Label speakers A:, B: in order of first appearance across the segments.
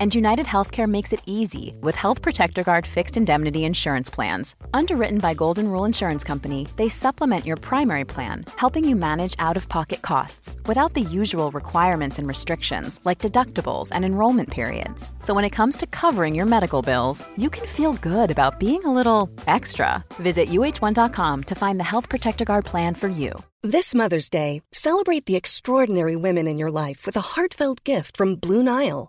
A: And United Healthcare makes it easy with Health Protector Guard fixed indemnity insurance plans. Underwritten by Golden Rule Insurance Company, they supplement your primary plan, helping you manage out of pocket costs without the usual requirements and restrictions like deductibles and enrollment periods. So when it comes to covering your medical bills, you can feel good about being a little extra. Visit uh1.com to find the Health Protector Guard plan for you.
B: This Mother's Day, celebrate the extraordinary women in your life with a heartfelt gift from Blue Nile.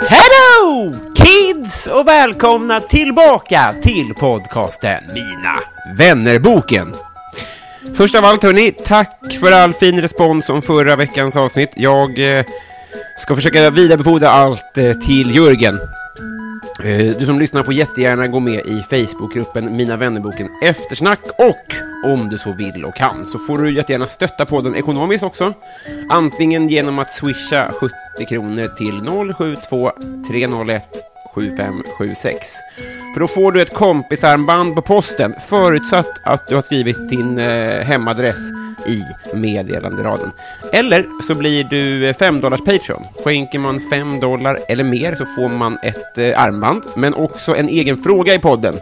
C: Hello kids och välkomna tillbaka till podcasten Mina vännerboken. Först av allt hörni, tack för all fin respons om förra veckans avsnitt. Jag eh, ska försöka vidarebefordra allt eh, till Jörgen. Eh, Du som lyssnar får jättegärna gå med i Facebookgruppen Mina vännerboken Eftersnack och om du så vill och kan så får du jättegärna stötta podden ekonomiskt också. Antingen genom att swisha 70 kronor till 072 301 7576. För då får du ett kompisarmband på posten förutsatt att du har skrivit din eh, hemadress i meddelanderaden. Eller så blir du eh, 5 dollars Patreon. Skänker man 5 dollar eller mer så får man ett eh, armband, men också en egen fråga i podden.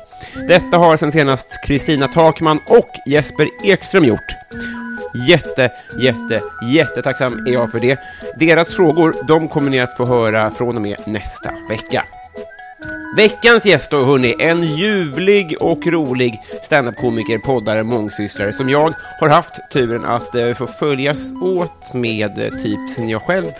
C: Detta har sen senast Kristina Takman och Jesper Ekström gjort. Jätte, jätte, jättetacksam är jag för det. Deras frågor, de kommer ni att få höra från och med nästa vecka. Veckans gäst då, hörni, en ljuvlig och rolig standup-komiker, poddare, mångsysslare som jag har haft turen att eh, få följas åt med eh, typ sen jag själv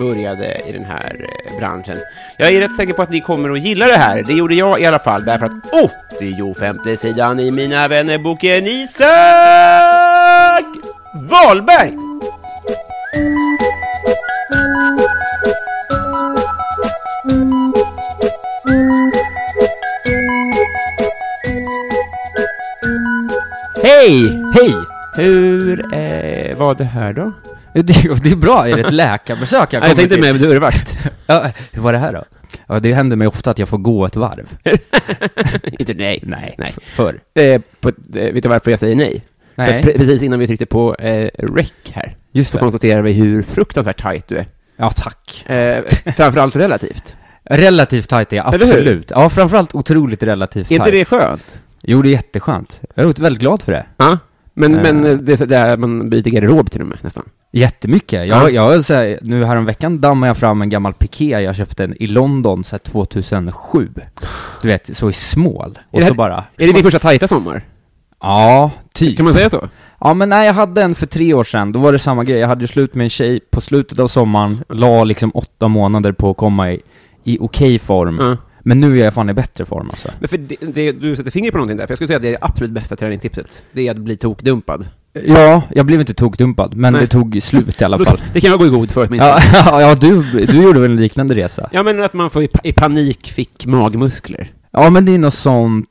C: började i den här eh, branschen. Jag är rätt säker på att ni kommer att gilla det här. Det gjorde jag i alla fall, därför att åh, det är ju femte sidan i Mina vänner-boken Isak Wahlberg! Hej! Hej! Hur eh, var det här då?
D: Det, det är bra, är det ett läkarbesök jag
C: Jag, jag
D: kommer
C: tänkte
D: till?
C: med dörrvakt.
D: Ja, hur var det här då? Ja, det händer mig ofta att jag får gå ett varv.
C: Inte nej.
D: Nej,
C: Nej.
D: nej. förr.
C: Eh, på, eh, vet du varför jag säger nej? För att
D: Nej,
C: pre- precis innan vi tryckte på eh, rec här,
D: just
C: så
D: det.
C: konstaterar vi hur fruktansvärt tajt du är.
D: Ja, tack.
C: Eh, framförallt relativt.
D: Relativt tajt är jag,
C: Eller hur?
D: absolut. Ja, framförallt otroligt relativt
C: Är
D: tajt.
C: inte det skönt?
D: Jo, det är jätteskönt. Jag är väldigt glad för det.
C: Ja. Men,
D: Eh.
C: men eh, det är så där man byter garderob till och med, nästan.
D: Jättemycket.
C: Ja.
D: Jag, jag så här, nu häromveckan dammade jag fram en gammal piké jag köpte en i London så här 2007. Du vet, så i small.
C: Är
D: Och
C: det här-
D: så bara...
C: Är det din första tajta sommar?
D: Ja, typ.
C: Kan man säga så?
D: Ja men nej, jag hade en för tre år sedan, då var det samma grej. Jag hade ju slut med en tjej på slutet av sommaren, la liksom åtta månader på att komma i, i okej form.
C: Ja.
D: Men nu är jag fan i bättre form alltså.
C: Men för det, det, du sätter fingret på någonting där, för jag skulle säga att det är det absolut bästa träningstipset. Det är att bli tokdumpad.
D: Ja, jag blev inte tokdumpad, men
C: Nej.
D: det tog slut i alla fall.
C: Det kan jag gå i god för åtminstone.
D: Ja, ja du, du gjorde väl en liknande resa?
C: Ja men att man får i, pa- i panik fick magmuskler.
D: Ja men det är något sånt...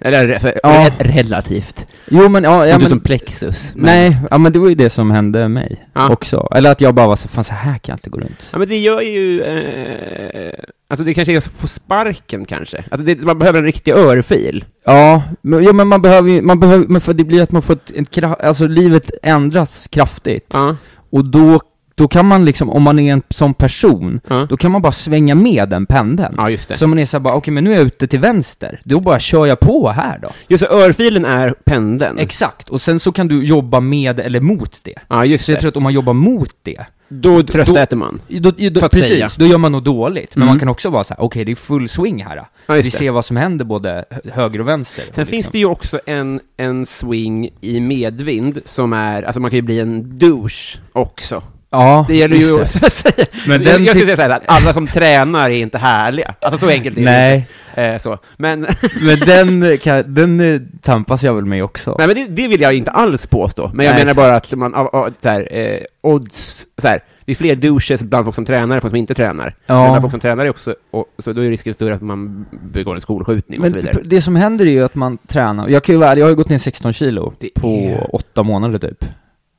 C: Eller alltså,
D: Ja.
C: re- relativt.
D: Jo men ja, ja
C: inte
D: men...
C: som plexus. men-
D: Nej, ja men det var ju det som hände mig
C: Ja.
D: också. Eller att jag bara var så, fan så här kan jag inte gå runt.
C: Ja men vi gör ju, eh, alltså det kanske är att få sparken kanske. Alltså det, man behöver en riktig örfil.
D: Ja, men, ja, men man behöver ju, man behöver, men för det blir att man får ett, ett kra- alltså livet ändras kraftigt.
C: Ja.
D: Och då, då kan man liksom, om man är en sån person,
C: Ja.
D: då kan man bara svänga med den pendeln.
C: Ja, just det.
D: Så man är såhär bara, okej men nu är jag ute till vänster, då bara kör jag på här då.
C: Just det, örfilen är pendeln.
D: Exakt, och sen så kan du jobba med eller mot det.
C: ja Mm. just
D: Så jag
C: det.
D: tror att om man jobbar mot det,
C: då tröstäter
D: då-
C: man.
D: då, då,
C: För att
D: precis,
C: säga.
D: då gör man nog dåligt. Men
C: Mm.
D: man kan också vara så här: okej det är full swing här.
C: Ja,
D: Vi
C: just det.
D: ser vad som händer både hö- höger och vänster. liksom.
C: Sen finns det ju också en, en swing i medvind som är, alltså man kan ju bli en douche också.
D: ja,
C: Det gäller
D: just
C: ju,
D: det.
C: så att säga.
D: Men
C: jag,
D: den
C: jag skulle
D: tyck-
C: säga så här, att alla som tränar är inte härliga. Alltså så enkelt är det
D: Nej,
C: Eh, så. Men,
D: Men den, kan, den eh, tampas jag väl med också.
C: nej, men det, det vill jag inte alls påstå. Men jag
D: Nej,
C: menar
D: tack.
C: bara att man, av, av, så här, eh, odds, så här, det är fler douches bland folk som tränar än folk som inte tränar.
D: Ja.
C: Men bland folk som tränar är också, och, så då är risken större att man begår en skolskjutning och
D: Men
C: så vidare.
D: p- det som händer är ju att man tränar. Jag, kan ju, vara ärlig, jag har ju gått ner 16 kilo
C: Det
D: på
C: är-
D: åtta månader typ.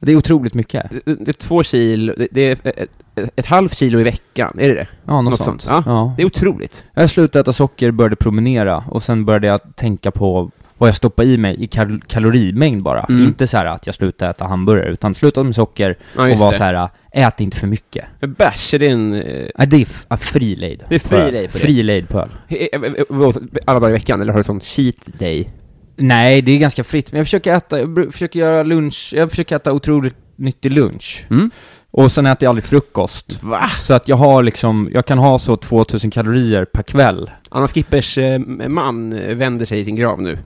D: Det är otroligt mycket.
C: Det, det är två kilo, det, det är ett, ett, ett halvt kilo i veckan, är det det?
D: Ja, något,
C: Något
D: sånt.
C: sånt,
D: Ja.
C: Det är otroligt.
D: Jag slutade äta socker, började promenera och sen började jag tänka på vad jag stoppar i mig i kal- kalorimängd bara.
C: Mm.
D: Inte så här att jag slutade äta hamburgare, utan slutade med socker
C: Ja,
D: och
C: just
D: var
C: det.
D: så här, ät inte för mycket.
C: Men Bärs, är det en... eh,
D: Nej, det är f- ah, fri lejd.
C: Det är fri
D: på öl.
C: lejd på det.
D: Fri lejd på öl.
C: he- eh, eh, vadå, Alla dagar i veckan, eller har du sån cheat day?
D: Nej, det är ganska fritt, men jag försöker äta, jag bru- försöker göra lunch, jag försöker äta otroligt nyttig lunch.
C: Mm.
D: Och sen äter jag aldrig frukost.
C: Va?
D: Så att jag har liksom, jag kan ha så 2000 kalorier per kväll.
C: Anna Skippers eh, man eh, vänder sig i sin grav nu.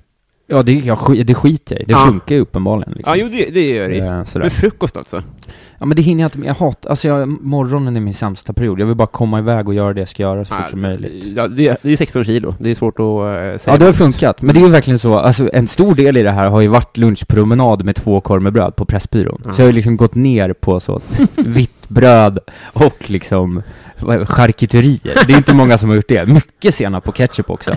D: Ja, det, jag, sk- det skiter jag i. Det
C: Ja.
D: funkar ju uppenbarligen liksom.
C: Ja, jo, det, det gör det.
D: Eh,
C: Men
D: Sådär.
C: frukost alltså?
D: Ja men det hinner jag inte med, jag hatar, alltså jag, morgonen är min sämsta period. Jag vill bara komma iväg och göra det jag ska göra så fort som möjligt.
C: Ja, det, det är 16 kilo, det är svårt att eh, säga.
D: Ja det har funkat, men det är ju verkligen så, alltså en stor del i det här har ju varit lunchpromenad med två korv med bröd på Pressbyrån.
C: Ja.
D: Så jag har ju liksom gått ner på så vitt bröd och liksom vad- charkuterier. Det är inte många som har gjort det. Mycket senap och ketchup också.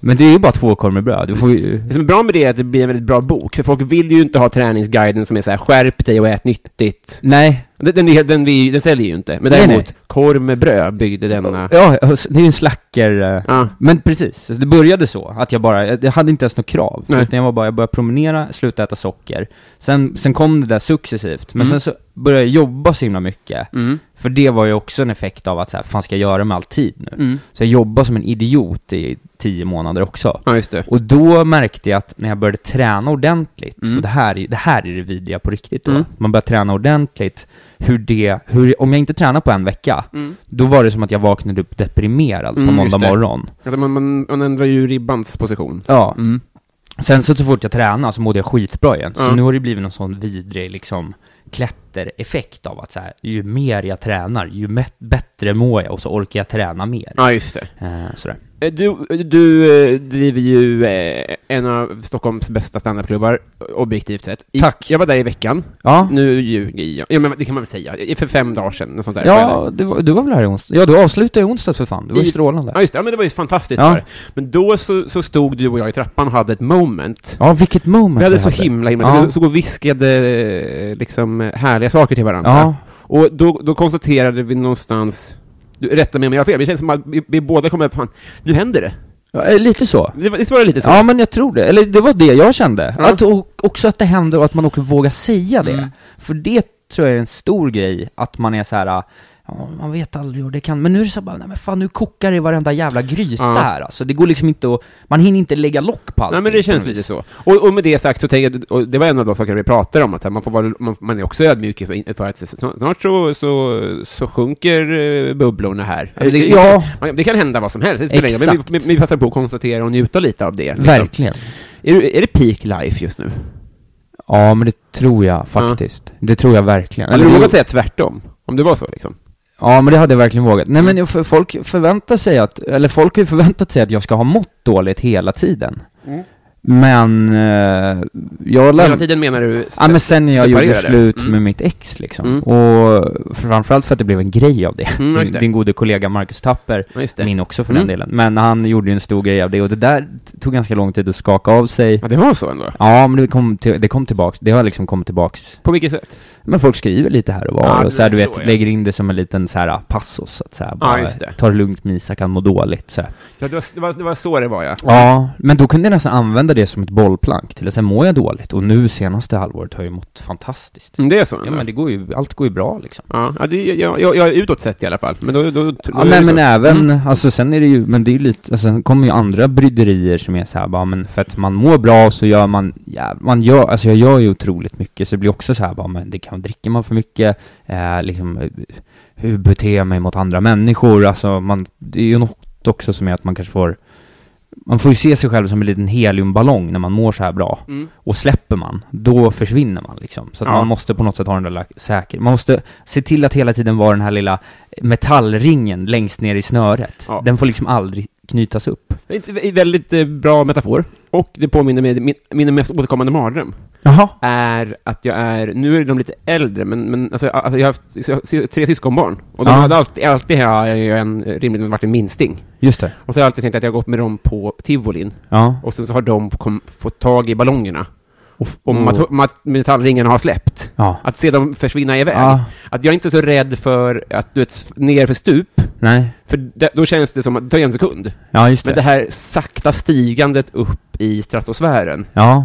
D: Men det är ju bara två korv med bröd. Du får ju...
C: Det som är bra med det är att det blir en väldigt bra bok, för folk vill ju inte ha träningsguiden som är så här skärp dig och ät nyttigt.
D: Nej,
C: Den, den, den, den, vi- den säljer ju inte, men
D: Nej,
C: däremot korv med bröd byggde denna.
D: Ja, alltså, det är ju en slacker... eh,
C: Ja.
D: Men precis, det började så. Att jag bara, jag jag hade inte ens något krav.
C: Nej.
D: Utan jag var bara, jag började promenera, slutade äta socker. Sen, sen kom det där successivt. Men sen så började jag jobba så himla mycket.
C: Mm.
D: För det var ju också en effekt av att så här, fan ska jag göra med all tid nu?
C: Mm.
D: Så jag jobbade som en idiot i tio månader också.
C: Ja, just det.
D: Och då märkte jag att när jag började träna ordentligt,
C: Mm.
D: och det här, är- det här är det vidriga på riktigt då,
C: Mm.
D: man börjar träna ordentligt, hur det, hur, om jag inte tränar på en vecka, då var det som att jag vaknade upp deprimerad
C: Mm,
D: på
C: just
D: måndag
C: det.
D: morgon.
C: Alltså man, man, man ändrar ju ribbans position.
D: Ja.
C: Mm.
D: Sen så, så fort jag tränade så mådde jag skitbra igen. Så
C: Ja.
D: nu har det blivit någon sån vidrig liksom klättereffekt av att så här, ju mer jag tränar, ju mä- bättre mår jag och så orkar jag träna mer.
C: Ja, just det.
D: Eh, sådär.
C: Eh, Du, du eh, driver ju eh, en av Stockholms bästa standupklubbar, objektivt sett. I,
D: Tack.
C: Jag var där i veckan.
D: Ja.
C: Nu ljuger jag. Ja, men det kan man väl säga. I- För fem dagar sedan, något sånt där. var jag
D: Ja, du var, du var väl här i onsdag? Ja, du avslutade i onsdags för fan. Det var ju
C: I- där.
D: strålande.
C: ja, just det. Ja, men det var ju fantastiskt.
D: Ja.
C: var det. Men då så, så stod du och jag i trappan och hade ett moment.
D: Ja, vilket moment
C: Vi hade
D: vi
C: så himla, himla...
D: Ja.
C: Vi stod och viskade eh, liksom eh, härliga saker till varandra.
D: Ja,
C: Och då, då konstaterade vi någonstans... Du, rätta mig om jag har fel, men det känns som att vi, vi båda kommer... Fan, nu händer det.
D: Ja, eh, lite så.
C: Det var- Visst var det lite så?
D: Ja, men jag tror det. Eller det var det jag kände.
C: Ja.
D: Att, och, också att det händer och att man också vågar säga det.
C: Mm.
D: För det tror jag är en stor grej, att man är så här. Ja, man vet aldrig och det kan, men nu är det så bara, nej men fan nu kokar det i varenda jävla gryta
C: Ja.
D: här alltså. Det går liksom inte att, man hinner inte lägga lock på
C: Nej,
D: allting,
C: men det känns
D: på något
C: lite
D: vis.
C: så. Och, och med det sagt så tänker jag, och det var en av de saker vi pratade om, att så här, man, får vara, man, man är också ödmjuk för, för att så- snart så, så, så sjunker eh, bubblorna här. Alltså, det,
D: Ja.
C: man- det kan hända vad som helst, det spelar ingen roll. men vi, vi, vi passar på att konstatera och njuta lite av det. liksom.
D: Verkligen.
C: Är, du- är det peak life just nu?
D: Ja, men det tror jag faktiskt. Det tror jag verkligen.
C: Eller du
D: Eller det-
C: vågar säga tvärtom, om det var så liksom.
D: Ja, men det hade jag verkligen vågat. Nej,
C: Mm.
D: men jag- för- folk förväntar sig att, eller folk har ju förväntat sig att jag ska ha mått dåligt hela tiden.
C: Mm.
D: Men, eh, jag
C: Hela
D: lämnade...
C: tiden menar du...
D: Ja, men sen när jag gjorde
C: separerade.
D: slut
C: Mm.
D: med mitt ex liksom.
C: Mm.
D: Och framförallt för att det blev en grej av det.
C: Mm, just det.
D: Din gode kollega Marcus Tapper,
C: Ja, just det.
D: min också för
C: Mm.
D: den delen. Men han gjorde ju en stor grej av det och det där tog ganska lång tid att skaka av sig.
C: Ja, det var så ändå.
D: Ja, men det kom, till, det kom tillbaks, det har liksom kommit tillbaks.
C: På vilket sätt?
D: Men folk skriver lite här och var
C: Ja, det
D: och så här, du
C: är
D: vet,
C: så, ja.
D: lägger in det som en liten så här passus, så att så här, bara,
C: just det.
D: ta det lugnt med Isak, han mår dåligt så här.
C: Ja, det, var, det, var, det var så det var, ja.
D: Ja, men då kunde jag nästan använda det som ett bollplank till att säga, mår jag dåligt? Och nu senaste halvåret har jag ju mått fantastiskt.
C: Mm, Det är så?
D: Ja
C: ändå.
D: men det går ju, allt går ju bra liksom.
C: Ja, ja det, jag, jag, jag är utåt sett i alla fall. Men då... då, då då
D: Ja,
C: är det
D: nej
C: så. Mm.
D: men även, alltså sen är det ju, men det är ju lite, alltså, sen kommer ju andra bryderier som är så här, bara men för att man mår bra så gör man, ja, man gör, alltså jag gör ju otroligt mycket så det blir också så här bara men det kan, dricker man för mycket, eh, liksom eh, hur beter jag mig mot andra människor, alltså man, det är ju något också som är att man kanske får man får ju se sig själv som en liten heliumballong när man mår så här bra.
C: Mm.
D: Och släpper man, då försvinner man liksom. Så att
C: Ja.
D: man måste på något sätt ha den där la- säker... Man måste se till att hela tiden vara den här lilla metallringen längst ner i snöret.
C: Ja.
D: Den får liksom aldrig knytas upp.
C: Det är inte- Väldigt eh, bra metafor. Och det påminner mig, min, min mest återkommande mardröm
D: Jaha.
C: är att jag är, nu är de lite äldre, men, men alltså, alltså jag har haft sy- sy- tre syskonbarn. Och de
D: Ja.
C: hade alltid, alltid har jag ju en, rimligen varit en minsting.
D: Just det.
C: Och så har jag alltid tänkt att jag har gått med dem på tivolin.
D: Ja.
C: Och sen så har de kom, fått tag i ballongerna.
D: Och,
C: Och mat- mat- metallringarna har släppt.
D: Ja.
C: Att se dem försvinna iväg.
D: Ja.
C: Att jag är inte så rädd för att du vet, ner för stup.
D: Nej.
C: För det, då känns det som att det tar ju en sekund.
D: Ja, just det.
C: Men det här sakta stigandet upp i stratosfären.
D: Ja.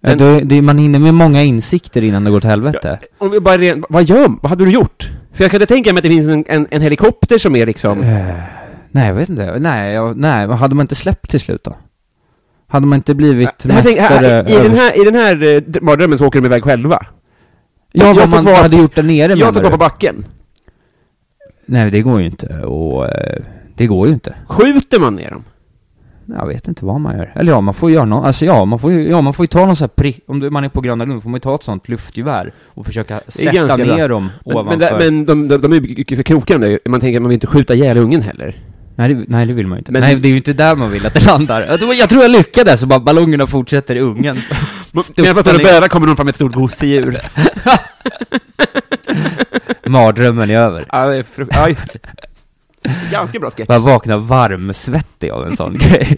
C: Den-
D: ja då, det, man är inne med många insikter innan det går till helvete.
C: Om vi bara ren, vad gör Vad hade du gjort? För jag kunde tänka mig att det finns en, en, en helikopter som är liksom...
D: Eh, Nej, jag vet inte. Nej, jag, nej, vad hade man inte släppt till slut då? Hade man inte blivit
C: Jag tänker,
D: mästare
C: här, i, i, den
D: över-
C: här, I den här eh, d- mardrömmen så åker de iväg själva.
D: Ja,
C: jag
D: vad
C: står
D: man
C: kvar-
D: hade gjort där nere
C: Jag tar
D: menar
C: gå
D: du?
C: på backen.
D: Nej, det går ju inte och... eh, Det går ju inte.
C: Skjuter man ner dem?
D: Jag vet inte vad man gör. Eller ja, man får göra någon, alltså ja, man får ju, ja, man får ju ta någon sån här prick, om du- man är på Gröna Lund får man ju ta ett sånt luftgevär och försöka sätta
C: ganska bra.
D: ner dem
C: Men,
D: ovanför.
C: men, där, men de, de, de är ju mycket så krokiga de där. Man tänker att man vill inte skjuta ihjäl ungen heller.
D: Nej, det, nej, det vill man ju inte.
C: Men-
D: nej, det är ju inte där man vill att det landar. Jag tror jag, tror jag lyckades, så bara ballongerna fortsätter i ungen. Stupar
C: Medan man står och
D: ner.
C: bölar kommer någon fram med ett stort gosedjur.
D: Mardrömmen är över.
C: ja, det är fru- ja, just det. Ganska bra sketch.
D: Bara vakna varmsvettig av en sån grej.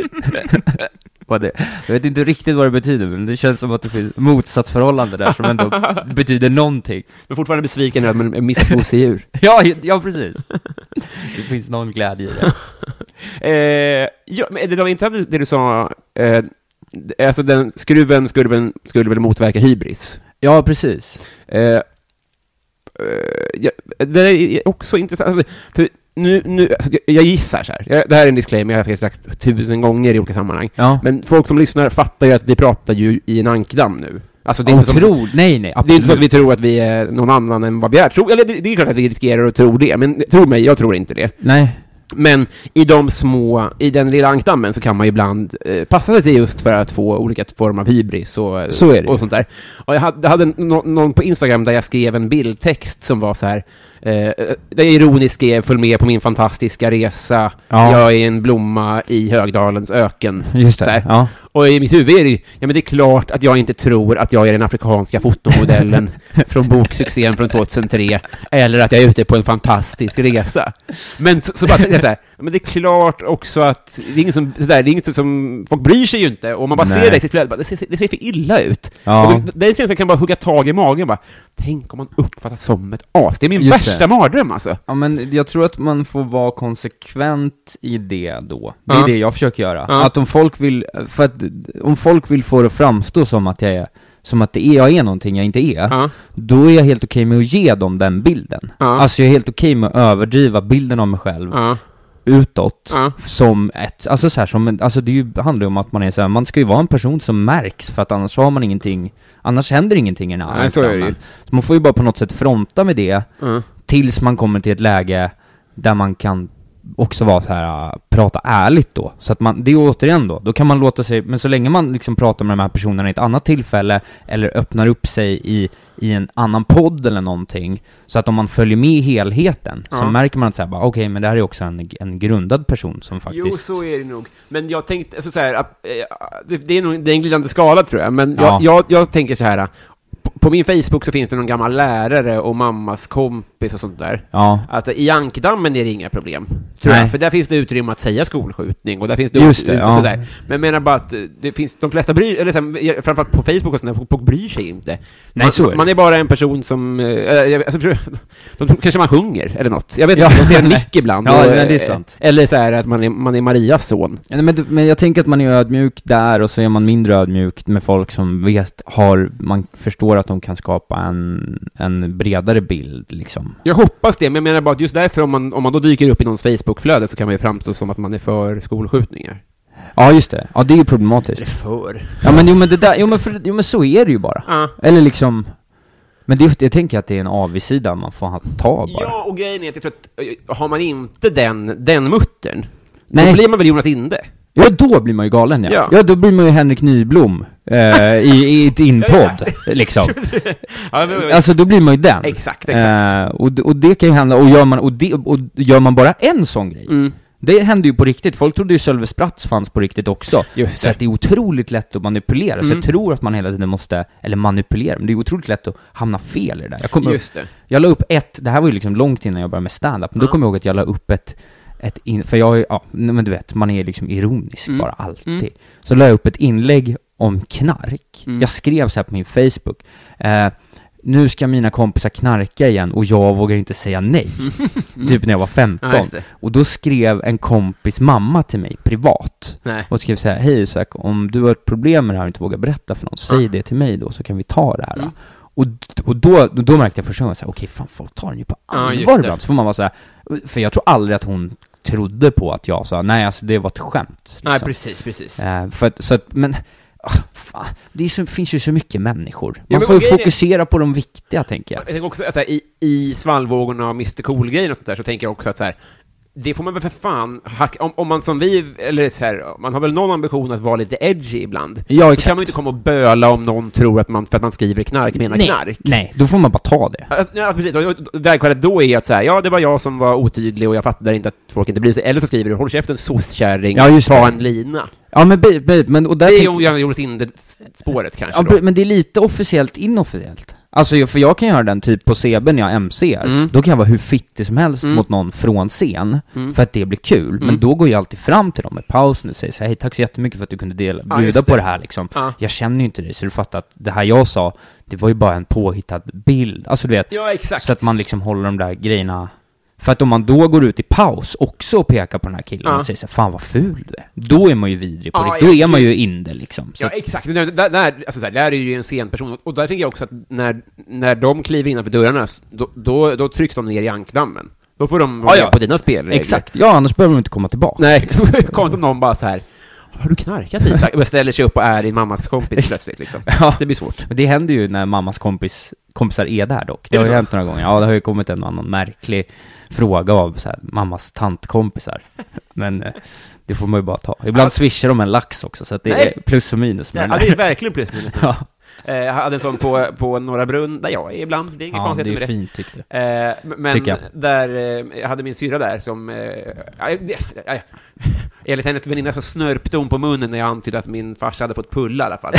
D: Vad det, jag vet inte riktigt vad det betyder, men det känns som att det finns motsatsförhållande där som ändå betyder någonting.
C: Men fortfarande besviken över att jag missat gosedjur.
D: Ja, ja precis. Det finns någon glädje i det.
C: Eh, ja, men det var inte att det du sa, eh, alltså den skruven skulle väl, skulle väl motverka hybris.
D: Ja, precis.
C: Eh, eh, ja, det är också intressant, alltså, för nu, nu alltså, jag- jag gissar så här, jag, det här är en disclaimer, jag har säkert sagt tusen gånger i olika sammanhang,
D: Ja.
C: men folk som lyssnar fattar ju att vi pratar ju i en ankdamm nu. Alltså, det är inte som-
D: Otroligt. Nej, nej.
C: Det är inte så att
D: absolut.
C: vi tror att vi är någon annan än vad vi är. Tror, eller det, det är klart att vi riskerar att tro det, men tro mig, jag tror inte det.
D: Nej.
C: Men i de små, i den lilla ankdammen så kan man ju ibland eh, passa sig just för att få olika former av hybris och,
D: Så är det ju.
C: och sånt där. Och jag hade, jag hade nå- någon på Instagram där jag skrev en bildtext som var så här, eh, eh, där jag ironiskt skrev följ med på min fantastiska resa,
D: Ja.
C: jag är en blomma i Högdalens öken.
D: Just
C: Så här.
D: det. Ja.
C: Och i mitt huvud är det ju, ja men det är klart att jag inte tror att jag är den afrikanska fotomodellen från boksuccén från 2003, eller att jag är ute på en fantastisk resa. Men så, så bara tänkte jag så här, ja, men det är klart också att det är inget som, så där, det är inget som folk bryr sig ju inte, och man bara ser
D: Nej.
C: det i sitt flöde, bara, det, ser, det ser för illa ut.
D: Ja.
C: Och den- den känslan kan bara hugga tag i magen, bara, tänk om man uppfattas som ett as. Det är min
D: Just
C: värsta
D: det.
C: mardröm alltså.
D: Ja men jag tror att man får vara konsekvent i det då. Det är
C: Ja.
D: det jag försöker göra.
C: Ja.
D: Att om folk vill, för att om folk vill få det att framstå som att jag är, som att det är, jag är någonting jag inte är,
C: Ja.
D: då är jag helt okej med att ge dem den bilden.
C: Ja.
D: Alltså jag är helt okej med att överdriva bilden av mig själv
C: Ja.
D: utåt
C: Ja.
D: som ett, alltså så här som, en- alltså det är ju, handlar ju om att man är så här, man ska ju vara en person som märks för att annars har man ingenting, annars händer ingenting i den här
C: Nej, så är det ju.
D: ankdammen. så man får ju bara på något sätt fronta med det
C: Mm.
D: tills man kommer till ett läge där man kan också vara så här, äh, prata ärligt då. Så att man, det är återigen då, då kan man låta sig, men så länge man liksom pratar med de här personerna i ett annat tillfälle eller öppnar upp sig i, i en annan podd eller någonting, så att om man följer med i helheten så
C: Ja.
D: märker man att så här, bara, okej, men det här är också en, en grundad person som faktiskt...
C: Jo, så är det nog. Men jag tänkte, alltså, så här, att, eh, det, det, är nog, det är en glidande skala tror jag, men jag,
D: Ja.
C: jag, jag tänker så här, eh, på, på min Facebook så finns det någon gammal lärare och mammas kompis och sånt där.
D: Ja.
C: Att Alltså, i ankdammen är det inga problem, tror
D: Nej.
C: jag, för där finns det utrymme att säga skolskjutning och där finns det...
D: Just det, ja.
C: sådär. Men jag menar bara att eh, det finns, de flesta bryr, eller så här, eh, framförallt på Facebook och sånt där, folk- folk bryr sig inte.
D: Nej,
C: man,
D: så är det.
C: man är bara en person som, eh, jag- alltså, tror jag- de, kanske man sjunger eller något. Jag vet
D: Ja.
C: inte, de ser en nick ibland.
D: Ja,
C: och,
D: nej, det är
C: eh,
D: sant.
C: Eller så här att man är, man är Marias son.
D: Ja, Men, det- men jag tänker att man är ödmjuk där och så är man mindre ödmjuk med folk som vet, har, man förstår att de kan skapa en, en bredare bild liksom.
C: Jag hoppas det, men jag menar bara att just därför om man, om man då dyker upp i någons Facebookflöde så kan man ju framstå som att man är för skolskjutningar.
D: Ja, just det. Ja, det är ju problematiskt.
C: för?
D: Ja, men jo men det där, jo men, för, jo, men så är det ju bara.
C: Ja.
D: Eller liksom, men det, jag tänker att det är en avigsida man får ta bara.
C: Ja, och grejen är att jag tror att eh, har man inte den, den muttern, då
D: Nej.
C: blir man väl Jonas Inde?
D: Ja, då blir man ju galen ja.
C: Ja.
D: Ja, då blir man ju Henrik Nyblom eh, i, i ett inpodd, liksom.
C: Ja, det var-
D: Alltså då blir man ju den.
C: Exakt, exakt. Mm.
D: Eh, och, d- och det kan ju hända, och gör man, och det, och gör man bara en sån grej, Det hände ju på riktigt, folk trodde ju Sölve Spratts fanns på riktigt också.
C: Just
D: Så
C: det. Mm.
D: att det är otroligt lätt att manipulera, så jag tror att man hela tiden måste, eller manipulera, men det är otroligt lätt att hamna fel i det där. Jag, kommer
C: Just det.
D: jag la upp ett, det här var ju liksom långt innan jag började med stand-up, men då kommer jag ihåg att jag la upp ett, ett in, för jag, är- ja, nej, men du vet, man är liksom ironisk
C: Mm.
D: bara alltid. Så la jag upp ett inlägg om knark.
C: Mm.
D: Jag skrev så här på min Facebook, eh, nu ska mina kompisar knarka igen och jag vågar inte säga nej. Typ när jag var 15.
C: Ja, just det.
D: och då skrev en kompis mamma till mig privat.
C: Nej.
D: Och skrev så här, hej Isak, om du har ett problem med det här och inte vågar berätta för någon, säg
C: Mm.
D: det till mig då så kan vi ta det här. då." Och, och då, då märkte jag första gången så här, okej fan folk tar den ju på
C: Ja, just
D: allvar
C: det.
D: ibland. Så får man vara så här, för jag tror aldrig att hon trodde på att jag sa, nej alltså det var ett skämt.
C: Nej,
D: liksom.
C: precis, precis.
D: Eh, för att, så att, men, ah, fan, det är så, finns ju så mycket människor. Man
C: men
D: får ju
C: grejen är-
D: fokusera på de viktiga tänker jag.
C: Jag tänker också att så här, i, i svallvågorna av Mr Cool-grejen och sånt där så tänker jag också att så här, det får man väl för fan hacka, om, om man som vi, eller så här, man har väl någon ambition att vara lite edgy ibland.
D: Ja,
C: Då
D: exakt.
C: kan man ju inte komma och böla om någon tror att man, för att man skriver knark, menar
D: nej,
C: knark.
D: nej, då får man bara ta det.
C: Alltså, nej, alltså, precis, Och- och- och vägskälet då är att så här, ja, det var jag som var otydlig och jag fattade inte att folk inte bryr sig. Eller så skriver du, håll käften sosskärring,
D: Ja, just
C: ta
D: det.
C: en lina.
D: Ja men, be, be, men och där
C: Det är
D: tänker-
C: ju Johan Jonas Linde-spåret kanske
D: Ja,
C: då.
D: men det är lite officiellt inofficiellt. Alltså, jag- för jag kan göra den typ på CB när jag MCar,
C: Mm.
D: då kan jag vara hur fittig som helst
C: Mm.
D: mot någon från scen,
C: Mm.
D: för att det blir kul.
C: Mm.
D: Men då går jag alltid fram till dem med pausen och säger så här, hej tack så jättemycket för att du kunde dela,
C: Ja,
D: bjuda
C: just
D: på
C: det.
D: det här liksom.
C: Ja.
D: Jag känner ju inte dig, så du fattar att det här jag sa, det var ju bara en påhittad bild. Alltså du vet,
C: Ja, exakt.
D: så att man liksom håller de där grejerna. För att om man då går ut i paus också och pekar på den här killen
C: Ja.
D: och säger så här, fan vad ful du är. Då är man ju vidrig på
C: Ja,
D: riktigt. Då
C: ja,
D: är man
C: gud.
D: ju inde liksom. Så
C: Ja,
D: att-
C: exakt. Men Där, där, där, alltså så här, där är ju en scenperson, och där tänker jag också att när, när de kliver innanför dörrarna, s- då, då, då trycks de ner i ankdammen. Då får de vara
D: Ja, ja.
C: med på dina spelregler.
D: Exakt, ja annars behöver de inte komma tillbaka.
C: Nej, det kommer som någon bara så här, har du knarkat Isak? Och ställer sig upp och är din mammas kompis plötsligt liksom.
D: Ja.
C: Det blir svårt.
D: Men det händer ju när mammas kompis, kompisar är där dock. Det
C: Är det
D: har ju
C: så?
D: hänt några gånger. Ja, det har ju kommit en och annan märklig fråga av så här, mammas tantkompisar. Men eh, det får man ju bara ta. Ibland
C: Ja.
D: swishar de en lax också, så att det
C: Nej.
D: är plus och minus
C: Ja,
D: med
C: det
D: den
C: är
D: där.
C: verkligen plus minus.
D: Ja,
C: Eh, jag hade en sån på, på Norra Brunn, där jag är ibland. Det är inget
D: ja det
C: konstigt
D: är
C: med det.
D: ju fint tyckte jag.
C: Eh, m- men
D: Tycker jag.
C: där, eh, jag hade min syrra där som, eh, aj, det- aj, aj. enligt hennes väninna så snörpte hon på munnen när jag antydde att min farsa hade fått pulla i alla fall.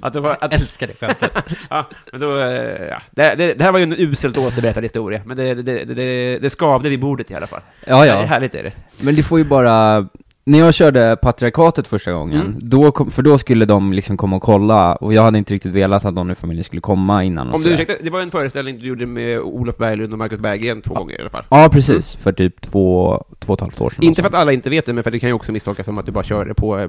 C: att det var, att,
D: Älskar det skämtet.
C: ja, men då, eh, ja. det, det, det här var ju en uselt återberättad historia, men det, det, det, det, det skavde vid bordet i alla fall.
D: Ja,
C: Det är
D: ja.
C: härligt är det.
D: Men det får ju bara... När jag körde patriarkatet första gången,
C: Mm.
D: då kom, för då skulle de liksom komma och kolla, och jag hade inte riktigt velat att någon i familjen skulle komma innan och
C: Om
D: så
C: du
D: där.
C: ursäktar, det var en föreställning du gjorde med Olof Berglund och Marcus Berggren två gånger i alla fall.
D: Ja, precis. För typ två, två och ett halvt år sedan.
C: Mm. Inte för att alla inte vet det, men för det kan ju också misstolkas som att du bara körde på, eh,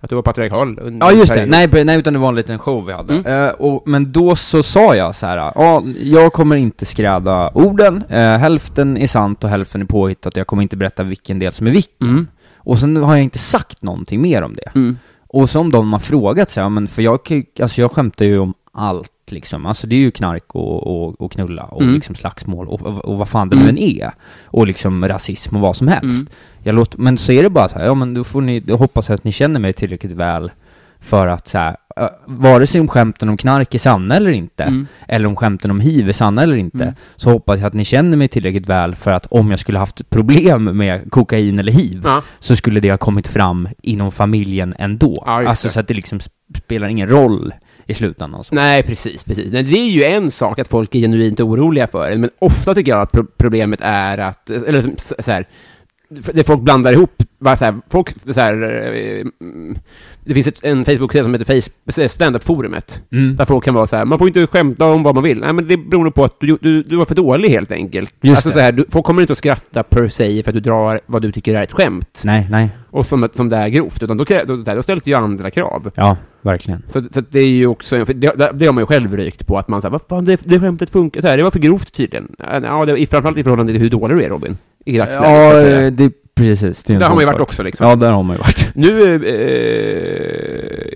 C: att du var patriarkal. under
D: Ja
C: en
D: just det,
C: period. Mm.
D: nej, be- nej utan det var en liten show vi hade. Eh, och, men då så sa jag så här, ja, jag kommer inte skräda orden, eh, hälften är sant och hälften är påhittat, jag kommer inte berätta vilken del som är vilken.
C: Mm.
D: Och sen har jag inte sagt någonting mer om det. Och som de har frågat så här, men för jag, kan ju- alltså jag skämtar ju om allt liksom, alltså det är ju knark och, och, och knulla och liksom slagsmål och, och, och vad fan det nu än är. Och liksom rasism och vad som helst. Jag låter, men så är det bara så här, ja men då får ni, då hoppas jag att ni känner mig tillräckligt väl för att så här, eh, vare sig om skämten om knark är sanna eller inte, eller om skämten om hiv är sanna eller inte, så hoppas jag att ni känner mig tillräckligt väl för att om jag skulle haft problem med kokain eller hiv,
C: Ja.
D: så skulle det ha kommit fram inom familjen ändå.
C: Ja, just
D: alltså
C: det.
D: så att det liksom sp- spelar ingen roll i slutändan. alltså. Och så.
C: Nej, precis, precis. Nej, det är ju en sak att folk är genuint oroliga för en, men ofta tycker jag att pro- problemet är att, eller som- så så här, det folk blandar ihop, va, så här, folk, så här, eh, mm, det finns ett, en Facebook-sida som heter face, eh, Stand-up-forumet,
D: Mm.
C: där folk kan vara så här, man får inte skämta om vad man vill, nej men det beror nog på att du, du, du var för dålig helt enkelt.
D: Just
C: alltså
D: det.
C: så här, du, folk kommer inte att skratta per se för att du drar vad du tycker är ett skämt,
D: Nej, nej.
C: och som, som det är grovt, utan då, krä- då, då ställs det ju andra krav.
D: Ja, verkligen.
C: Så, så att det är ju också, en- för det, det- det har man ju själv rykt på, att man säger vad fan, det, det skämtet funkar, så här, det var för grovt tydligen. Ja, det, i- framförallt i förhållande till hur dålig du är Robin. I dagsläget, så
D: Ja,
C: att säga.
D: eh, det, precis. Det är en
C: Där har
D: sån
C: man ju
D: sak.
C: varit också liksom.
D: Ja, där har man ju varit.
C: Nu eh,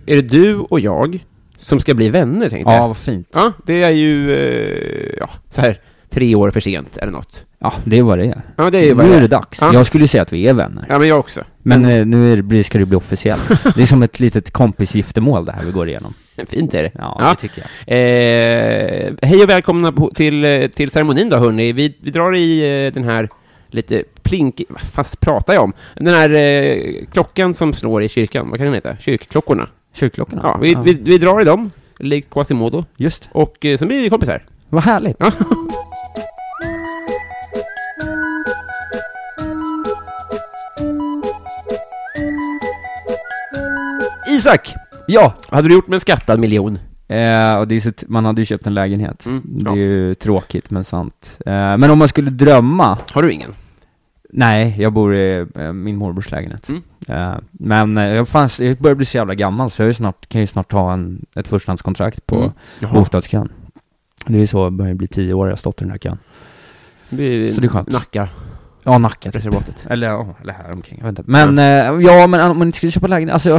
C: är det du och jag som ska bli vänner, tänkte
D: Ja,
C: jag.
D: vad fint.
C: Ja, det är ju, eh, ja, så här, tre år för sent eller något.
D: Ja, det är vad det är.
C: Ja, det är ju vad
D: nu
C: det
D: är
C: är.
D: det dags.
C: Ja.
D: Jag skulle säga att vi är vänner.
C: Ja, men jag också.
D: Men eh, nu är det, blir- ska det bli officiellt. Det är som ett litet kompisgiftermål det här vi går igenom.
C: Fint är det.
D: Ja,
C: Ja.
D: det tycker jag.
C: Eh, hej och välkomna på- till, eh, till ceremonin då hörni. Vi, vi drar i eh, den här lite plink... Vad fast pratar jag om? Den här eh, klockan som slår i kyrkan, vad kan den heta? Kyrkklockorna.
D: Kyrkklockorna?
C: Ja, vi, Vi, vi drar i dem, likt Quasimodo,
D: Just.
C: och eh, sen blir vi kompisar.
D: Vad härligt.
C: Ja. Isak!
D: Ja!
C: Vad hade du gjort med en skattad miljon?
D: Eh, och det är så t- man hade ju köpt en lägenhet.
C: Mm,
D: det
C: ja.
D: är ju tråkigt men sant. Eh, men om man skulle drömma
C: Har du ingen?
D: Nej, jag bor i eh, min morbrors lägenhet.
C: Mm.
D: Eh, men eh, jag, fanns, jag börjar bli så jävla gammal så jag är snart, kan ju snart ta en, ett förstahandskontrakt på
C: Mm. Jaha.
D: bostadskön. Det är ju så, jag börjar bli tio år, jag har stått i den här kön. Så det är skönt.
C: Nacka,
D: Ja, Nacka typ.
C: reservatet.
D: Eller, ja, eller här omkring, jag vet inte. Men, eh, ja men om man inte skulle köpa lägenhet, alltså,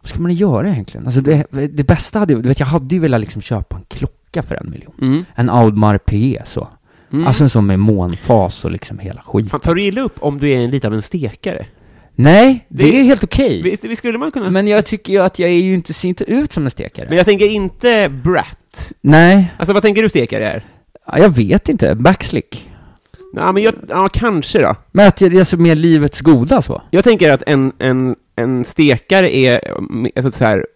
D: vad ska man göra egentligen? Alltså det, det bästa hade ju, du vet jag hade ju velat liksom köpa en klocka för en miljon.
C: Mm.
D: En Audemars Piguet E, så.
C: Mm.
D: Alltså en sån med månfas och liksom hela skit.
C: Fan, tar du illa upp om du är en, lite av en stekare?
D: Nej, det,
C: Det-
D: är helt okej.
C: Visst, visst skulle man kunna? Men,
D: Men jag tycker ju att jag är ju inte, ser inte ut som en stekare.
C: jag tänker inte brat.
D: Nej,
C: Alltså vad tänker du stekare är?
D: ja, jag vet inte. Backslick.
C: Ja, men jag, ja, kanske då.
D: Men att jag, det är så mer livets goda så.
C: Jag tänker att en, en, en stekare är, mm, alltså så här,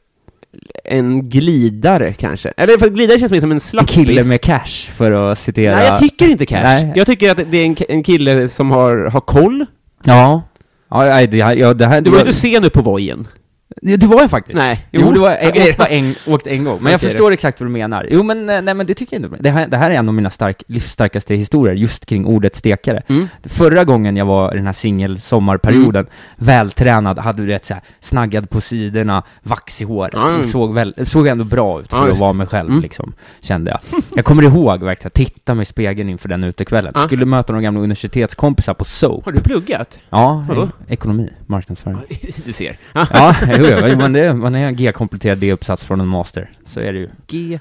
C: en glidare kanske. Eller för att glidare känns mer som en
D: En
C: slappis.
D: kille med cash, för att citera...
C: Nej, jag tycker inte cash.
D: Nej.
C: Jag tycker att det är en, en kille som har, har koll.
D: Ja. Ja, nej, det här... Ja, det, här
C: Du var ju
D: jag,
C: inte sen nu på vojen.
D: Ja, det var jag faktiskt.
C: Nej.
D: Jo, det var jag.
C: Okej
D: åkt
C: då.
D: bara en, åkt en gång. Men jag
C: Okej då.
D: förstår exakt vad du menar. Jo, men eh, nej, men det tycker jag inte. Det här, det här är en av mina stark, livsstarkaste historier, just kring ordet stekare.
C: Mm.
D: Förra gången jag var i den här singelsommarperioden, vältränad, hade du rätt så här, snaggad på sidorna, vax i håret,
C: Ja,
D: och
C: mm.
D: såg, väl, såg ändå bra ut
C: Ja,
D: för att
C: just.
D: vara mig själv
C: Mm.
D: liksom, kände jag. Jag kommer ihåg verkligen, att titta mig i spegeln inför den utekvällen.
C: Ja.
D: Skulle möta några gamla universitetskompisar på SOAP.
C: Har du pluggat?
D: Ja,
C: Vadå?
D: e- ekonomi, marknadsföring.
C: Du ser.
D: Ja, jo, jo, men det, man är en G-kompletterad D-uppsats från en master, så är det ju.
C: G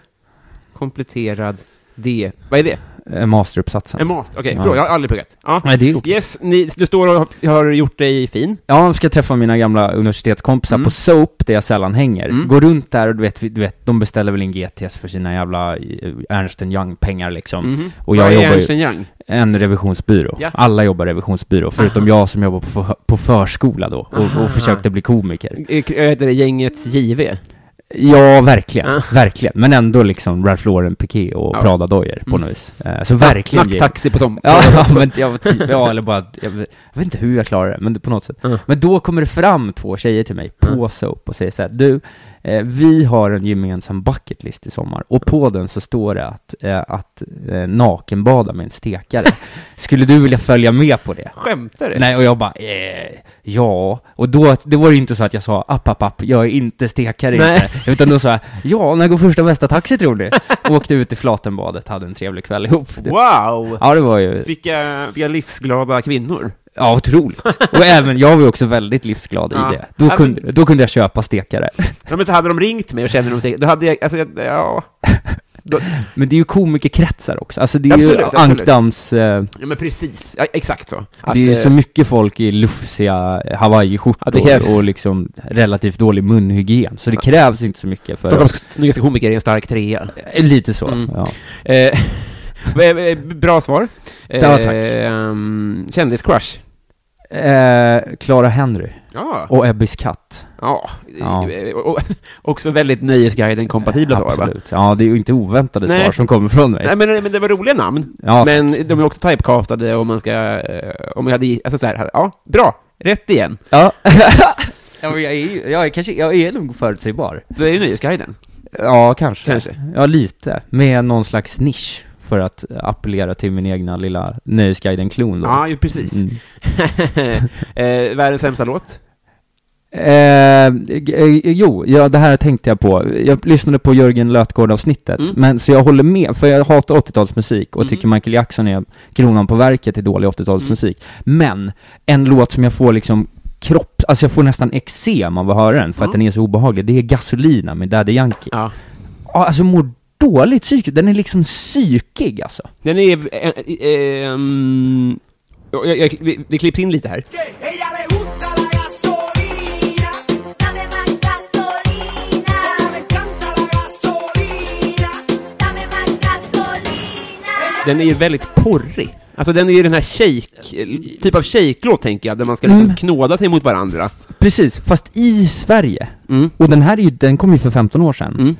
C: kompletterad D. Vad är det?
D: Eh, Masteruppsatsen.
C: En master? Okej,
D: Ja.
C: förlåt, jag har aldrig pluggat. Ja.
D: Nej, det är okej.
C: Yes, ni, du står och har gjort dig fin.
D: Ja, jag ska träffa mina gamla universitetskompisar
C: Mm.
D: på SOAP, där jag sällan hänger.
C: Mm.
D: Går runt där och du vet, vi- du vet, de beställer väl in GTS för sina jävla eh, Ernst Young-pengar liksom. Och jag
C: Vad är
D: jobbar
C: Ernst
D: ju,
C: Young?
D: en revisionsbyrå.
C: Mm. Ja.
D: Alla jobbar revisionsbyrå, förutom jag som jobbar på, för, på förskola då och,
C: Aha.
D: och försökte bli komiker.
C: Eh, Jag heter det gängets JV.
D: Ja, verkligen.
C: Ah.
D: Verkligen. Men ändå liksom Ralph Lauren Piqué och
C: Ja.
D: Prada Doyer på
C: Mm.
D: något vis. Eh, Så verkligen Jimmy.
C: Nacktaxi på som.
D: Ja, ja, men jag var typ, ja, eller bara, jag vet, jag vet inte hur jag klarar det, men på något sätt.
C: Mm.
D: Men då kommer det fram två tjejer till mig på
C: Mm.
D: Soap och säger så här, du, eh, vi har en gemensam bucketlist i sommar, och på den så står det att, eh, att eh, nakenbada med en stekare. Skulle du vilja följa med på det?
C: Skämtar du?
D: Nej, och jag bara, eh, ja. Och då, det var ju inte så att jag sa, app, app, app, jag är inte stekare
C: Nej.
D: inte. Utan då sa jag, ja, när går första bästa taxi tror du? Åkte ut i Flatenbadet, hade en trevlig kväll ihop. Det-
C: Wow!
D: Ja, det var ju
C: Vilka, vilka livsglada kvinnor.
D: Ja, otroligt. Och även, jag var ju också väldigt livsglad
C: Ja.
D: i det. Då
C: Ja,
D: kunde, då kunde jag köpa stekare.
C: Ja, men så hade de ringt mig och kände de då hade jag, alltså, jag- ja.
D: Men det är ju komikerkretsar också. Alltså det är ju
C: Absolut, absolut.
D: ankdams... Eh,
C: ja, men precis. Ja, exakt så. Att,
D: det är ju
C: eh,
D: så mycket folk i lufsiga eh,
C: Ja,
D: hawaiiskjortor
C: det krävs.
D: och liksom relativt dålig munhygien. Så det krävs inte så mycket för...
C: Stockholms snyggaste komiker är en stark trea.
D: Eh, Lite så,
C: Mm.
D: ja.
C: Eh, eh, Bra svar.
D: Ja, tack.
C: ehm, Kändiscrush.
D: Eh, Clara Henry
C: Ja.
D: och Ebbes katt.
C: Ja.
D: Ja.
C: Eh, och- och- Också väldigt Nöjesguiden-kompatibla svar, va?
D: Absolut. Ja, det är ju inte oväntade
C: Nej.
D: svar som kommer från mig.
C: Nej, men, men det var roliga namn.
D: Ja,
C: Men de är också typecastade om man ska, eh, om jag hade, alltså så här, ja, bra. Rätt igen.
D: ja. ja men jag är ju, jag är kanske, jag är nog förutsägbar.
C: Det är ju Nöjesguiden.
D: Ja, kanske.
C: Kanske.
D: Ja, lite. Med någon slags nisch för att appellera till min egna lilla Nöjesguiden-klon då.
C: Ja, ju precis.
D: Mm.
C: eh, världens sämsta låt?
D: Eh, g- eh, jo, ja, det här tänkte jag på. Jag lyssnade på Jörgen Lötgård-avsnittet,
C: Mm.
D: men så jag håller med, för jag hatar 80-talsmusik och
C: Mm.
D: tycker Michael Jackson är kronan på verket i dålig 80-talsmusik.
C: Mm.
D: Men, en låt som jag får liksom kropp, alltså jag får nästan eksem av att höra den, för att
C: Mm.
D: den är så obehaglig, det är Gasolina med Daddy Yankee.
C: Ja.
D: Ja, alltså mår dåligt psykiskt. Den är liksom psykig alltså.
C: Den är... Eh, eh, ehm, jag, jag, vi- det klipps in lite här.
E: Ella le gusta la gasolina, dame más gasolina. Como me encanta la gasolina, dame más gasolina.
C: Den är ju väldigt porrig. Alltså den är ju den här shake, typ av shake-låt tänker jag, där man ska liksom
D: Mm.
C: knåda sig mot varandra.
D: Precis, fast i Sverige.
C: Mm.
D: Och den här är ju, den kom ju för 15 år sedan.
C: Mm.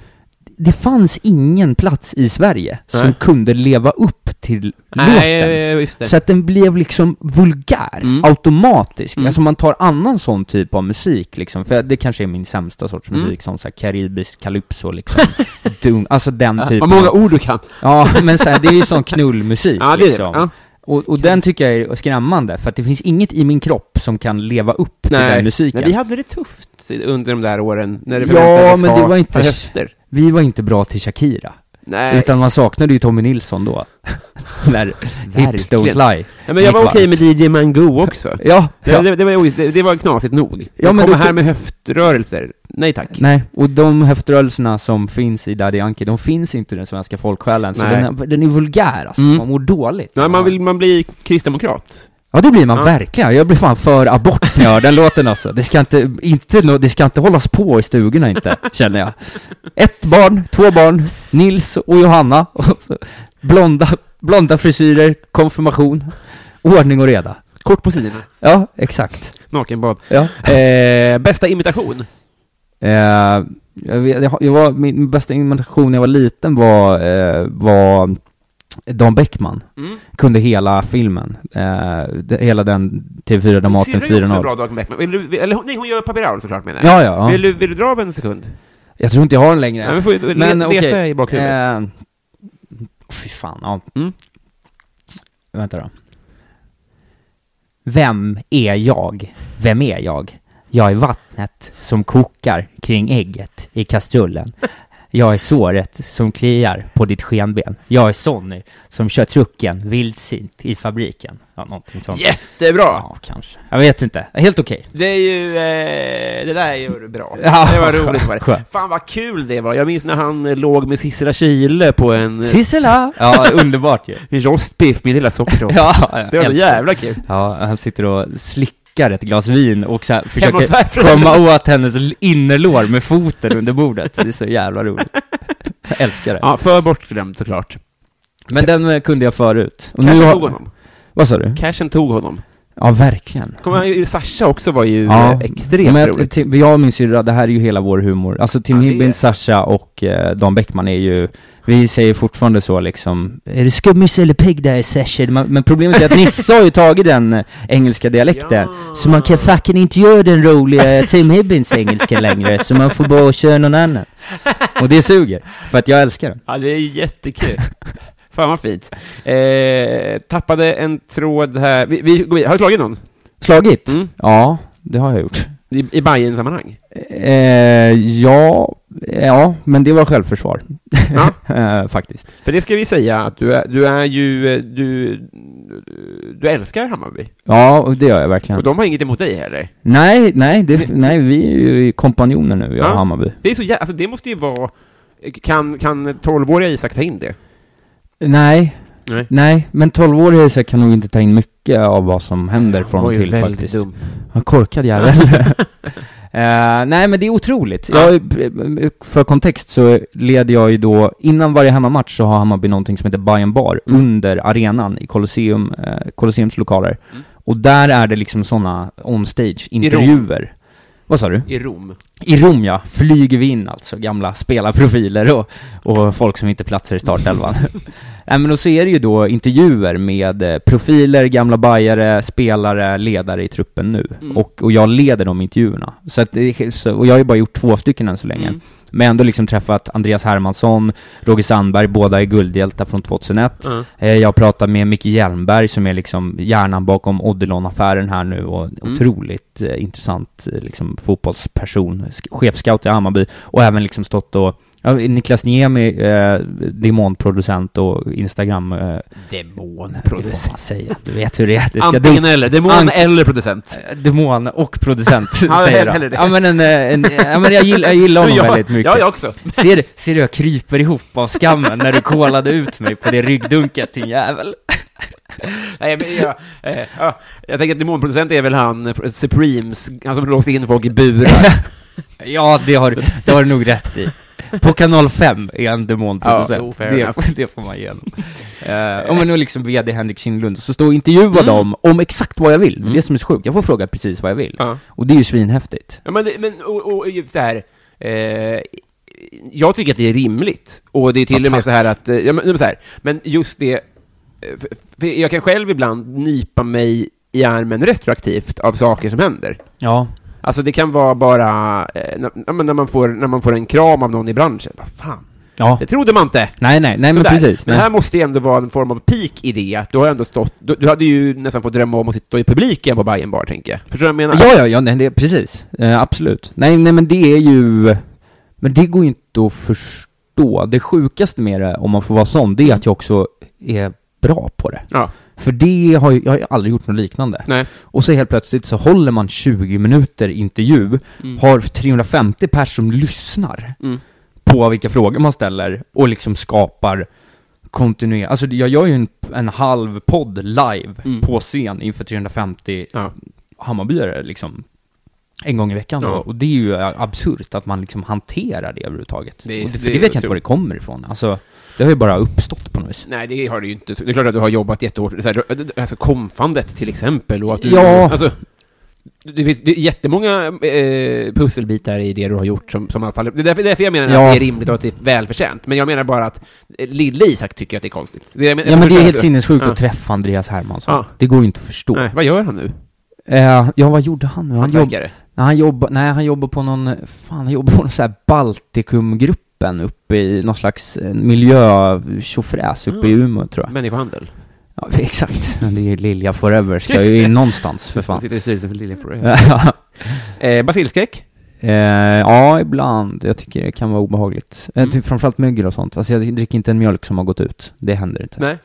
D: Det fanns ingen plats i Sverige som
C: Nej.
D: kunde leva upp till låten.
C: Nej, just det.
D: Så att den blev liksom vulgär,
C: Mm.
D: automatisk.
C: Mm.
D: Alltså man tar annan sån typ av musik liksom, för det kanske är min sämsta sorts musik,
C: Mm.
D: sån så här karibisk calypso liksom. Dun, alltså den typen.
C: Vad många ord du kan.
D: Ja, men så här, det är ju sån knullmusik
C: Ja, det är det.
D: liksom.
C: Ja.
D: Och, och den tycker jag är skrämmande, för att det finns inget i min kropp som kan leva upp till den musiken.
C: Nej, vi hade det tufft under de där åren, när det
D: Ja,
C: förväntades
D: men
C: ha,
D: det var inte-
C: ha höfter.
D: vi var inte bra till Shakira,
C: Nej,
D: utan man saknade ju Tommy Nilsson då. När Hips
C: Verkligen.
D: Don't Lie.
C: ja, men jag
D: gick
C: var okej
D: varmt.
C: med DJ Mango också.
D: Ja,
C: Det,
D: ja.
C: det, det, var, det, det var knasigt nog.
D: Ja,
C: Ja,
D: men
C: men
D: då-
C: här med höftrörelser. Nej tack.
D: Nej, och de höftrörelserna som finns i Daddy Yankee, de finns inte i den svenska folksjälen, så
C: Nej.
D: den är, den är vulgär alltså,
C: Mm.
D: man mår dåligt.
C: Nej, man vill man blir kristdemokrat.
D: Ja det blir man
C: Ja.
D: verkligen, jag blir fan för abort när jag hör den låten alltså. Det ska inte, inte, nå- det ska inte hållas på i stugorna inte, känner jag. Ett barn, två barn, Nils och Johanna, och så, blonda, blonda frisyrer, konfirmation, ordning och reda.
C: Kort på sidorna.
D: Ja, exakt.
C: Nakenbad.
D: Ja.
C: Eh, bästa imitation?
D: Eh, jag vet, jag, har- jag var, min bästa imitation när jag var liten var, eh, var Dan Bäckman.
C: Mm.
D: Kunde hela filmen. Eh, de, hela den TV4
C: Syrran
D: Dramaten
C: är också
D: 4.0.
C: bra, Dagen Beckman. Vill du, vill, eller, hon- nej, hon gör Papiral såklart menar jag.
D: Ja, ja, ja.
C: Vill, du, vill du dra av en sekund?
D: Jag tror inte jag har den längre.
C: Nej, men får ju
D: Men
C: leta
D: okej.
C: i bakhuvudet.
D: Eh, fy fan, ja.
C: Mm.
D: Vänta då. Vem är jag? Vem är jag? Jag är vattnet som kokar kring ägget i kastrullen. Jag är såret som kliar på ditt skenben. Jag är Sonny som kör trucken vildsint i fabriken. Ja, någonting sånt.
C: Jättebra!
D: Ja, kanske. Jag vet inte. Helt okej.
C: Det är ju, eh, det där gör du bra.
D: Ja,
C: det var roligt var det.
D: skönt.
C: Fan vad kul det var. Jag minns när han eh, låg med Sissela Kyle på en eh,
D: Sissela! Ja, underbart ju.
C: rostbiff, min lilla sockerdocka.
D: Ja, jag
C: det var så
D: älskar
C: jävla kul.
D: Ja, han sitter och slickar ett glas vin och så här
C: hos
D: försöker
C: farfrun.
D: komma åt hennes l- innerlår med foten under bordet. Det är så jävla roligt. Jag älskar det.
C: Ja, för bortglömd såklart.
D: Men den eh, kunde jag förut. Och
C: Cashen
D: har-
C: tog honom.
D: Vad sa du?
C: Cashen tog honom.
D: Ja, verkligen.
C: Kommer han ju, Sasha också var ju eh, extremt
D: men jag,
C: roligt.
D: till, jag och min syrra, det här är ju hela vår humor. Alltså Tim
C: Ja, det är-
D: Hibbins, Sasha och eh, Dan Bäckman är ju, vi säger fortfarande så liksom, är det skummis eller pigg där i session? Man, men problemet är att Nisse har ju tagit den eh, engelska dialekten,
C: Ja.
D: så man kan fucking inte göra den roliga Tim Hibbins engelska längre, så man får bara köra någon annan. Och det suger, för att jag älskar den.
C: Ja, det är jättekul. Fan vad fint. Eh, tappade en tråd här. Vi, vi, går vidare. har du slagit någon?
D: Slagit?
C: Mm.
D: Ja, det har jag gjort.
C: I, i bayern sammanhang
D: Eh, ja, ja, men det var självförsvar. eh, faktiskt.
C: För det ska vi säga, att du är, du är ju, eh, du, du älskar Hammarby.
D: Ja, och det gör jag verkligen.
C: Och de har inget emot dig heller.
D: Nej, nej, det, nej, vi är ju kompanjoner nu, jag och
C: Ja.
D: Hammarby.
C: Det är så jä- alltså det måste ju vara, kan, kan 12-åriga Isak ta in det?
D: Nej,
C: Nej.
D: nej, men 12-åriga Isak kan nog inte ta in mycket av vad som händer från och till faktiskt.
C: dum.
D: Ja, korkad jävel. Eh, nej, men det är otroligt. Jag, för kontext så leder jag ju då, innan varje hemmamatch så har Hammarby någonting som heter Bayern Bar
C: Mm.
D: under arenan i Colosseum, eh, Colosseums lokaler.
C: Mm.
D: Och där är det liksom sådana on-stage-intervjuer. Vad sa du?
C: I Rom.
D: I Rom ja, flyger vi in alltså, gamla spelarprofiler och, och folk som inte platsar i startelvan. Nej men och så är det ju då intervjuer med eh, profiler, gamla bajare, spelare, ledare i truppen nu. Och, och jag leder de intervjuerna. Så att det, så, och jag har ju bara gjort två stycken än så länge. Men ändå liksom träffat Andreas Hermansson, Roger Sandberg, båda är guldhjältar från 2001.
C: Mm.
D: Eh, Jag pratar med Micke Hjelmberg som är liksom hjärnan bakom Odilon-affären här nu och
C: Mm.
D: en otroligt eh, intressant eh, liksom, fotbollsperson, sk- chefscout i Hammarby och även liksom stått och ja, Niklas Niemi, eh, demonproducent och Instagram... Eh, Det får
C: Demonproducent.
D: man säga, du vet hur det är. Det ska
C: Antingen
D: dom-
C: eller. Demon
D: Ant-
C: eller producent.
D: eh, Demon och producent,
C: Ja,
D: säger
C: hellre
D: jag.
C: det.
D: Ja men, en, eh, en, ja, men jag gillar, jag gillar honom
C: Ja,
D: väldigt mycket.
C: Ja, jag också.
D: Ser du, ser du jag kryper ihop av skammen när du kolade ut mig på det ryggdunket din jävel?
C: Nej, men jag, eh, ja, jag tänker att demonproducent är väl han, eh, alltså Supremes, han som låste in folk i burar.
D: Ja, det har, det har du nog rätt i. På kanal 5 är han
C: Ja,
D: demonproducent.
C: jo, fair
D: det,
C: enough.
D: det får man igenom. Uh, och men nu liksom VD Henrik Kindlund, så står och
C: Mm.
D: intervjuar dem om exakt vad jag vill. Det är det som är så sjukt, jag får fråga precis vad jag vill.
C: Ja.
D: Och det är ju svinhäftigt.
C: Ja, men, det- men och, och ju så här, eh, jag tycker att det är rimligt. Och det är till och med så här att, eh, ja, men, nej, men så här, men just det, eh, för, för jag kan själv ibland nypa mig i armen retroaktivt av saker som händer.
D: Ja.
C: Alltså det kan vara bara, eh, när, ja, men när, man får, när man får en kram av någon i branschen, vad fan,
D: Ja.
C: det trodde man inte.
D: Nej, nej, nej men
C: Sådär.
D: precis.
C: Men
D: nej.
C: här måste ju ändå vara en form av peak i det, att du har ändå stått, du, du hade ju nästan fått drömma om att sitta i publiken på Bajen Bar, tänker jag. Förstår du vad jag menar?
D: Ja, ja, ja, nej, det, precis. Eh, absolut. Nej, nej, men det är ju... Men det går ju inte att förstå. Det sjukaste med det, om man får vara sån, det är att jag också är bra på det.
C: Ja.
D: För det har ju, jag har ju aldrig gjort något liknande.
C: Nej.
D: Och så helt plötsligt så håller man 20 minuter intervju, har 350 pers som lyssnar
C: Mm.
D: på vilka frågor man ställer och liksom skapar kontinuerligt. Alltså jag gör ju en, en halv podd live
C: Mm.
D: på scen inför 350
C: Ja.
D: Hammarbyare liksom en gång i veckan
C: Ja.
D: då. och det är ju eh, absurt att man liksom hanterar det överhuvudtaget.
C: Det är-
D: och det, för
C: det
D: det,
C: är
D: vet jag inte
C: otroligt.
D: var det kommer ifrån. Alltså, det har ju bara uppstått på något vis.
C: Nej, det har du ju inte. Det är klart att du har jobbat jättehårt. Så här, du- du- alltså komfandet till exempel. Och att du,
D: Ja.
C: Alltså, det finns det är jättemånga eh, pusselbitar i det du har gjort som, som i alla fall... Det är därför, därför jag menar
D: Ja.
C: att det är rimligt och att det är välförtjänt. Men jag menar bara att eh, lille Isak tycker att det är konstigt. Det, jag menar-
D: Ja men det är
C: förstår
D: helt
C: du?
D: sinnessjukt
C: Ja.
D: att träffa Andreas Hermansson.
C: Ja.
D: Det går ju inte att förstå.
C: Nej, vad gör han nu?
D: Eh, ja, vad gjorde han nu? Han, jobb,
C: Hantverkare?
D: nej, han jobbar, nej, han jobbar på någon, fan, han jobbar på någon sån här Baltikumgruppen uppe i någon slags eh, miljö-tjofräs uppe i Umeå tror jag.
C: Människohandel?
D: Mm. Ja, exakt. Det är Lilja Forever, ska
C: Just
D: ju
C: det.
D: in någonstans för fan.
C: Sitter i styrelsen för Lilja Forever. eh, Basilskräck?
D: Eh, ja, ibland. Jag tycker det kan vara obehagligt. Eh, typ framförallt mögel och sånt. Alltså jag dricker inte en mjölk som har gått ut. Det händer inte.
C: Nej.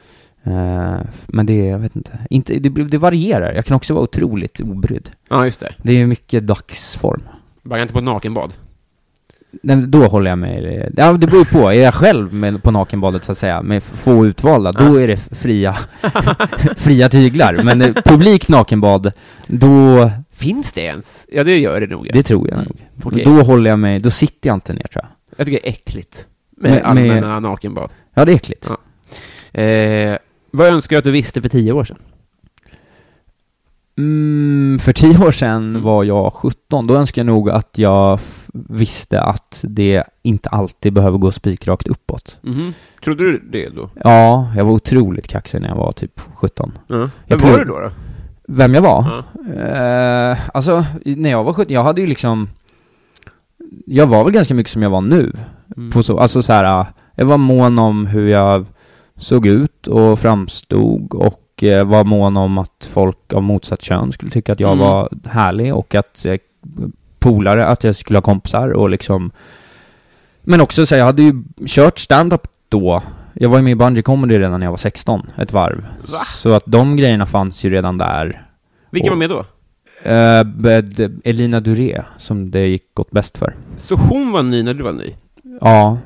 D: Eh, f- men det, jag vet inte. inte det, blir- det varierar. Jag kan också vara otroligt obrydd.
C: Ja, just det.
D: Det är mycket dagsform.
C: Bara inte på nakenbad.
D: Nej, men då håller jag mig... Ja, det beror ju på. Är jag själv med, på nakenbadet så att säga, med f- få utvalda, då är det f- fria, fria tyglar. Men eh, publikt nakenbad, då...
C: Finns det ens? Ja, det gör det nog.
D: Det tror jag nog.
C: Okej.
D: Då håller jag mig... Då sitter jag inte ner tror jag.
C: Jag tycker det är äckligt. Med,
D: Med- med-
C: allmänna nakenbad.
D: Ja, det är äckligt.
C: Ja. Eh, vad önskar jag att du visste för tio år sedan?
D: Mm, för tio år sedan var jag 17. Då önskar jag nog att jag f- visste att det inte alltid behöver gå spikrakt uppåt.
C: Mhm. Trodde du det då?
D: Ja, jag var otroligt kaxig när jag var typ 17.
C: Ja. Vem
D: Jag
C: var
D: tror-
C: du då? då?
D: Vem jag var?
C: Ja.
D: Eh, alltså, i- när jag var 17, jag hade ju liksom... Jag var väl ganska mycket som jag var nu.
C: Mm.
D: På så, alltså så här, eh, jag var mån om hur jag såg ut och framstod och eh, var mån om att folk av motsatt kön skulle tycka att jag
C: Mm.
D: var härlig och att eh, polare, att jag skulle ha kompisar och liksom... Men också så här, jag hade ju kört stand-up då. Jag var ju med i Bungee Comedy redan när jag var 16, ett varv.
C: Va?
D: Så att de grejerna fanns ju redan där.
C: Vilka
D: Och-
C: var med då?
D: Eh, bed- Elina Duré, som det gick gått bäst för.
C: Så hon var ny när du var ny?
D: Ja,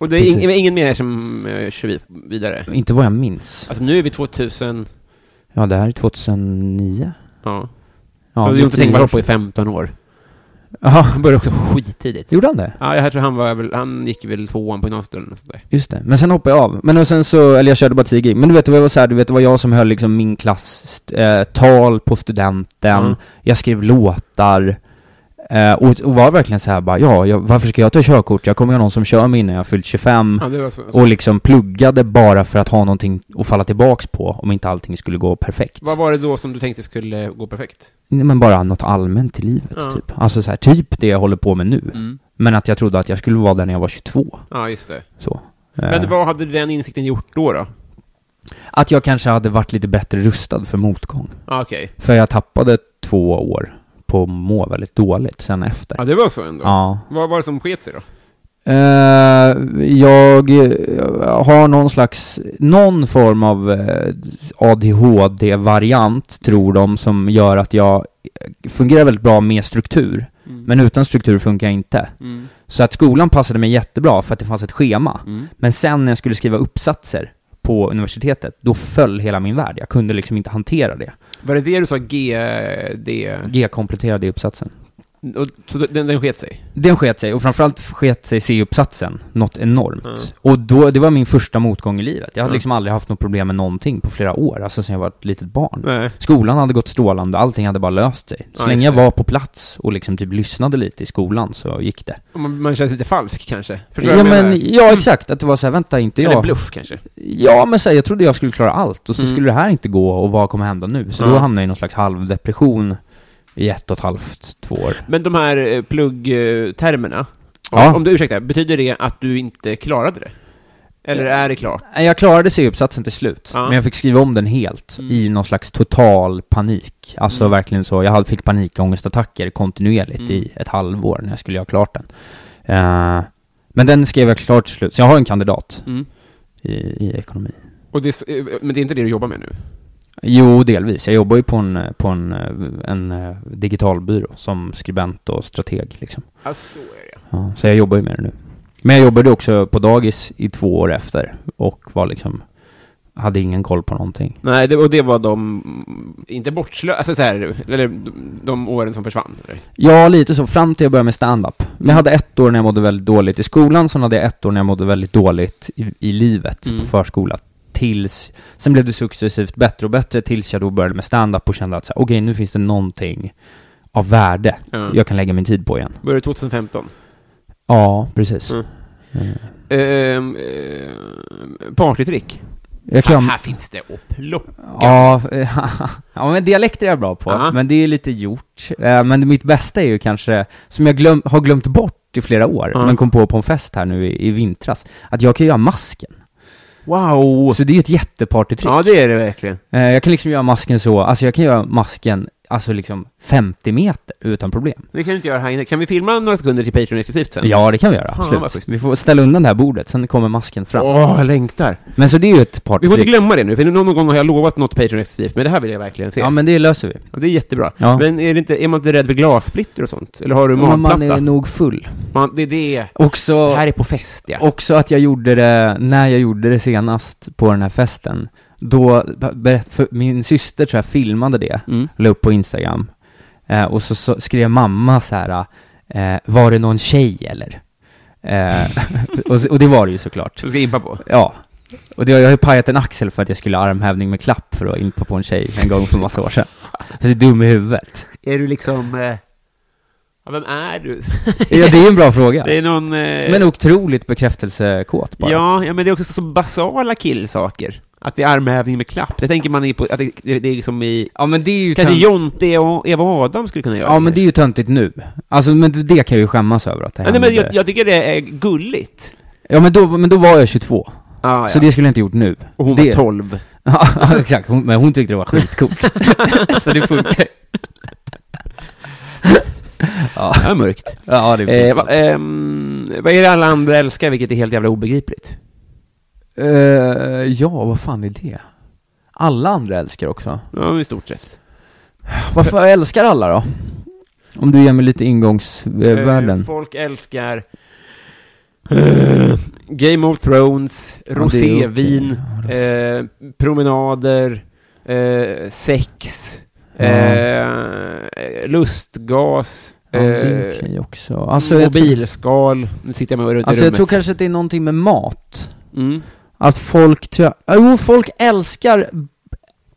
C: Och det är ing-
D: Precis.
C: ingen mer som eh, kör vi- vidare?
D: inte vad jag minns.
C: Alltså nu är vi 2000...
D: Ja, det här är 2009.
C: Ja.
D: Ja,
C: jag har
D: det är
C: ju inte
D: tio
C: tänkt
D: år
C: på på i
D: sedan.
C: 15 år.
D: Ja,
C: Han började också skittidigt.
D: gjorde han det?
C: Ja, jag tror han var väl, han gick väl tvåan på gymnasiet eller sådär.
D: Just det. Men sen hoppade jag av. Men och sen så, eller jag körde bara 10 gig. Men du vet, det var så här, du vet, det var jag som höll liksom min klass eh, tal på studenten.
C: Mm.
D: Jag skrev låtar. Eh, och, och var verkligen så här bara, ja, jag, varför ska jag ta körkort? Jag kommer ju ha någon som kör mig innan jag har fyllt 25.
C: Ja, det var så.
D: Och liksom pluggade bara för att ha någonting att falla tillbaks på om inte allting skulle gå perfekt.
C: Vad var det då som du tänkte skulle gå perfekt?
D: Nej, men bara något allmänt i livet
C: Ja.
D: typ. Alltså så här, typ det jag håller på med nu. Men att jag trodde att jag skulle vara där när jag var 22.
C: Ja, just det.
D: Så.
C: Men
D: Eh,
C: vad hade den insikten gjort då? då?
D: Att jag kanske hade varit lite bättre rustad för motgång.
C: Ja, okej.
D: För jag tappade två år på att må väldigt dåligt sen efter.
C: Ja, det var så ändå.
D: Ja.
C: Vad var det som sket sig då?
D: Eh, jag eh, har någon slags, någon form av eh, ADHD-variant tror de som gör att jag fungerar väldigt bra med struktur. Men utan struktur funkar jag inte. Så att skolan passade mig jättebra för att det fanns ett schema.
C: Mm.
D: Men sen när jag skulle skriva uppsatser på universitetet, då föll hela min värld. Jag kunde liksom inte hantera det.
C: Var det det du sa? G... D...
D: G kompletterade i uppsatsen.
C: Och, så den, den sket sig?
D: Den sket sig, och framförallt sket sig C-uppsatsen något enormt. Och då, det var min första motgång i livet. Jag hade
C: Mm.
D: liksom aldrig haft något problem med någonting på flera år, alltså sen jag var ett litet barn.
C: Nej.
D: Skolan hade gått strålande, allting hade bara löst sig. Så
C: Mm. Ja,
D: länge
C: just
D: jag
C: det.
D: var på plats och liksom typ lyssnade lite i skolan så gick det.
C: Man, man känns lite falsk kanske? Förstår du
D: Ja
C: vad jag
D: men,
C: menar? Mm.
D: ja exakt, att det var såhär, vänta inte
C: Eller
D: jag.
C: bluff kanske?
D: Ja men såhär, jag trodde jag skulle klara allt och så
C: Mm.
D: skulle det här inte gå och vad kommer hända nu? Så då
C: Ja.
D: hamnade jag i någon slags halvdepression i ett och ett halvt, två år.
C: Men de här eh, pluggtermerna,
D: Ja.
C: om du ursäktar, betyder det att du inte klarade det? Eller är det klart?
D: Nej, Eh, Jag klarade C-uppsatsen till slut,
C: Ja.
D: men jag fick skriva om den helt
C: Mm.
D: i någon slags total panik. Alltså verkligen så, jag hade- fick panikångestattacker kontinuerligt
C: Mm.
D: i ett halvår när jag skulle göra klart den. Eh, men den skrev jag klart till slut, så jag har en kandidat
C: Mm.
D: i, i ekonomi.
C: Och det, är s- eh, men det är inte det du jobbar med nu?
D: Jo, delvis. Jag jobbar ju på en, på en, eh, en eh, digital byrå som skribent och strateg liksom.
C: Ja, så är det.
D: Ja, så jag jobbar ju med det nu. Men jag jobbade också på dagis i två år efter och var liksom, hade ingen koll på någonting.
C: Nej, det, och det var de, mm, inte bortslösa, alltså så här, eller de, de åren som försvann? Eller?
D: Ja, lite så. Fram till jag började med stand-up. Men
C: Mm.
D: jag hade ett år när jag mådde väldigt dåligt i skolan, sen hade jag ett år när jag mådde väldigt dåligt i, i livet
C: Mm.
D: på förskola. Tills, sen blev det successivt bättre och bättre tills jag då började med stand-up och kände att så här, okej, nu finns det någonting av värde
C: Ja.
D: jag kan lägga min tid på igen.
C: Började 2015?
D: Ja, precis.
C: Mm. Ehm, eh, partytrick?
D: Jag kan,
C: Ah, här finns det att plocka.
D: ja, ja, men dialekter är jag bra på,
C: Ja.
D: men det är lite gjort. Eh, Men mitt bästa är ju kanske, som jag glöm, har glömt bort i flera år,
C: Ja.
D: men kom på på en fest här nu i, i vintras, att jag kan göra masken.
C: Wow!
D: Så det är ju ett jättepartytrick.
C: Ja, det är det verkligen.
D: Eh, Jag kan liksom göra masken så, alltså jag kan göra masken, alltså liksom 50 meter utan problem.
C: Det kan du inte göra här inne. Kan vi filma några sekunder till Patreon exklusivt sen?
D: Ja, det kan vi göra,
C: Fan, vad
D: absolut.
C: schysst.
D: Vi får ställa undan det här bordet, sen kommer masken fram.
C: Åh, jag längtar.
D: Men så det är ju ett
C: Vi får inte
D: partytrick.
C: glömma det nu, för någon gång har jag lovat något Patreon exklusivt, men det här vill jag verkligen se.
D: Ja, men det löser vi.
C: Ja, det är jättebra.
D: Ja.
C: Men är, det inte, är man inte rädd för glassplitter och sånt? Eller har du
D: Men
C: magplatta?
D: man är nog full.
C: Man- det är det. Det
D: Också,
C: här är på fest, ja.
D: också att jag gjorde det, när jag gjorde det senast på den här festen, då, berätt- för min syster tror jag filmade det,
C: Mm.
D: la upp på Instagram. Eh, och så, så skrev mamma så här, eh, var det någon tjej eller? Eh, och, och det var det ju såklart.
C: Så ska jag impa på.
D: Ja. Och det, jag har ju pajat en axel för att jag skulle ha armhävning med klapp för att impa på en tjej en gång för en massa år sedan. Jag är dum i huvudet.
C: Är du liksom... Eh... Ja, vem är du?
D: Ja, det är ju en bra fråga.
C: Det är någon... Eh...
D: Men otroligt bekräftelsekåt bara.
C: ja, ja, men det är också så basala killsaker. Att det är armhävning med klapp. Det tänker man i på, att det, det det är liksom i...
D: ja men det är ju
C: Kanske
D: tönt-
C: Jonte och Eva Adam skulle kunna göra
D: Ja men det är ju töntigt nu. Alltså men det kan jag ju skämmas över att det
C: Ja, Nej,
D: hände.
C: men jag, jag tycker det är gulligt.
D: Ja men då, men då var jag 22.
C: Ah,
D: Så det skulle jag inte gjort nu.
C: Och hon
D: det...
C: var 12.
D: Ja, exakt. Hon, men hon tyckte det var skitcoolt. så det funkar. ja.
C: Ja, mörkt.
D: ja, det är
C: Eh, va, ehm, vad är det alla andra älskar, vilket är helt jävla obegripligt?
D: eh, Ja, vad fan är det? Alla andra älskar också.
C: Ja, i stort sett.
D: Varför älskar alla då? Om du ger mig lite
C: Eh,
D: ingångsvärden.
C: folk älskar eh, Game of Thrones,
D: det är
C: rosévin,
D: okej. Ja,
C: eh, promenader, eh, sex, eh, lustgas,
D: Ja, det är
C: eh,
D: okej också. Alltså, jag tror-
C: mobilskal. Nu sitter jag med runt
D: Alltså
C: i
D: jag
C: rummet.
D: tror kanske att det är någonting med mat.
C: Mm.
D: Att folk, ty- jo folk älskar,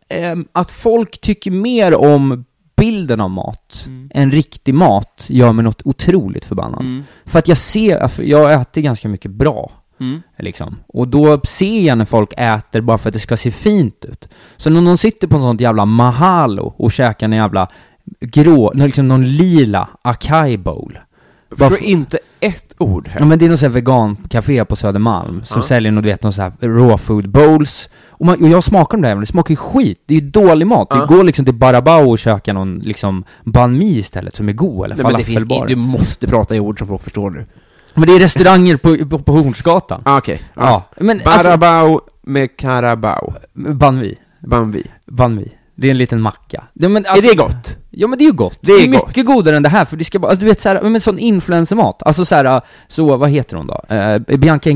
D: ehm, att folk tycker mer om bilden av mat
C: Mm.
D: än riktig mat gör mig något otroligt förbannad.
C: Mm.
D: För att jag ser, för jag äter ganska mycket bra.
C: Mm.
D: Liksom. Och då ser jag när folk äter bara för att det ska se fint ut. Så när någon sitter på en sån jävla mahalo och käkar en jävla grå, liksom någon lila acai bowl. Bara
C: För
D: för-
C: inte ett ord
D: Ja
C: här.
D: men det är något sånt här vegancafé på Södermalm som
C: Ja.
D: säljer något, du vet, någon sån här raw food bowls. Och, man, och jag smakar de där jävlarna, det smakar ju skit. Det är ju dålig mat.
C: Ja.
D: Det går liksom till Barabao och köka någon liksom banh mi istället som är god, eller
C: Nej, men det finns,
D: falafelbar. Men,
C: du måste prata i ord som folk förstår nu.
D: det är restauranger på, på, på Hornsgatan.
C: Ah, Okej.
D: Ja. Men alltså,
C: Barabao med Karabao.
D: banh mi.
C: Bambi.
D: Banh mi. Det är en liten macka. Ja, men alltså,
C: är det gott?
D: Ja men det är ju gott.
C: Det är gott.
D: mycket godare än det här, för det ska bara, alltså, du vet såhär, men sån influencermat. Alltså såhär, så, vad heter hon då? Eh, Bianca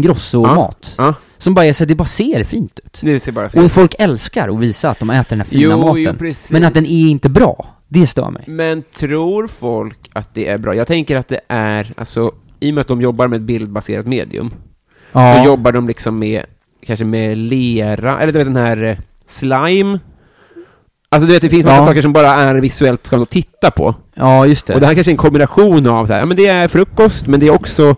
D: Ingrosso-mat.
C: Ja.
D: Som bara är så här, det bara ser fint ut.
C: Det ser bara så
D: Och folk älskar att visa att de äter den här fina
C: Jo,
D: maten.
C: jo, precis.
D: men att den är inte bra. Det stör mig.
C: Men tror folk att det är bra? Jag tänker att det är, alltså, i och med att de jobbar med ett bildbaserat medium, så
D: Ja,
C: jobbar de liksom med, kanske med lera, eller du vet den här eh, slime. Alltså du vet, det finns
D: Ja.
C: massa saker som bara är visuellt skönt att titta på.
D: ja just det.
C: Och det här kanske är en kombination av så här, ja men det är frukost, men det är också...
D: men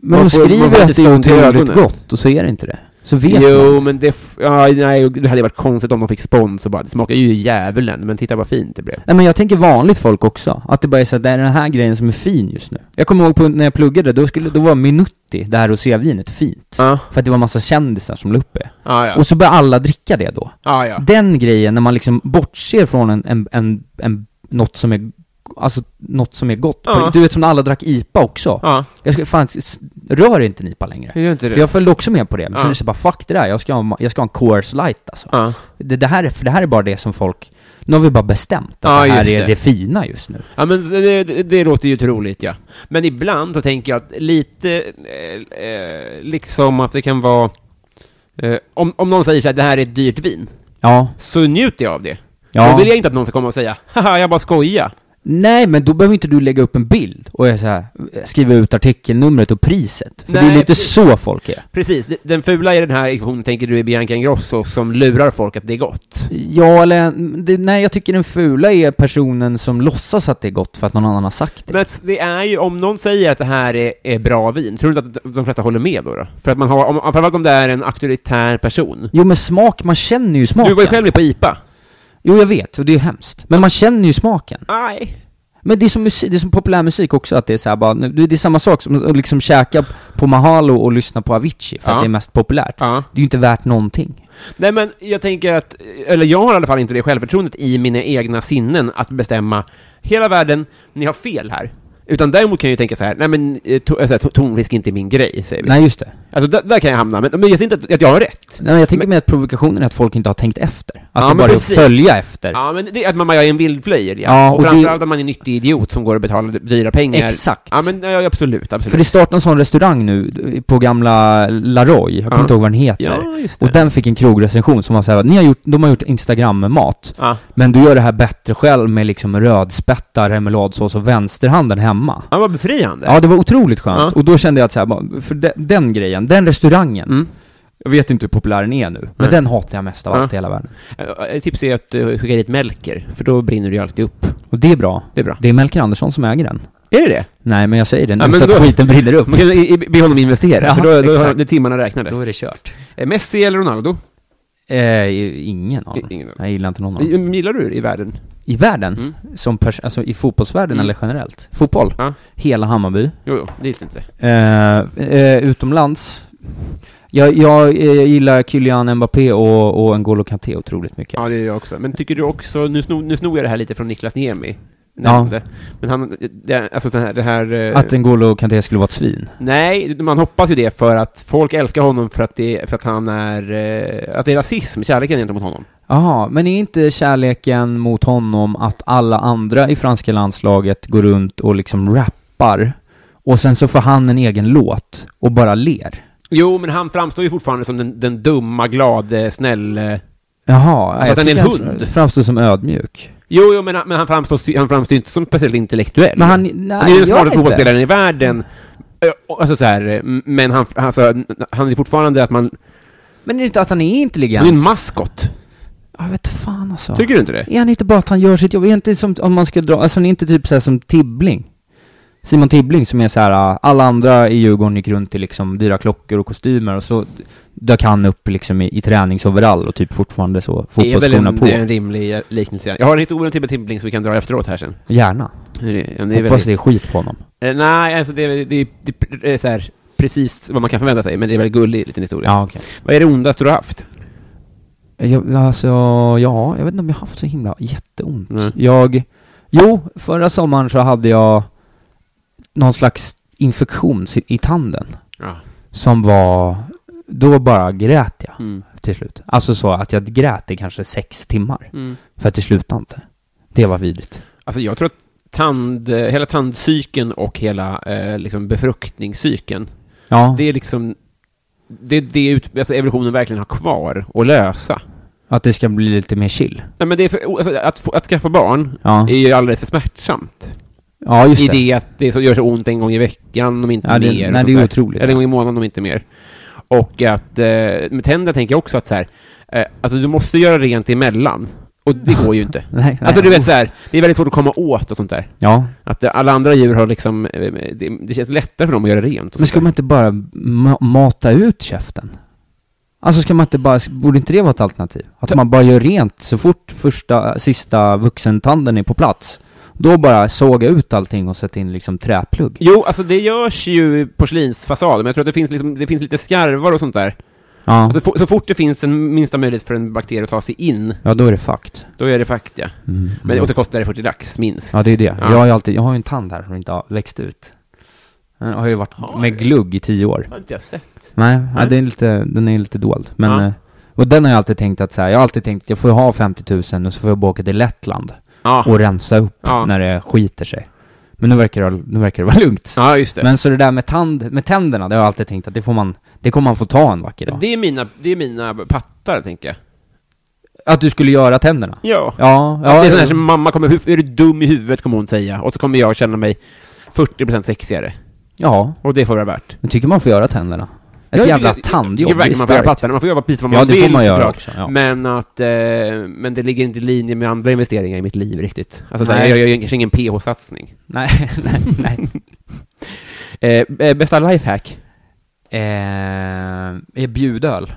D: de
C: man får- man får
D: skriver
C: lite
D: att det är
C: stånd i
D: otroligt
C: ögonen.
D: gott och så är det inte det. Så vet
C: jo,
D: man.
C: men det... f- Ja, nej, det hade ju varit konstigt om de fick spons och bara, det smakar ju djävulen, men titta vad fint det blev.
D: Nej men jag tänker vanligt folk också, att det bara är så att det är den här grejen som är fin just nu. Jag kommer ihåg på, när jag pluggade, då, skulle, då var Minutti, det här rosévinet, fint.
C: Ja,
D: För att det var massa kändisar som la upp det.
C: ja, ja.
D: Och så började alla dricka det då.
C: ja, ja.
D: Den grejen, när man liksom bortser från en, en, en, en något som är Alltså något som är gott.
C: Ja.
D: Du vet som när alla drack IPA också.
C: Ja,
D: Jag ska, fan, s- rör inte en IPA längre.
C: hur gör inte
D: För
C: du?
D: jag följde också med på det, men
C: Ja.
D: sen är det så bara fuck det där, jag ska ha, ma- jag ska ha en Coors light alltså.
C: Ja.
D: Det, det, här är, för det här är bara det som folk, nu har vi bara bestämt att
C: Ja,
D: det här
C: just
D: är
C: det.
D: det. fina just nu.
C: Ja, men det, det, det låter ju troligt, ja. Men ibland så tänker jag att lite, eh, eh, liksom att det kan vara... Eh, om, om någon säger så här, det här är ett dyrt vin,
D: Ja.
C: så njuter jag av det.
D: Ja.
C: Då vill jag inte att någon ska komma och säga, haha, jag bara skojar.
D: Nej, men då behöver inte du lägga upp en bild och jag så här, skriva ut artikelnumret och priset. För det
C: Nej,
D: är lite
C: precis.
D: så folk är.
C: Precis, d- den fula i den här ekvationen tänker du är Bianca Ingrosso som lurar folk att det är gott.
D: Ja, eller det, nej, jag tycker den fula är personen som låtsas att det är gott för att någon annan har sagt det.
C: Men s- det är ju, om någon säger att det här är, är bra vin, tror du inte att de flesta håller med då? då? För att man har, om, framförallt om det är en auktoritär person.
D: Jo, men smak, man känner ju smaken.
C: Du var ju själv med på IPA.
D: Jo, jag vet, och det är ju hemskt. Men man känner ju smaken.
C: Nej.
D: Men det är som, musik, det är som populär musik också, att det är så här bara, nu- det det är samma sak som att liksom käka på Mahalo och lyssna på Avicii, för
C: Ja.
D: att det är mest populärt.
C: Ja.
D: Det är ju inte värt någonting.
C: Nej men jag tänker att, eller jag har i alla fall inte det självförtroendet i mina egna sinnen att bestämma hela världen, ni har fel här. Utan däremot kan jag ju tänka så här, nej men eh, to- eh, så här, to- tonfisk är inte min grej, säger vi.
D: Nej, just det.
C: Alltså där, där kan jag hamna, men, men jag ser inte att, att jag har rätt.
D: Nej, jag tänker mer att provokationen är att folk inte har tänkt efter. Att
C: Ja,
D: det
C: men
D: bara är att
C: precis.
D: följa efter.
C: Ja men det är att man bara är en vildflöjel, ja.
D: Ja,
C: och,
D: och det-
C: framförallt att man är en nyttig idiot som går och betalar dyra pengar.
D: Exakt.
C: Ja men ja, absolut, absolut.
D: För det startade en sån restaurang nu på gamla Laroy, jag kommer
C: Ja.
D: inte ihåg vad den heter.
C: Ja, just det.
D: och den fick en krogrecension som var såhär, ni har gjort, de har gjort Instagram med mat,
C: Ja.
D: men du gör det här bättre själv med liksom rödspätta, remouladsås och vänsterhanden hemma.
C: Ja, vad befriande.
D: Ja, det var otroligt skönt.
C: Ja.
D: Och då kände jag att så här, bara, för de, den grejen, den restaurangen,
C: Mm.
D: jag vet inte hur populär den är nu, men
C: Nej.
D: den hatar jag mest av
C: Ja.
D: allt i hela världen.
C: Eh, Ett tips är att eh, skicka dit Melker, för då brinner du ju alltid upp.
D: Och det är bra.
C: Det är bra.
D: Det är Melker Andersson som äger den.
C: Är det det?
D: Nej, men jag säger det nu
C: Ja, men
D: så att
C: då-
D: skiten brinner upp.
C: Man kan i- i- be honom investera,
D: Ja,
C: för då, då har
D: exakt.
C: det timmarna räknade.
D: Då är det kört.
C: Eh, Messi eller Ronaldo?
D: Eh, ingen aning.
C: Ingen aning.
D: Jag gillar inte någon av dem.
C: Mm. Gillar du det i världen?
D: I världen?
C: Mm.
D: Som pers- alltså i fotbollsvärlden
C: Mm.
D: eller generellt? Fotboll?
C: Ja.
D: Hela Hammarby.
C: Jo, jo, det gick inte.
D: Eh, eh, utomlands? Jag, jag eh, gillar Kylian Mbappé och, och N'Golo Kanté otroligt mycket.
C: Ja, det gör jag också. Men tycker du också, nu snor, nu snor jag det här lite från Niklas Niemi.
D: Ja.
C: nämnde. Men han, det, alltså det här, det här eh,
D: Att N'Golo Kanté skulle vara ett svin.
C: Nej, man hoppas ju det för att folk älskar honom för att, det, för att han är, eh, att det är rasism, kärleken gentemot honom.
D: Jaha, men är inte kärleken mot honom att alla andra i franska landslaget går runt och liksom rappar och sen så får han en egen låt och bara ler?
C: Jo, men han framstår ju fortfarande som den, den dumma, glade, eh, snälle...
D: Jaha,
C: Att
D: jag
C: han är en
D: tycker
C: hund.
D: framstår som ödmjuk.
C: Jo, jo men, han- men han framstår ju han framstår ju inte som speciellt intellektuell.
D: Men han, nej,
C: han är ju den
D: jag vet
C: smartaste
D: inte.
C: fotbollsspelaren i världen. Ö, och- Alltså så här, eh, m- men han, alltså, n- han är fortfarande att man...
D: Men är det inte att han är intelligent?
C: Han är en maskot.
D: jag vet fan alltså.
C: Tycker du inte det?
D: Är han inte bara att han gör sitt jobb? Är han inte som, om man ska dra, alltså han är inte typ såhär som Tibbling? Simon Tibbling som är så här, ah, alla andra i Djurgården gick runt i liksom dyra klockor och kostymer och så dök han upp liksom i, i träningsoverall och typ fortfarande så,
C: Det är väl
D: fotbollsskorna
C: en,
D: på.
C: det är en rimlig eh, liknelse. Jag har en historia om Tibbe Timbling som vi kan dra efteråt här sen.
D: Gärna.
C: Det är, det är
D: Hoppas det
C: väldigt,
D: är skit på honom.
C: Eh, Nej, alltså det är, det är, det är, det är så här, precis vad man kan förvänta sig, men det är väldigt gullig liten historia.
D: Ja, okej.
C: Vad är det ondaste du har haft?
D: Jag, alltså, ja, jag vet inte om jag har haft så himla jätteont.
C: Nej.
D: Jag, jo, förra sommaren så hade jag någon slags infektion i- i tanden.
C: Ja.
D: Som var, då bara grät jag
C: Mm.
D: till slut. Alltså så att jag grät i kanske sex timmar. För att det slutade inte. Det var vidrigt.
C: Mm. Alltså jag tror att tand, eh, hela tandcykeln och hela eh, liksom befruktningscykeln,
D: Ja,
C: det är liksom det, det är ut, alltså evolutionen verkligen har kvar att lösa.
D: Att det ska bli lite mer chill.
C: Nej, men det är för, o- alltså, att, få- att skaffa barn
D: Ja,
C: är ju alldeles för smärtsamt.
D: ja just
C: I
D: det.
C: det att det så, gör så ont en gång i veckan, om inte
D: Ja, det-
C: mer.
D: nej,
C: och
D: det
C: sånt
D: är
C: där.
D: otroligt.
C: Eller en gång i månaden, om inte mer. Och att, eh, med tänder tänker jag också att så här, eh, alltså du måste göra rent emellan. Och det går ju inte.
D: Nej, nej.
C: Alltså du vet så här, det är väldigt svårt att komma åt och sånt där.
D: Ja.
C: Att eh, alla andra djur har liksom, eh, det, det känns lättare för dem att göra rent. och
D: Men
C: sånt
D: ska
C: där.
D: man inte bara ma- mata ut käften? Alltså ska man inte bara, borde inte det vara ett alternativ? Att man bara gör rent så fort första, sista vuxentanden är på plats. Då bara såga ut allting och sätta in liksom träplugg.
C: Jo, alltså det görs ju porslinsfasader, men jag tror att det finns, liksom, det finns lite skarvar och sånt där.
D: Ja,
C: Alltså, fo- så fort det finns en minsta möjlighet för en bakterie att ta sig in,
D: ja då är det fucked.
C: då är det fakt, ja.
D: Mm.
C: Men, och så kostar det 40 lax, minst.
D: Ja, det är det.
C: Ja.
D: Jag har ju alltid, jag har ju en tand här som inte har växt ut. Den har ju varit
C: Har du?
D: med glugg i tio år.
C: har inte jag sett.
D: Nej, ja,
C: Nej.
D: den, är lite, den är lite dold. Men,
C: Ja.
D: eh, och den har jag alltid tänkt att så här, jag har alltid tänkt att jag får ha 50 000 och så får jag bara åka till Lettland
C: Ja,
D: och rensa upp
C: Ah. Ja.
D: när det skiter sig. Men nu verkar det, nu verkar det vara lugnt.
C: ja just det.
D: Men så det där med, tand, med tänderna, det har jag alltid tänkt att det får man, det kommer man få ta en vacker dag.
C: det, är mina, det är mina pattar, tänker jag.
D: Att du skulle göra tänderna?
C: Ja.
D: Ja, ja.
C: det är sån här som mamma kommer, "Hur- är du dum i huvudet, kommer hon säga. Och så kommer jag känna mig 40% sexigare.
D: ja.
C: Och det får vara värt.
D: Jag tycker man får göra tänderna. Ett
C: Ja,
D: jävla
C: det-
D: tandjobb,
C: det är verkligen, man får göra pattarna, man får göra precis vad man
D: Ja, det
C: vill
D: får man göra
C: såklart.
D: också, ja.
C: liksom Men att, eh, men det ligger inte i linje med andra investeringar i mitt liv riktigt. Alltså såhär,
D: Nej.
C: jag gör ju kanske ingen PH-satsning.
D: Nej, nej, nej.
C: Eh, eh, bästa lifehack?
D: Eh, är bjudöl?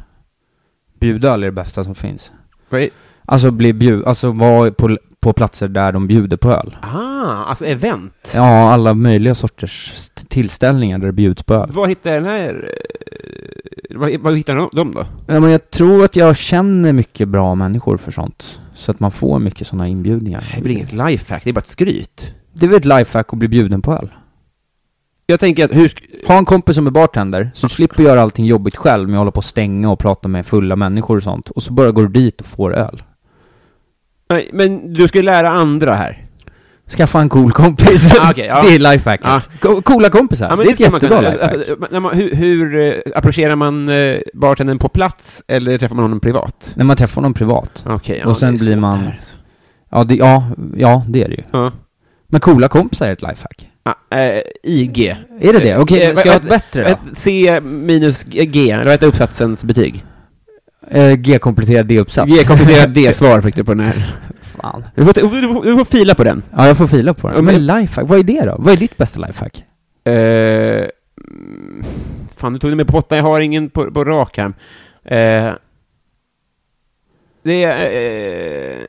D: Bjudöl är det bästa som finns.
C: Vad är-
D: Alltså bli bjud, alltså vara på, på platser där de bjuder på öl.
C: Ah, alltså event.
D: Ja, alla möjliga sorters st- tillställningar där det bjuds på öl.
C: Vad hittar den här, eh, vad, vad hittar de- de då?
D: Ja, men jag tror att jag känner mycket bra människor för sånt. Så att man får mycket sådana inbjudningar.
C: Det blir inget lifehack, det är bara ett skryt.
D: Det är väl ett lifehack att bli bjuden på öl.
C: Jag tänker att, hur, sk-
D: Ha en kompis som är bartender, så du slipper göra allting jobbigt själv med att hålla på och stänga och prata med fulla människor och sånt. Och så bara går du dit och får öl.
C: nej, men du ska ju lära andra här.
D: Skaffa en cool kompis.
C: Ah, okej, ja.
D: Det är lifehacket.
C: Ja.
D: Co- Coola kompisar.
C: Ja, men
D: det är ett
C: ska man
D: jättebra
C: kunna-
D: lifehack.
C: alltså, när man- Hur, hur eh, approcherar man eh, bartendern på plats, eller träffar man honom privat?
D: När man träffar någon privat.
C: Okej, ja,
D: Och sen
C: det är
D: blir
C: så
D: man-
C: där, alltså.
D: Ja, det, ja, ja, det är det ju.
C: Ja.
D: Men coola kompisar är ett lifehack.
C: Ah, eh, IG.
D: Är det det? Okej,
C: Eh,
D: men ska jag ha ett
C: vad-
D: bättre då?
C: Ett Eh, C minus G, eller vad heter uppsatsens betyg?
D: Eh, G-kompletterad D-uppsats.
C: G kompletterat D-svar fick du på den här.
D: Fan.
C: Du får, du får, du får fila på den.
D: Ja, jag får fila på
C: Ja,
D: den.
C: men-
D: Men lifehack, vad är det då? Vad är ditt bästa lifehack?
C: Eh, mm, fan, du tog det med på botten. Jag har ingen på, på rak här. Eh, det är... Eh,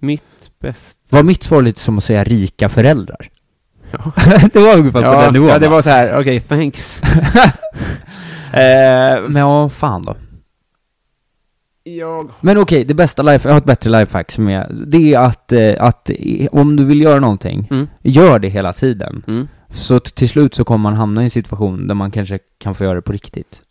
C: mitt bäst...
D: Var mitt svar lite som att säga rika föräldrar?
C: Ja.
D: det var ungefär på den nivån.
C: ja, det
D: va?
C: var så här. Okej, thanks. eh,
D: Men ja, fan då.
C: jag...
D: Men okej, det bästa life, jag har ett bättre lifehack som är, det är att, eh, att eh, om du vill göra någonting,
C: Mm.
D: gör det hela tiden.
C: Mm.
D: Så t- till slut så kommer man hamna i en situation där man kanske kan få göra det på riktigt.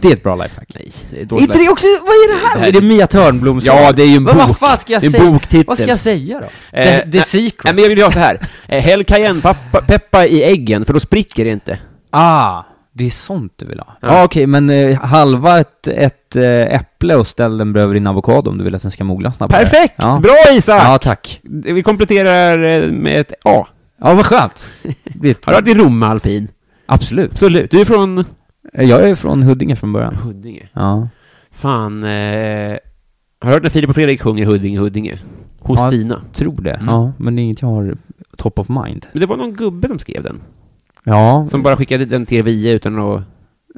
D: Det är ett bra lifehack.
C: Nej, det är
D: Är
C: dåligt.
D: inte det också, vad är det här?
C: Det här-
D: är det Mia Törnbloms
C: Ja, det är ju en
D: Vad-
C: bok.
D: Vad fan ska jag
C: Det är en
D: säga?
C: boktitel.
D: Vad ska jag säga då?
C: Eh,
D: the, the
C: nej,
D: Secret?
C: Nej, men jag vill ha så här. Eh, Häll cayennepeppar i äggen, för då spricker det inte.
D: Ah, det är sånt du vill ha. Ja,
C: Ja.
D: ah, okej, men eh, halva ett, ett eh, äpple och ställ den bredvid din avokado om du vill att den ska mogla snabbare.
C: Perfekt!
D: Ja.
C: Bra Isak!
D: Ja, tack.
C: Vi kompletterar eh, med ett A.
D: Ja, vad skönt. Det är ett-
C: Har du varit i Rom alpin?
D: Absolut. Eh,
C: Absolut. Du är från...
D: Jag är från Huddinge från början.
C: Huddinge.
D: Ja.
C: Fan, eh... Har du hört när Filip och Fredrik sjunger Huddinge, Huddinge? Hos
D: Ja.
C: Stina.
D: Tror det.
C: Mm.
D: Ja, men det är inget jag har top of mind.
C: Men det var någon gubbe som skrev den.
D: Ja,
C: Som bara skickade den till er via utan att...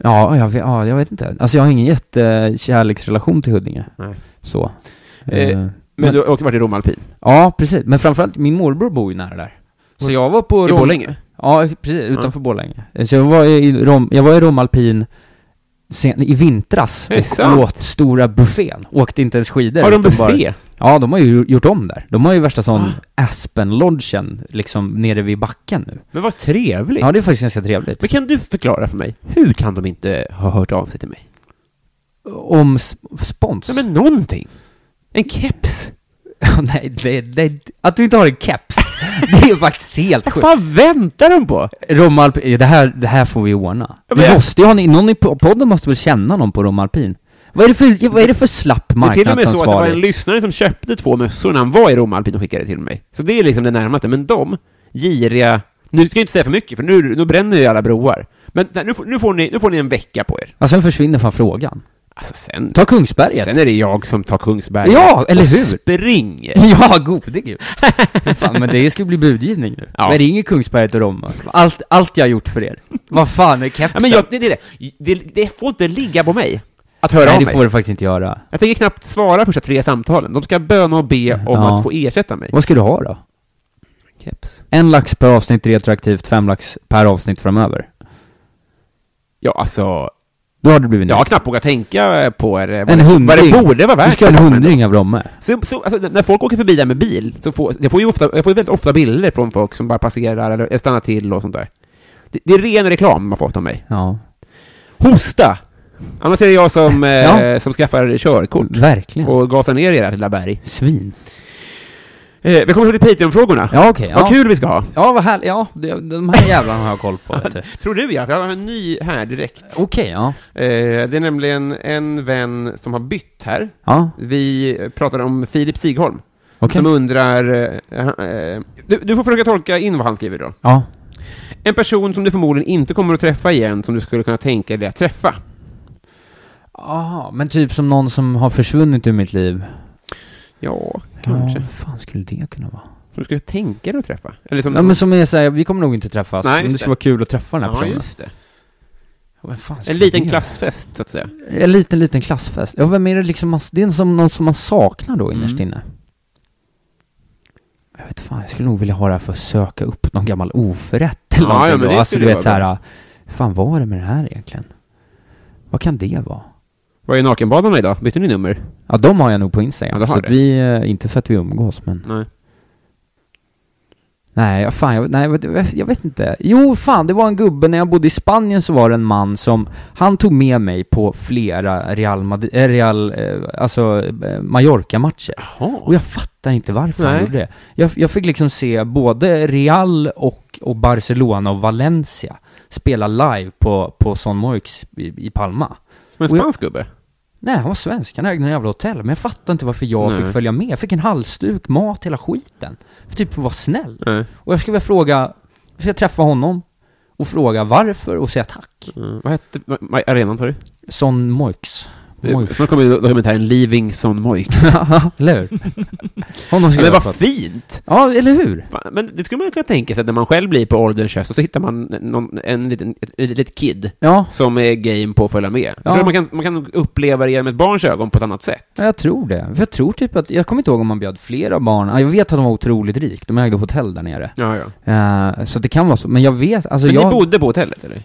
D: ja, jag vet, ja, jag vet inte. Alltså jag har ingen jättekärleksrelation till Huddinge.
C: Nej.
D: Så.
C: Eh,
D: Eh,
C: Men, du har också varit i Rom alpin?
D: Ja, precis. Men framförallt, min morbror bor ju nära där. Så jag var på
C: Mm. I
D: Rom-
C: Borlänge?
D: Ja, precis. Utanför Borlänge. Så jag var i Rom, jag var i Romalpin sen, i vintras
C: Är det
D: och
C: sant?
D: åt stora buffén. Åkte inte ens skidor.
C: Har de
D: utan bara-
C: buffé? Ah.
D: Ja, de har ju gjort om där. De har ju värsta sån Aspen-lodgen, liksom nere vid backen nu.
C: Men vad trevligt!
D: Ja, det är faktiskt ganska trevligt.
C: Men kan du förklara för mig, hur kan de inte ha hört av sig till mig?
D: Om sp- spons?
C: Nej men någonting! En keps!
D: nej, det, det, att du inte har en keps, det är faktiskt helt
C: Vad
D: sjukt.
C: fan väntar de på?
D: Romalpin, det här, det här får vi ordna.
C: Ja, men
D: Vi
C: jag-
D: måste ju ha, ni- någon i po- podden måste väl känna någon på Romalpin? Vad är det för, vad är det för slapp
C: Det är till och med så att det var en
D: marknadsansvarig?
C: lyssnare som köpte två mössor när han var i Romalpin och skickade till mig. Så det är liksom det närmaste. Men de, giriga... Nu ska jag inte säga för mycket, för nu, nu bränner ju alla broar. Men nej, nu, får- nu, får ni, nu får ni en vecka på er.
D: Ja, sen försvinner fan frågan.
C: Alltså sen...
D: Ta Kungsberget.
C: Sen är det jag som tar Kungsberget.
D: Ja, eller
C: och
D: hur?
C: springer.
D: Ja, gode gud. Fy fan, men det ska bli budgivning nu.
C: Ja.
D: Men ringer Kungsberget och Romma. Allt, allt jag har gjort för er. Vad fan är kepsen?
C: Ja, men jag, det, det, är det. det, det får inte ligga på mig att höra av
D: Nej, det
C: mig.
D: får du faktiskt inte göra.
C: Jag tänker knappt svara första tre samtalen. De ska böna och be om
D: Ja.
C: att få ersätta mig.
D: Vad ska du ha då?
C: Keps.
D: En lax per avsnitt retroaktivt, fem lax per avsnitt framöver.
C: Ja, alltså...
D: Då har du blivit
C: Jag har
D: nöjd.
C: knappt vågat tänka eh, på det, vad,
D: En
C: det,
D: hundring.
C: vad det borde vara värt.
D: Du ska ha en hundring av Romme.
C: Så, så, alltså, när folk åker förbi där med bil, så får jag, får ju ofta, jag får ju väldigt ofta bilder från folk som bara passerar eller eh, stannar till och sånt där. Det, det är ren reklam man får ofta av mig.
D: Ja,
C: Hosta! Annars är det jag som, eh,
D: Ja.
C: som skaffar körkort
D: verkligen.
C: och gasar ner er här lilla berg.
D: Svin.
C: Eh, vi kommer till Patreon-frågorna.
D: Ja, okej.
C: Vad
D: ja.
C: kul vi ska ha!
D: Ja, vad härligt. Ja, det- de här jävlarna har jag koll på. vet du.
C: Tror du ja, för jag har en ny här direkt.
D: Okej, ja.
C: Eh, det är nämligen en vän som har bytt här.
D: Ja,
C: Vi pratade om Filip Sigholm,
D: okej.
C: som undrar... Eh, han- eh, du, du får försöka tolka in vad han skriver då.
D: Ja.
C: En person som du förmodligen inte kommer att träffa igen, som du skulle kunna tänka dig att träffa.
D: Aha, men typ som någon som har försvunnit ur mitt liv.
C: Ja, kanske.
D: Ja, vad fan skulle det kunna vara?
C: Som du skulle tänka dig att träffa. Eller som...
D: Ja, men som är såhär, vi kommer nog inte träffas,
C: Nej,
D: men
C: just
D: det skulle
C: det.
D: vara kul att träffa den här
C: ja,
D: personen.
C: just det.
D: Ja, vem fan skulle
C: En liten
D: det-
C: klassfest, så att säga.
D: En liten, liten klassfest. Ja, vem är det liksom, man, det är som någon som man saknar då innerst
C: Mm.
D: inne. Jag vet fan, jag skulle nog vilja ha det här för att söka upp någon gammal oförrätt eller
C: Ja, ja,
D: någonting
C: men
D: då.
C: det
D: Alltså
C: skulle
D: du
C: ju
D: vet
C: vara bra.
D: såhär, fan vad är det med det här egentligen? Vad kan det vara?
C: Var är nakenbadarna idag? Bytte ni nummer?
D: Ja, de har jag nog på
C: Ja,
D: Instagram.
C: du har
D: så att
C: det.
D: vi, eh, inte för att vi umgås men.
C: Nej.
D: Nej, ja, fan, jag, nej, jag vet- jag vet inte. Jo, fan, det var en gubbe, när jag bodde i Spanien så var det en man som, han tog med mig på flera Real, Madrid, eh, Real eh, alltså eh, Mallorca-matcher. Och
C: Jaha.
D: jag fattar inte varför han
C: Nej.
D: gjorde det. Jag, jag fick liksom se både Real och, och Barcelona och Valencia spela live på, på Son Moix i, i Palma.
C: Men
D: och jag-
C: spansk gubbe?
D: Nej, han var svensk, han ägde en jävla hotell. Men jag fattar inte varför jag
C: Nej.
D: fick följa med. Jag fick en halsduk, mat, hela skiten. För typ för att vara snäll.
C: Nej.
D: Och jag skulle vilja fråga, jag ska träffa honom och fråga varför och säga tack.
C: Mm. Vad hette vad- vad- arenan, sa du?
D: Son Moix. Moix.
C: Snart kommer ju dokumentären Leaving Son Moix.
D: eller hur? Honom ska
C: Men
D: jag
C: vad
D: prata-
C: fint!
D: Ja, eller hur?
C: Fan, Men det skulle man ju kunna tänka sig, att när man själv blir på ålderns höst, och så hittar man någon, en liten, ett, ett litet kid
D: Ja,
C: som är game på att följa med. Jag
D: Ja.
C: tror Man, kan, man kan uppleva det genom ett barns ögon på ett annat sätt.
D: jag tror det. För jag tror typ att, jag kommer inte ihåg om man bjöd flera barn. Ja, Jag vet att de var otroligt rik, de ägde hotell där nere.
C: Ja, ja.
D: Eh, så det kan vara så, men jag vet, alltså
C: Men
D: jag...
C: ni bodde på hotellet, eller?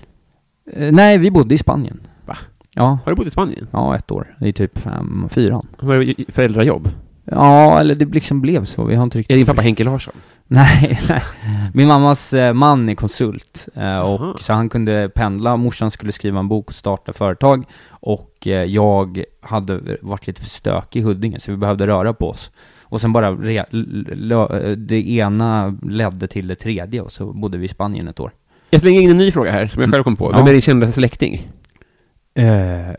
D: Eh, nej, vi bodde i Spanien.
C: Va?
D: Ja.
C: Har du bott i Spanien?
D: Ja, ett år. I typ fem, fyran.
C: Har du föräldrajobb?
D: Ja, eller det liksom blev så. Vi har inte riktigt...
C: Är din pappa Henke Larsson?
D: Nej, nej. Min mammas eh, man är konsult, eh, och
C: Aha.
D: så han kunde pendla, morsan skulle skriva en bok och starta företag, och eh, jag hade varit lite för stökig i Huddinge, så vi behövde röra på oss. Och sen bara, re, l- lö- eh, det ena ledde till det tredje, och så bodde vi i Spanien ett år.
C: Jag slänger in en ny fråga här, som jag själv kom på. Vem
D: Ja.
C: är din kändaste släkting?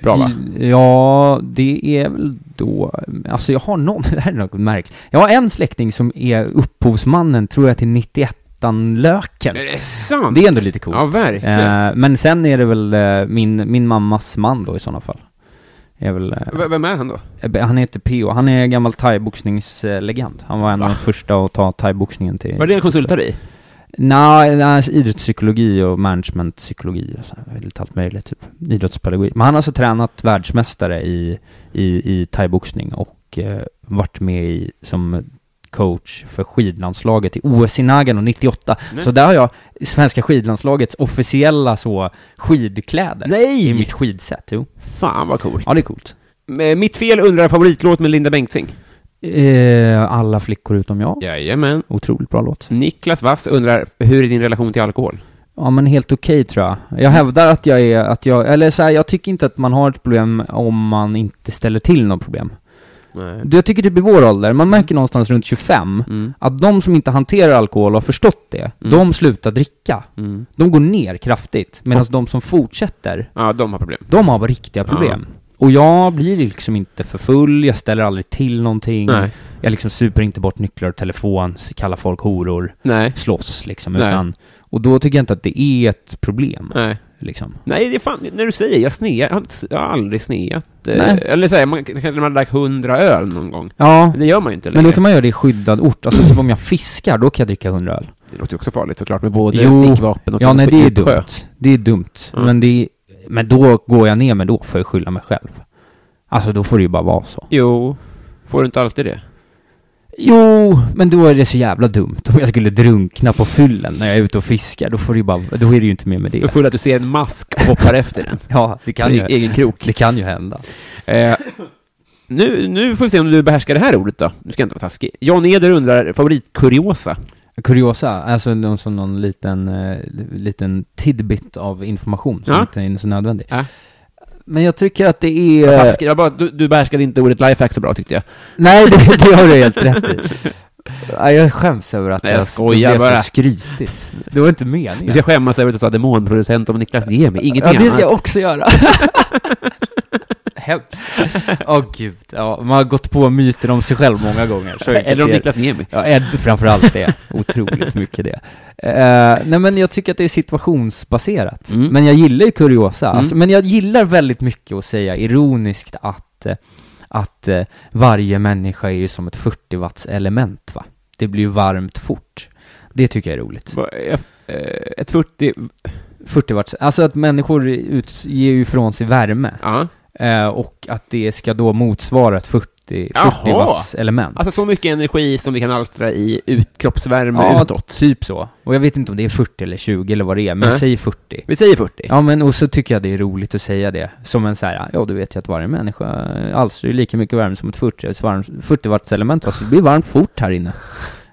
C: Bra, va?
D: Eh, i- Ja, det är väl då, alltså jag har någon, det här är något märkligt. Jag har en släkting som är upphovsmannen, tror jag, till 91an Löken.
C: Är det sant?
D: Det är ändå lite coolt.
C: Ja, verkligen.
D: Eh, men sen är det väl eh, min, min mammas man då i sådana fall. Är väl, eh,
C: V- Vem är han då?
D: eh, han heter P.O. Han är en gammal thaiboxningslegend. Han var en av de första att ta thaiboxningen till...
C: Var det en konsult där i?
D: Nej, nej, idrottspsykologi och managementpsykologi och så här, lite allt möjligt typ. Idrottspedagogik. Men han har alltså tränat världsmästare i, i, i thaiboxning och eh, varit med i, som coach för skidlandslaget i OS i Nagano 98.
C: Nej.
D: Så där har jag svenska skidlandslagets officiella så skidkläder.
C: Nej!
D: I mitt skidset, jo.
C: Fan vad coolt.
D: Ja, det är coolt.
C: Eh, Mitt fel undrar favoritlåt med Linda Bengtzing.
D: Eh, alla flickor utom jag.
C: Jajamän.
D: Otroligt bra låt.
C: Niklas Wass undrar, hur är din relation till alkohol?
D: Ja men helt okej tror jag.
C: Mm.
D: Jag hävdar att jag är, att jag, eller så här, jag tycker inte att man har ett problem om man inte ställer till något problem.
C: Nej.
D: Du, Jag tycker typ i vår ålder, man märker någonstans runt 25,
C: Mm.
D: att de som inte hanterar alkohol och har förstått det, de slutar dricka.
C: Mm.
D: De går ner kraftigt, medan de som fortsätter,
C: Ja, de har problem.
D: de har riktiga problem. Och jag blir liksom inte för full, jag ställer aldrig till någonting.
C: Nej.
D: Jag liksom super inte bort nycklar och telefon, s- kallar folk horor,
C: Nej.
D: slåss liksom.
C: Nej.
D: Utan, och då tycker jag inte att det är ett problem.
C: Nej.
D: Liksom.
C: Nej, det är fan, när du säger jag snear, jag har, inte- jag har aldrig sneat. eh,
D: Nej.
C: Eller så här, man kanske när man har lagt hundra öl någon gång.
D: Ja,
C: Men det gör man ju inte
D: men
C: längre.
D: då kan man göra det i skyddad ort. Alltså typ om jag fiskar, då kan jag dricka 100 öl.
C: Det låter ju också farligt såklart, med både
D: Jo.
C: stickvapen och
D: Ja, nej det är
C: djup sjö.
D: dumt. Det är dumt.
C: Mm.
D: Men, det är, men då går jag ner men då får jag skylla mig själv. Alltså då får det ju bara vara så.
C: Jo. Får du inte alltid det?
D: Jo, men då är det så jävla dumt. Om jag skulle drunkna på fyllen när jag är ute och fiskar, då får det ju bara, då är det ju inte mer med
C: Så
D: det.
C: full att du ser en mask och hoppar efter den.
D: Ja, det
C: Från
D: kan
C: din
D: ju,
C: egen krok.
D: det kan ju hända.
C: Eh, nu, nu får vi se om du behärskar det här ordet då. Nu ska jag inte vara taskig. Jan Eder undrar, favoritkuriosa?
D: Kuriosa, alltså någon, som någon liten, eh, liten tidbit av information som
C: Ja.
D: inte är så nödvändig.
C: Ja.
D: Men jag tycker att det är...
C: Taskig. Jag bara, du, du behärskade inte ordet lifehack så bra tyckte jag.
D: Nej, det, det har du helt rätt i. Nej, jag skäms över att
C: Nej, jag
D: jag
C: skojar
D: det blev
C: bara.
D: så skrytigt. Det var inte
C: Du
D: meningen.
C: ska skämmas över att du sa demonproducent om Niklas Niemi, ingenting
D: Ja, det ska
C: annat.
D: jag också göra. Hemskt. Åh gud, ja, man har gått på myten om sig själv många gånger. Så
C: Eller om
D: det-
C: Niklas Niemi.
D: Ja, Ed framförallt det. Otroligt mycket det. Eh, nej men jag tycker att det är situationsbaserat.
C: Mm.
D: Men jag gillar ju kuriosa. Alltså,
C: Mm.
D: men jag gillar väldigt mycket att säga ironiskt att, eh, att eh, varje människa är ju som ett 40 watts element va. Det blir ju varmt fort. Det tycker jag är roligt.
C: Vad är- eh, Ett 40...
D: 40 watts, alltså att människor ut, ger ju ifrån sig värme.
C: Ja.
D: Eh, och att det ska då motsvara ett 40, 40
C: Jaha.
D: watts element.
C: Alltså så mycket energi som vi kan alstra i ut, kroppsvärme
D: ja,
C: utåt.
D: typ så. Och jag vet inte om det är 40 eller 20 eller vad det är, men
C: Nej.
D: säg 40.
C: Vi säger 40.
D: Ja men och så tycker jag det är roligt att säga det, som en så här, ja du vet ju att varje människa eh, alstrar ju lika mycket värme som ett 40 watts varm- 40 watts element, va, så det blir varmt fort här inne.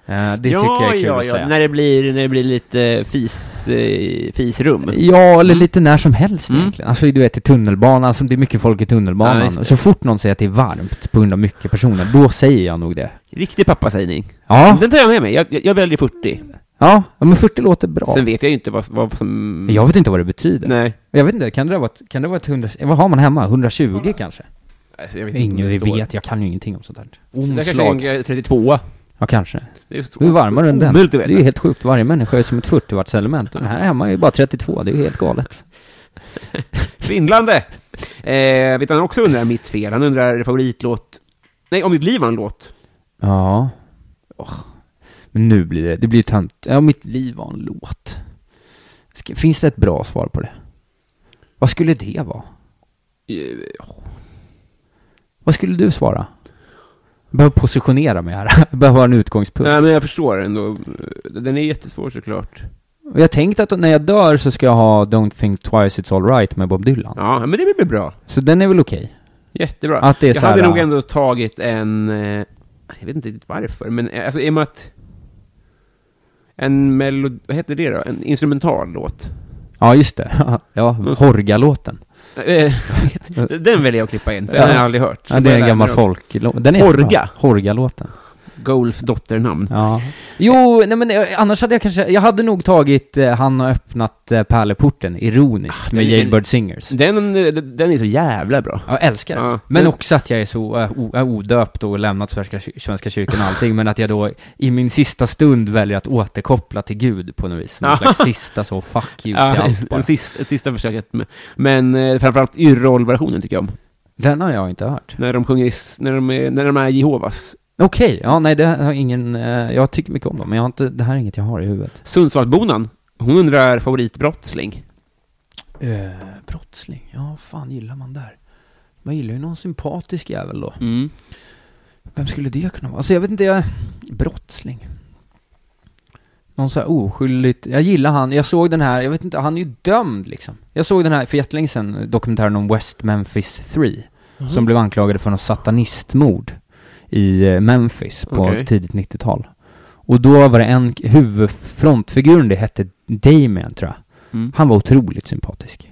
D: Eh, det tycker jag är kul att säga.
C: När det blir, när det blir lite fis, eh, fisrum.
D: Ja, eller lite när som helst
C: Mm.
D: egentligen. Alltså du vet i tunnelbanan, alltså, det är mycket folk i
C: Ja,
D: tunnelbanan.
C: just det.
D: så fort någon säger att det är varmt på grund av mycket personer, då säger jag nog det.
C: Riktig pappasägning.
D: Ja,
C: Den tar jag med mig. Jag, jag, jag väljer 40.
D: ja, ja men 40 låter bra.
C: Sen vet jag ju inte vad, vad som...
D: Jag vet inte vad det betyder.
C: Nej.
D: Jag vet inte, kan det vara ett, kan det vara ett 100, vad har man hemma? 120 kanske?
C: Alltså, jag vet inte
D: Ingen
C: om det står.
D: vet, jag kan ju ingenting om sånt här.
C: Så där
D: Omslag.
C: kanske är en 32
D: Ja, kanske.
C: Det är så-
D: Hur varmare än den?
C: Omöjligt
D: Det
C: att
D: är
C: veta.
D: ju helt sjukt, varje människa är som ett 40 watts element. Och den här hemma är ju bara 32, det är ju helt galet.
C: Svindlande! Eh, vet du, han också undrar mitt fel? Han undrar favoritlåt... Nej, om mitt liv var en låt.
D: Ja. Åh. Men nu blir det, det blir ju tönt. Ja, mitt liv var en låt. Ska, finns det ett bra svar på det? Vad skulle det vara?
C: Eh,
D: Vad skulle du svara? Jag behöver positionera mig här, jag behöver ha en utgångspunkt.
C: Nej, men jag förstår ändå. Den är jättesvår såklart.
D: Och jag tänkte att när jag dör så ska jag ha Don't think twice it's alright med Bob Dylan.
C: Ja, men det blir bra.
D: Så den är väl okej?
C: Jättebra.
D: Att det är
C: jag
D: så
C: hade
D: här,
C: nog
D: äh,
C: ändå tagit en... eh, Jag vet inte riktigt varför, men eh, alltså i och med att... En melod... Vad heter det då? En instrumental låt.
D: Ja, just det. ja,
C: Mm.
D: Horga-låten.
C: Eh, den väljer jag att klippa in, för den har jag aldrig hört. Så
D: Ja,
C: får
D: det
C: jag
D: är en
C: lära
D: gammal
C: mig också.
D: folklåt. Den är
C: Horga.
D: bra. Horga-låten.
C: Golfs dotternamn.
D: Ja. Jo, nej men eh, annars hade jag kanske, jag hade nog tagit eh, Han har öppnat eh, pärleporten, ironiskt,
C: den-
D: med
C: den-
D: Jailbird Singers.
C: Den, eh, den är så jävla bra.
D: Jag älskar det.
C: Ja.
D: Men
C: Men-
D: också att jag är så eh, o- eh, odöpt och lämnat Svenska, kyr- svenska kyrkan och allting, men att jag då i min sista stund väljer att återkoppla till Gud på något vis. Någon
C: Ja.
D: slags sista så, fuck you till
C: Ja,
D: allt bara.
C: en sista, ett sista försöket. med- Men eh, framförallt Yrrol-versionen tycker jag om.
D: Den har jag inte hört.
C: När de sjunger, i s- när de är, när de är Jehovas.
D: Okej, ja nej det har ingen, eh, jag tycker mycket om dem, men jag har inte, det här är inget jag har i huvudet.
C: Sundsvallsbonan, hon undrar favoritbrottsling.
D: Eh, brottsling, ja fan gillar man där? Man gillar ju någon sympatisk jävel då.
C: Mm.
D: Vem skulle det kunna vara? Alltså jag vet inte, jag... Brottsling. Någon så här oskyldigt... Jag gillar han, jag såg den här, jag vet inte, han är ju dömd liksom. Jag såg den här för jättelänge sedan, dokumentären om West Memphis 3. Som blev anklagade för något satanistmord i eh, Memphis på
C: Okej.
D: tidigt 90-tal. Och då var det en k- huvudfrontfiguren, det hette Damien tror jag.
C: Mm.
D: Han var otroligt sympatisk.
C: Men,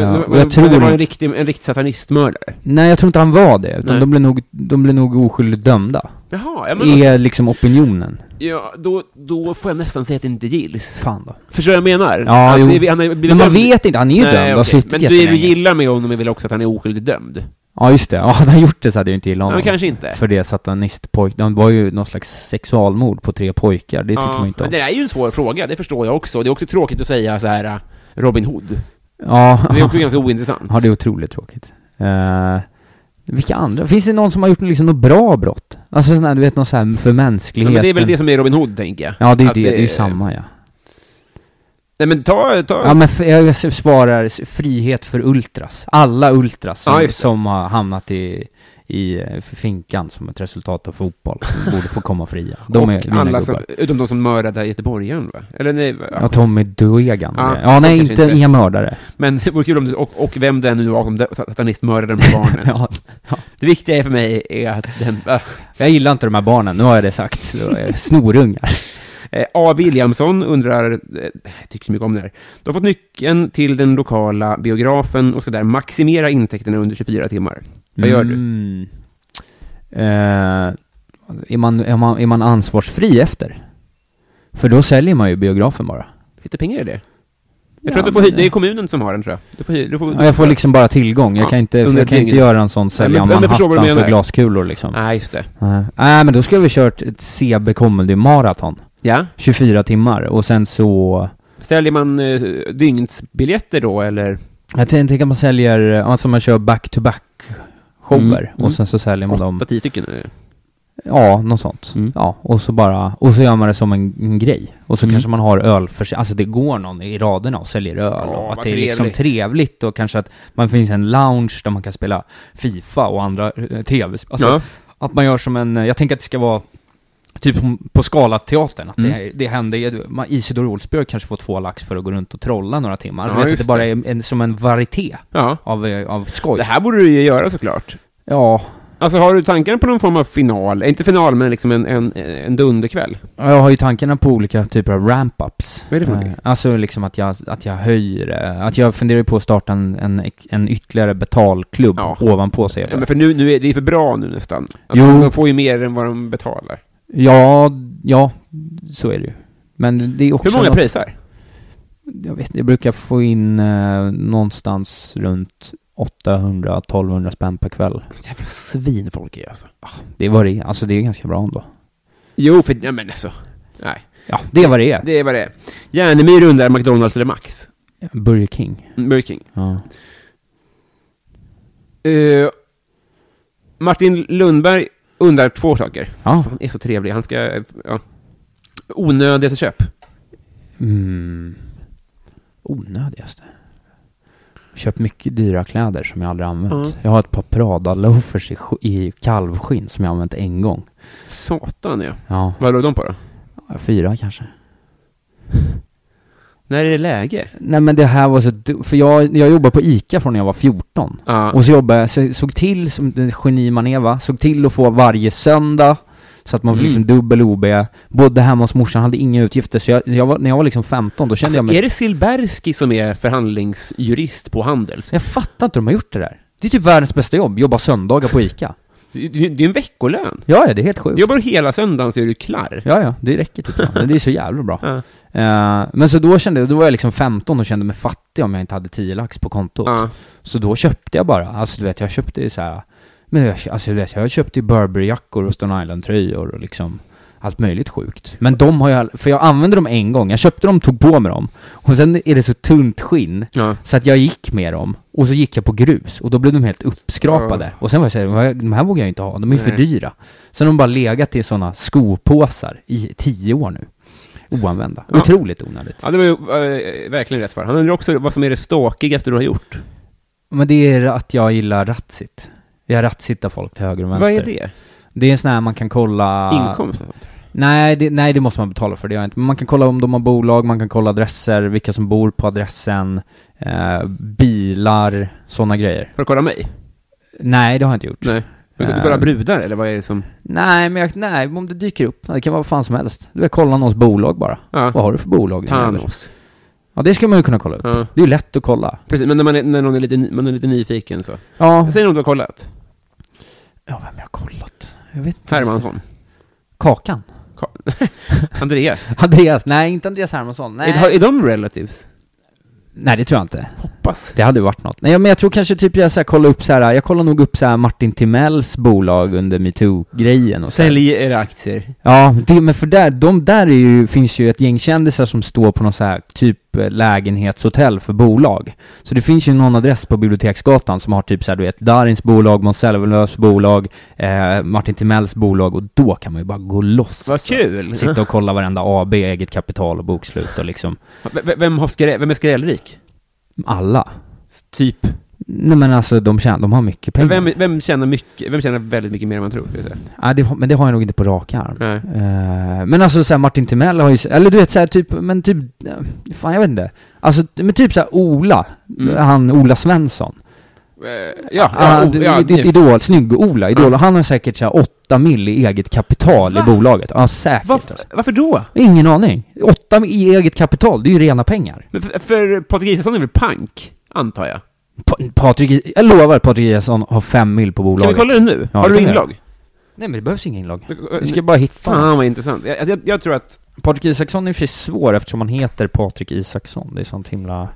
D: Eh,
C: men,
D: och jag tror
C: men det var
D: inte-
C: en riktig, en riktig satanistmördare.
D: Nej, jag tror inte han var det. Utan
C: Nej.
D: de blev, nog, de blev nog oskyldigt dömda.
C: Jaha, ja, men då,
D: är liksom opinionen.
C: ja, då, då får jag nästan säga att det inte gills.
D: Fan då.
C: Förstår du vad jag menar?
D: Ja,
C: Att
D: jo.
C: det- han har blivit
D: Men man
C: dömd.
D: vet inte, han är ju
C: Nej,
D: dömd och har
C: okej.
D: suttit
C: Men det du
D: jättelänge.
C: gillar med honom är väl också att han är oskyldigt dömd?
D: Ja just det, ja, hade han gjort det så hade jag inte gillat
C: Ja,
D: honom.
C: men kanske inte.
D: För det satanistpojk, de var ju någon slags sexualmord på tre pojkar, det tyckte
C: ja,
D: man inte om.
C: Men det där är ju en svår fråga, det förstår jag också. Det är också tråkigt att säga så här äh, Robin Hood.
D: Ja,
C: Det är också ganska ointressant.
D: ja det är otroligt tråkigt. Eh, vilka andra? Finns det någon som har gjort liksom något bra brott? Alltså sån här, du vet, något så här för
C: Ja,
D: mänskligheten.
C: men det är väl det som är Robin Hood, tänker jag.
D: Ja, det är
C: Att
D: det, det är ju samma ja.
C: Nej men ta, ta...
D: Ja men f- jag svarar s- frihet för ultras. Alla ultras som,
C: Ja, just det.
D: som har hamnat i, i eh, finkan som ett resultat av fotboll. borde få komma fria. De är
C: och
D: mina
C: alla
D: gubbar.
C: som, utom de som mördade göteborgaren va? Eller nej, va?
D: Ja, Tommy Duegan.
C: Ja,
D: Ja, ja nej,
C: kanske
D: inte,
C: inte.
D: inga mördare.
C: Men det vore kul om du, och, och vem det än nu var som dö- satanistmördade de här barnen.
D: Ja,
C: Det viktiga för mig är att den, äh,
D: jag gillar inte de här barnen, nu har jag det sagt. Så, eh, Snorungar.
C: Eh, A. Williamson undrar, eh, jag tycker så mycket om det här, du har fått nyckeln till den lokala biografen och ska där maximera intäkterna under 24 timmar. Vad gör du?
D: Mm. Eh, är, man, är, man, är man ansvarsfri efter? För då säljer man ju biografen bara.
C: Finns det pengar i det? Jag
D: Ja,
C: tror att du får
D: men
C: hy- det är kommunen som har den tror jag. Du får, hy- du får,
D: Ja, jag får liksom bara tillgång, jag
C: Ja,
D: kan inte,
C: under
D: jag kan
C: ett
D: inte
C: dygn.
D: göra en sån sälja
C: men- men jag förstår vad du
D: Manhattan för
C: menar.
D: glaskulor liksom.
C: Nej, Ah, just det.
D: Nej, men då skulle vi kört ett CB Comedy Marathon.
C: Ja.
D: 24 timmar och sen så...
C: Säljer man eh, dygnsbiljetter då, eller?
D: Jag tän- tänker att man säljer, eh, alltså man kör back-to-back shower
C: Mm, mm.
D: och sen så säljer man dem,
C: 8-10 stycken? eh.
D: ja, något sånt.
C: Mm.
D: Ja, och så bara, och så gör man det som en, en grej. Och så
C: Mm.
D: kanske man har öl för sig, alltså det går någon i raderna och säljer öl
C: Ja,
D: och att
C: vad
D: det är liksom
C: trevligt.
D: trevligt och kanske att man finns en lounge där man kan spela Fifa och andra eh, tv alltså,
C: ja.
D: Att man gör som en, eh, jag tänker att det ska vara typ på- på Scalateatern, att det,
C: Mm.
D: det händer ju, man- Isidor Olsbjörk kanske får två lax för att gå runt och trolla några timmar.
C: Ja,
D: du vet att
C: just
D: det bara
C: det.
D: är en, som en varieté
C: ja.
D: av, eh, av skoj.
C: Det här borde du ju göra såklart.
D: Ja,
C: Alltså har du tankarna på någon form av final? Eh, Inte final, men liksom en, en, en dunderkväll?
D: jag har ju tankarna på olika typer av ramp-ups.
C: Vad är det för någonting?
D: Eh, Alltså liksom att jag, att jag höjer, eh, att jag funderar ju på att starta en, en, ex- en ytterligare betalklubb
C: Ja.
D: ovanpå sig.
C: Ja, men för nu, nu är det är för bra nu nästan. Att
D: Jo.
C: De får ju mer än vad de betalar.
D: Ja, ja, så är det ju. Men det är också
C: Hur många
D: något-
C: prisar?
D: jag vet inte, jag brukar få in eh, någonstans runt 800-1200 spänn per kväll.
C: Jävla svin folk är alltså.
D: Det är vad det är, alltså det är ganska bra ändå.
C: Jo, för, ja men alltså. Nej,
D: Ja, det är vad det är.
C: det är vad det är. Järnemyr undrar McDonalds eller Max?
D: Burger King.
C: Mm, Burger King.
D: Ja.
C: Eh, Martin Lundberg undrar två saker.
D: ja.
C: Han är så trevlig. Han ska... eh, Ja. Onödiga till köp.
D: Mm. Onödigaste. Köpt mycket dyra kläder som jag aldrig använt.
C: Mm.
D: Jag har ett par Prada-loafers i, sk- i kalvskinn som jag använt en gång.
C: Satan ja.
D: Ja,
C: Vad låg de på då?
D: fyra kanske.
C: När är det läge?
D: Nej men det här var så du- för jag, jag jobbade på ICA från när jag var 14.
C: Ja.
D: Och så jobbade jag, så, såg till, som det geni man är va, såg till att få varje söndag så att man
C: Mm.
D: fick liksom dubbel OB, bodde hemma hos morsan, hade inga utgifter. Så jag, jag var, när jag var liksom 15, då kände
C: Alltså,
D: jag mig...
C: Är det Silberski som är förhandlingsjurist på Handels?
D: Jag fattar inte hur de har gjort det där. Det är typ världens bästa jobb, jobba söndagar på ICA.
C: Det det- det är en veckolön.
D: Ja, ja, det är helt sjukt.
C: Jobbar du hela söndagen så är du klar.
D: Ja, ja, det räcker typ. Men det är så jävla bra.
C: Ja.
D: Eh, men så då kände jag, då var jag liksom 15 och kände mig fattig om jag inte hade 10 lax på kontot.
C: Ja.
D: Så då köpte jag bara, alltså du vet, jag köpte ju så här, men jag, alltså du vet, jag köpte ju Burberry-jackor och Stone Island-tröjor och liksom allt möjligt sjukt. Men de har jag, för jag använde dem en gång, jag köpte dem, tog på mig dem, och sen är det så tunt skinn,
C: Ja.
D: så att jag gick med dem, och så gick jag på grus, och då blev de helt uppskrapade. Och sen var jag såhär, de här vågar jag inte ha, de är ju för
C: Nej.
D: dyra. Sen har de bara legat i sådana skopåsar i tio år nu. Oanvända.
C: Ja.
D: Otroligt onödigt.
C: ja, det var ju eh, verkligen rätt svar. Han undrar också vad som är det ståkigaste du har gjort.
D: Men det är att jag gillar ratsit. Jag rattsittar folk till höger och vänster.
C: Vad är det?
D: Det är en sån här man kan kolla...
C: Inkomst? och sånt.
D: Nej det, nej, det måste man betala för, det gör jag inte. Men man kan kolla om de har bolag, man kan kolla adresser, vilka som bor på adressen, eh, bilar, sådana grejer.
C: Har du kollat mig?
D: Nej, det har jag inte gjort.
C: Nej. Har du
D: Eh.
C: kollat brudar, eller vad är det som...
D: Nej, men jag, nej, om det dyker upp, det kan vara vad fan som helst. Du vill kolla någons bolag bara. Vad
C: Ja.
D: har du för bolag? din jävel?
C: Thanos.
D: Ja, det skulle man ju kunna kolla upp.
C: Ja.
D: Det är ju lätt att kolla.
C: Precis, men när man är, när någon är, lite, man är lite nyfiken så.
D: Ja.
C: Säg något du har kollat.
D: Ja, vem jag har kollat? Jag vet inte.
C: Hermansson.
D: Kakan?
C: Andreas?
D: Andreas? Nej, inte Andreas Hermansson. Nej.
C: Är, har- är de relatives?
D: Nej, det tror jag inte.
C: Hoppas.
D: Det hade ju varit något. Nej, men jag tror kanske typ jag så här, kollar upp så här, jag kollar nog upp så här Martin Timells bolag under metoo-grejen och så här.
C: Sälj era aktier.
D: Ja, det, men för där, de där är ju, finns ju ett gäng kändisar som står på någon så här typ eh, lägenhetshotell för bolag. Så det finns ju någon adress på Biblioteksgatan som har typ så här, du vet, Darins bolag, Måns Zelmerlöws bolag, eh, Martin Timells bolag och då kan man ju bara gå loss.
C: Vad
D: alltså.
C: kul!
D: Sitta och kolla varenda AB, eget kapital och bokslut och liksom
C: V- v- Vem, har skrä- vem är skrällrik?
D: alla.
C: Typ.
D: Nej men alltså de, tjän- de har mycket pengar.
C: Vem, vem, tjänar mycket, vem tjänar väldigt mycket mer än man tror? vill säga.
D: Ja, det, har- men det har jag nog inte på rak arm.
C: Nej.
D: Eh, men alltså såhär Martin Timell har ju, s- eller du vet såhär typ, men typ, eh, fan jag vet inte. Alltså, men typ såhär Ola,
C: Mm.
D: han Ola Svensson.
C: Eh, Ja,
D: Ah,
C: ja, typ. o-
D: du-
C: ja,
D: ditt
C: det-
D: idol, snygg-Ola, idol. Han har säkert såhär 8 mil i eget kapital
C: Va?
D: i bolaget. Ja, säkert
C: varför,
D: alltså.
C: varför då?
D: Ingen aning. 8 mil i eget kapital, det är ju rena pengar.
C: Men för, för Patrik Isaksson är väl pank, antar jag?
D: Pa Patrik, jag lovar Patrik Eliasson har 5 mil på
C: Kan
D: bolaget.
C: vi kolla det nu?
D: Ja,
C: har
D: det
C: du
D: kan vi
C: inlogg?
D: Nej men det behövs ingen inlogg. Vi ska bara hitta honom.
C: Fan vad intressant. Jag, jag, jag tror att...
D: Patrik Isaksson är i och för sig svår eftersom han heter Patrik Isaksson. Det är sånt himla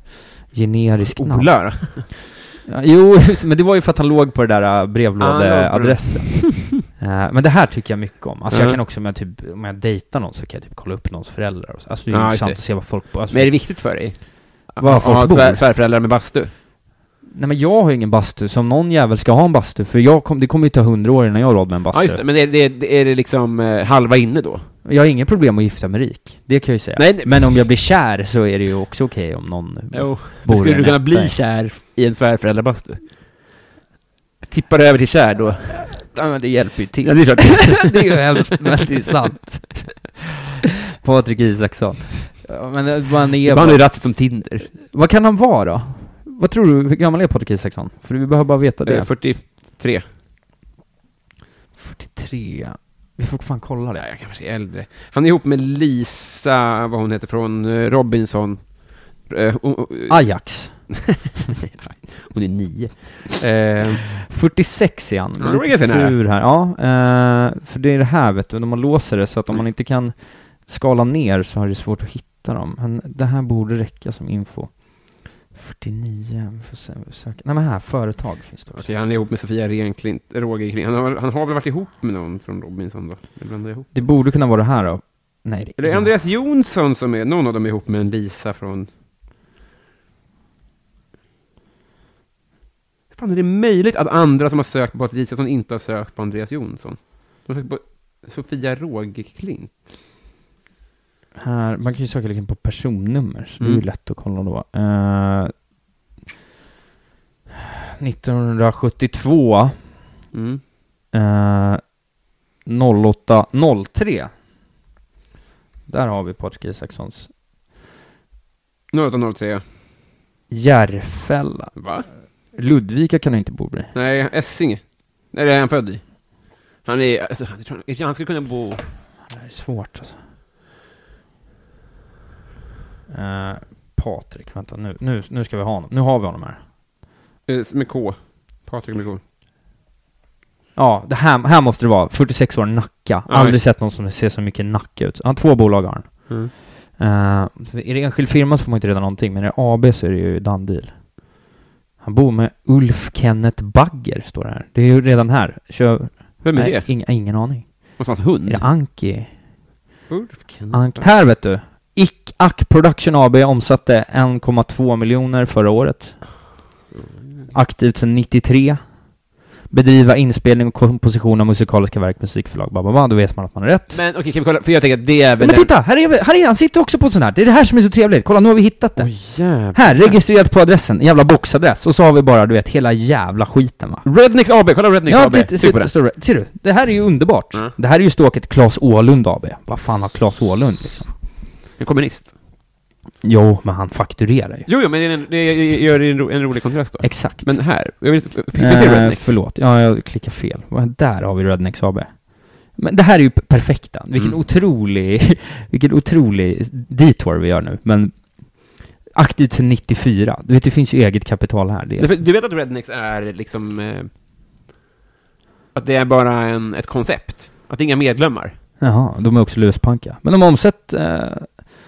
D: generiskt namn.
C: Ola
D: Ja, jo, men det var ju för att han låg på det där
C: Ah,
D: äh,
C: han låg på
D: brevlådeadressen. Eh, men det här tycker jag mycket om. Alltså
C: Ja.
D: jag kan också, om jag, typ, om jag dejtar någon så kan jag typ kolla upp någons föräldrar och så. Alltså det är
C: Ja,
D: ju
C: just
D: intressant
C: det.
D: att se vad folk... Alltså,
C: Men är det viktigt för dig?
D: Vad
C: Att-
D: folk
C: att
D: bor?
C: svär, svärföräldrar med bastu?
D: Nej men jag har ju ingen bastu, som någon jävel ska ha en bastu. För jag kom, det kommer ju ta hundra år innan jag har råd med en bastu.
C: Ja, just det. Men är det, det- är det liksom eh, halva inne då?
D: Jag har inget problem med att gifta mig rik. Det kan jag ju säga.
C: Nej, nej.
D: Men om jag blir kär så är det ju också okej om någon...
C: Men
D: Bor
C: skulle
D: i en
C: du kunna
D: etta.
C: bli kär i en svärföräldrabastu? Tippar över till kär då?
D: Ja, men det hjälper ju till.
C: Ja, det är klart.
D: det är ju hemskt, men det är sant. Patrik Isaksson. Ja, Men eh, vad han är...
C: Han är rattet som Tinder.
D: Vad kan han vara då? Vad tror du, hur gammal är Patrik Isaksson? För vi behöver bara veta
C: Eh,
D: det.
C: 43.
D: 43. Vi får fan kolla
C: Ja, jag kanske är äldre. Han är ihop med Lisa, vad hon heter, från eh, Robinson. Eh, hon- hon-
D: Ajax.
C: Hon är nio. Eh,
D: 46 är han.
C: Ja, det var ganska nära.
D: tur här. Ja, eh, för det är det här vet du, när man låser det så att om man inte kan skala ner så är det svårt att hitta dem. Men det här borde räcka som info. 49, vi får se, vi söker. Nej men här, företag finns det också.
C: Okej, han är ihop med Sofia Renklint, Roger Klint. Han har, han har väl varit ihop med någon från Robinson då? Det blandar jag ihop.
D: Det borde kunna vara det här då. Nej,
C: Är
D: det
C: det Andreas Jonsson som är, någon av dem är ihop med en Lisa från... Hur fan är det möjligt att andra som har sökt på Patrik Isaksson inte har sökt på Andreas Jonsson? De har sökt på Sofia Rogeklint.
D: Här, man kan ju söka liksom på personnummer, så det är
C: Mm.
D: ju lätt att kolla då. Eh, 1972,
C: Mm.
D: eh, 08, 03. Där har vi Patrik Isakssons
C: Nu har 03.
D: Järfälla.
C: Va?
D: Ludvika kan han inte bo i.
C: Nej, Essinge. Nej, det är han född i. Han är... Alltså, jag tror han- han skulle kunna bo...
D: Det här är svårt alltså. Eh, Patrik, vänta nu, nu, nu ska vi ha honom. Nu har vi honom här.
C: eh, Med K. Patrik med K.
D: Ja, det här, här måste det vara. 46 år, Nacka.
C: Ja,
D: Aldrig
C: visst.
D: sett någon som ser så mycket Nacka ut. Han har två bolag har han.
C: Mm.
D: Eh, för är det enskild firma så får man inte reda någonting, men är det AB så är det ju Dandil. Han bor med Ulf Kenneth Bagger, står det här. Det är ju redan här. Kör...
C: Vem är
D: Nej,
C: det? Mm.
D: Ing, ingen aning.
C: Måste han ha en hund?
D: Är det Anki?
C: Ulf Kenneth
D: Anki.
C: Berg.
D: Här vet du! Ick Ack Production AB omsatte 1,2 miljoner förra året. Aktivt sedan 93. Bedriva inspelning och komposition av musikaliska verk, musikförlag, bla, bla, bla. Då vet man att man har rätt.
C: Men okej, kan vi kolla? För jag tänker att det är väl...
D: Men titta! Här är, vi- här är han, sitter också på en sån här. Det är det här som är så trevligt. Kolla, nu har vi hittat det.
C: Åh jävlar.
D: Här, registrerat på adressen, en jävla boxadress. Och så har vi bara, du vet, hela jävla skiten va.
C: Rednex AB, kolla Rednex
D: Ja,
C: AB.
D: det,
C: Tryck på
D: ser,
C: det.
D: står det. ser du? Det här är ju underbart.
C: Mm.
D: Det här är ju ståket Claes Åhlund AB. Vad fan har Claes Åhlund liksom?
C: En kommunist.
D: Jo, men han fakturerar ju.
C: Jo, jo, men det, är en, det gör en, ro, en rolig kontrast då.
D: Exakt.
C: Men här, jag vill inte... Fick vi se
D: eh,
C: Rednex?
D: förlåt, ja, jag klickar fel. Vad- Där har vi Rednex AB. Men det här är ju p- perfekta. Vilken
C: Mm.
D: otrolig, vilken otrolig detour vi gör nu. Men aktivt sedan 94. Du vet, det finns ju eget kapital här. Det är
C: Du, du vet att Rednex är liksom... Eh, att det är bara en, ett koncept? Att det är inga medlemmar?
D: Jaha, de är också luspanka. Men de har omsatt, eh,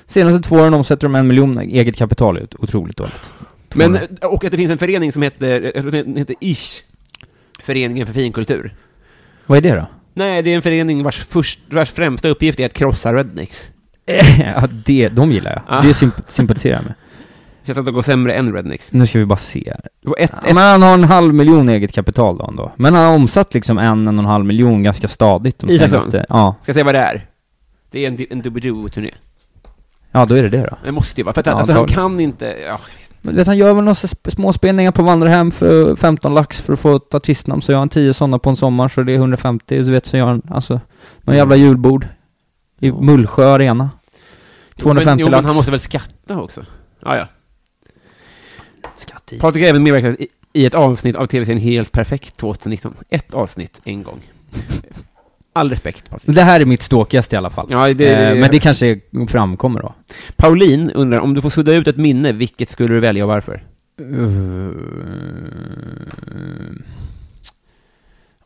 D: senaste två åren omsätter de en miljon eget kapital ut. Otroligt dåligt.
C: Men, eh, och att det finns en förening som heter, eh, jag tror den heter ISH, Föreningen för finkultur.
D: Vad är det då?
C: Nej, det är en förening vars, först, vars främsta uppgift är att krossa Rednecks.
D: ja, det, de gillar jag.
C: eh, Ah.
D: Det symp- sympatiserar jag med.
C: Känns att det går sämre än Rednecks.
D: Nu ska vi bara se här.
C: Det var ett,
D: Ja, men han har en halv miljon eget kapital då ändå. Men han har omsatt liksom en, en och en halv miljon ganska stadigt. De
C: Isaksson?
D: senaste, ja.
C: Ska jag säga vad det är? Det är en, en Doobidoo-turné.
D: ja, då är det det då.
C: Det måste ju vara, för att
D: Ja,
C: alltså, han
D: antagligen.
C: kan inte, ja,
D: Men vet, han gör väl några så sp- små spelningar på vandrarhem för 15 lax för att få ett artistnamn. Så gör han 10 sådana på en sommar så det är 150. Så vet så gör han, alltså, någon jävla julbord. I Mullsjö arena. 250
C: jo, men, jo, men
D: lax.
C: han måste väl skatta också? Ja, ja.
D: Skatt i.
C: Patrik har även medverkat i- i ett avsnitt av tv-serien Helt Perfekt 2019. Ett avsnitt, en gång. All respekt, Patrik.
D: Det här är mitt ståkigaste i alla fall.
C: Ja, det- det-
D: eh, men det kanske framkommer då.
C: Pauline undrar, om du får sudda ut ett minne, vilket skulle du välja och varför?
D: Eh,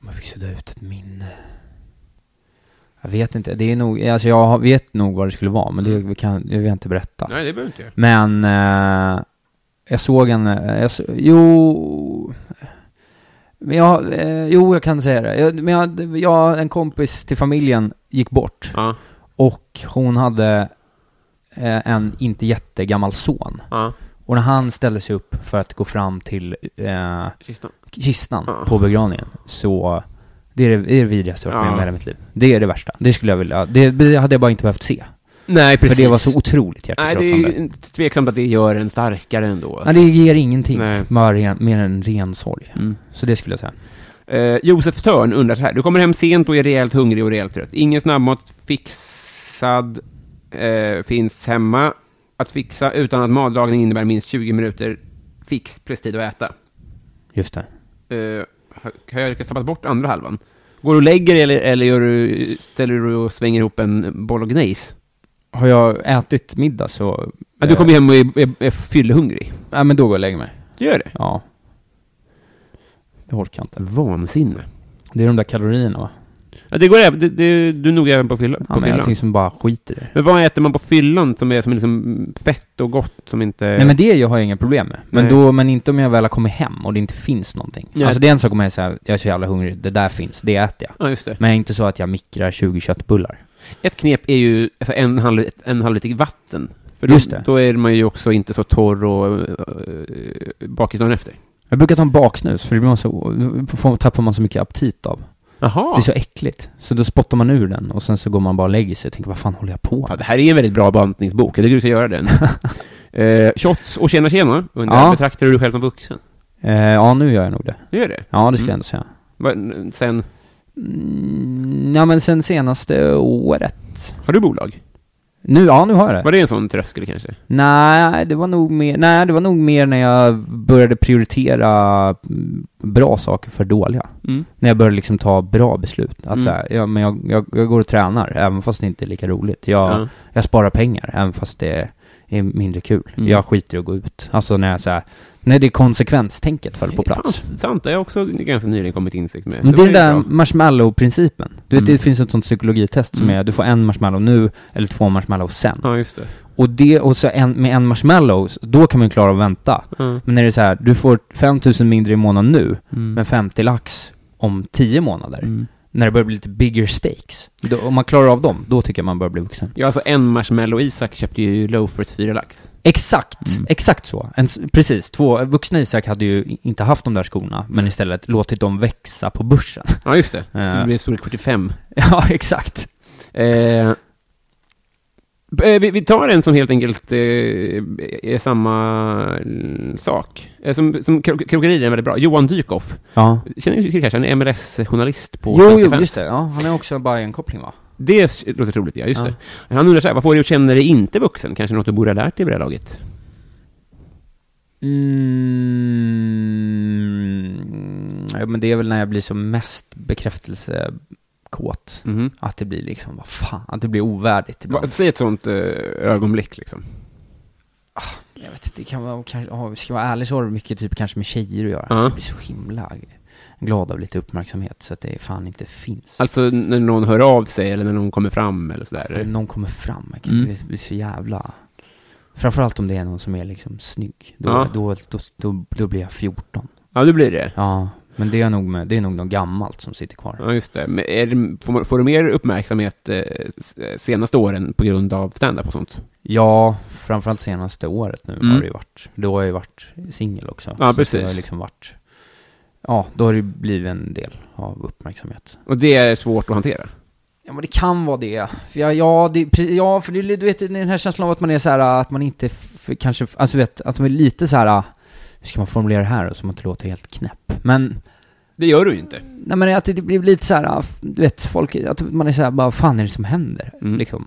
D: Om jag fick sudda ut ett minne. Jag vet inte, det är nog, alltså jag har- vet nog vad det skulle vara, men det kan, det vill jag inte berätta.
C: Nej, det behöver inte jag.
D: Men eh, jag såg en, eh, jag så, jo, men jag, eh, jo jag kan säga det. Jag, men jag, jag, en kompis till familjen gick bort
C: Ja,
D: och hon hade eh, en inte jättegammal son.
C: ja.
D: Och när han ställde sig upp för att gå fram till eh,
C: Sista.
D: kistan
C: Ja.
D: på begravningen så det är det, det, är det vidrigaste jag har varit med om
C: Ja.
D: i hela mitt liv. Det är det värsta. Det skulle jag vilja, det, det hade jag bara inte behövt se.
C: Nej, precis.
D: För det var så otroligt
C: Nej, det är
D: hjärtekrossande.
C: ju inte tveksamt att det gör en starkare ändå.
D: Nej, det ger ingenting.
C: Nej.
D: Bara ren, mer än ren sorg.
C: Mm.
D: Så det skulle jag säga.
C: Eh, Josef Törn undrar så här. Du kommer hem sent och är rejält hungrig och rejält trött. Ingen snabbmat fixad eh, finns hemma. Att fixa utan att matlagning innebär minst 20 minuter fix plus tid att äta.
D: Just det.
C: Eh, har- har jag lyckats tappa bort andra halvan? Går du och lägger dig eller, eller gör du, ställer du och svänger ihop en bolognese?
D: Har jag ätit middag så... eh,
C: Ja, du kommer ju hem och är, är, är fyllehungrig.
D: Nej, men då går jag och lägger mig.
C: Du gör det?
D: Ja. Jag orkar inte.
C: Vansinne.
D: Det är de där kalorierna va?
C: Ja, det går även, det, det, du är nog även på, fylla,
D: Ja,
C: på
D: men jag är
C: fyllan.
D: någonting som bara skiter i det.
C: Men vad äter man på fyllan som är som är liksom fett och gott som inte...
D: Nej men det jag har jag inga problem med. Men,
C: Eh. Nej.
D: då, men inte om jag väl har kommit hem och det inte finns någonting.
C: Nej.
D: Alltså det är en sak om jag är så här, jag är så jävla hungrig, det där finns, det äter jag.
C: Ja, just det.
D: Men jag är inte så att jag mikrar 20 köttbullar.
C: Ett knep är ju alltså, en, halv, en halv liter vatten. För
D: Just
C: då,
D: det.
C: då är man ju också inte så torr och uh, bakis dagen efter.
D: Jag brukar ta en baksnus, för det blir man så, får- tappar man så mycket aptit av.
C: Jaha!
D: Det är så äckligt. Så då spottar man ur den och sen så går man bara och lägger sig och tänker, vad fan håller jag på
C: Fan,
D: med?
C: det här är en väldigt bra bantningsbok. Jag tycker du ska göra den. eh, shots och tjena tjena, undrar
D: Ja.
C: betraktar du dig själv som vuxen?
D: Eh, ja, nu gör jag nog det.
C: Du gör det?
D: Ja, det ska
C: Mm.
D: jag ändå säga.
C: Va, sen,
D: Mm, ja, men sen senaste året.
C: har du bolag?
D: Nu, ja, nu har jag det.
C: Var det en sån tröskel kanske?
D: Nej, det var nog mer, nej, det var nog mer när jag började prioritera mm, bra saker för dåliga.
C: Mm.
D: När jag började liksom ta bra beslut. Att
C: Mm.
D: så här, ja, men jag, jag, jag går och tränar, även fast det inte är lika roligt. Jag,
C: Ja.
D: jag sparar pengar, även fast det är mindre kul.
C: Mm.
D: Jag skiter i att gå ut. Alltså när jag så här, när det är konsekvenstänket föll på
C: Det är
D: plats.
C: fan sant, det har jag också ganska nyligen kommit till insikt med.
D: Men det är den
C: var ju
D: där
C: bra.
D: marshmallow-principen. Du vet,
C: Mm.
D: det finns ett sånt psykologitest som
C: Mm.
D: är, du får en marshmallow nu, eller två marshmallow sen.
C: Ja, just det.
D: Och det, och så en, med en marshmallow, då kan man ju klara att vänta.
C: Ja.
D: Men när det är så här, du får 5000 mindre i månaden nu,
C: Mm.
D: men 50 lax om 10 månader.
C: Mm.
D: När det börjar bli lite bigger stakes. Då, om man klarar av dem, då tycker jag man börjar bli vuxen.
C: Ja, alltså en marshmallow Isak köpte ju loafers fyra lax.
D: Exakt, exakt så. En, s- precis, två, vuxna Isak hade ju i- inte haft de där skorna, men istället låtit dem växa på börsen.
C: Ja, just det.
D: Ja.
C: Det blir storlek 45.
D: ja, exakt.
C: Eh, eh, vi, vi tar en som helt enkelt eh, är samma eh, sak. Eh, som som kro- krokerier är väldigt bra. Johan Dykhoff.
D: Ja.
C: Känner du till kanske? Han är MLS-journalist på
D: Jo,
C: Svenska
D: jo,
C: fans.
D: just det. Ja, han är också bara en koppling va?
C: Det låter troligt, ja. Just
D: Ja.
C: det. Han undrar så här, vad får dig att känna dig inte vuxen? Kanske något du borde ha lärt dig vid det här laget?
D: Mm, ja, men det är väl när jag blir som mest bekräftelsekåt.
C: Mhm.
D: Att det blir liksom, vad fan, att det blir ovärdigt
C: Va,
D: ibland.
C: säg ett sånt eh, ögonblick, liksom.
D: Jag vet inte, det kan vara, kanske, oh, ska jag vara ärlig så har det mycket typ kanske med tjejer att göra.
C: Ja.
D: Att det blir så himla glada av lite uppmärksamhet så att det fan inte finns.
C: Alltså när någon hör av sig eller när någon kommer fram eller sådär.
D: Om någon kommer fram, jag kan
C: Mm.
D: bli, bli så jävla... Framförallt om det är någon som är liksom snygg. Då,
C: Ja.
D: då, då, då, då blir jag 14.
C: Ja, det blir det.
D: Ja, men det är nog, med, det är nog något gammalt som sitter kvar.
C: Ja, just det. Men är det får, man- får du mer uppmärksamhet eh, s- eh, senaste åren på grund av stand-up och sånt?
D: Ja, framförallt senaste året nu
C: Mm.
D: har det ju varit. Då har jag ju varit singel också.
C: Ja,
D: Så att
C: precis.
D: Det har ju liksom varit... Ja, då har det ju blivit en del av uppmärksamhet.
C: Och det är svårt att hantera.
D: Ja, men det kan vara det. För ja, ja, det, pre- ja, för det, du vet den här känslan av att man är så här att man inte f- kanske, alltså vet, att man är lite så här hur ska man formulera det här då, så man inte låter helt knäpp? Men,
C: Det gör du ju inte.
D: nej men att det blir lite så här, du vet, folk, att man är så här bara, vad fan är det som händer?
C: Mm.
D: Liksom.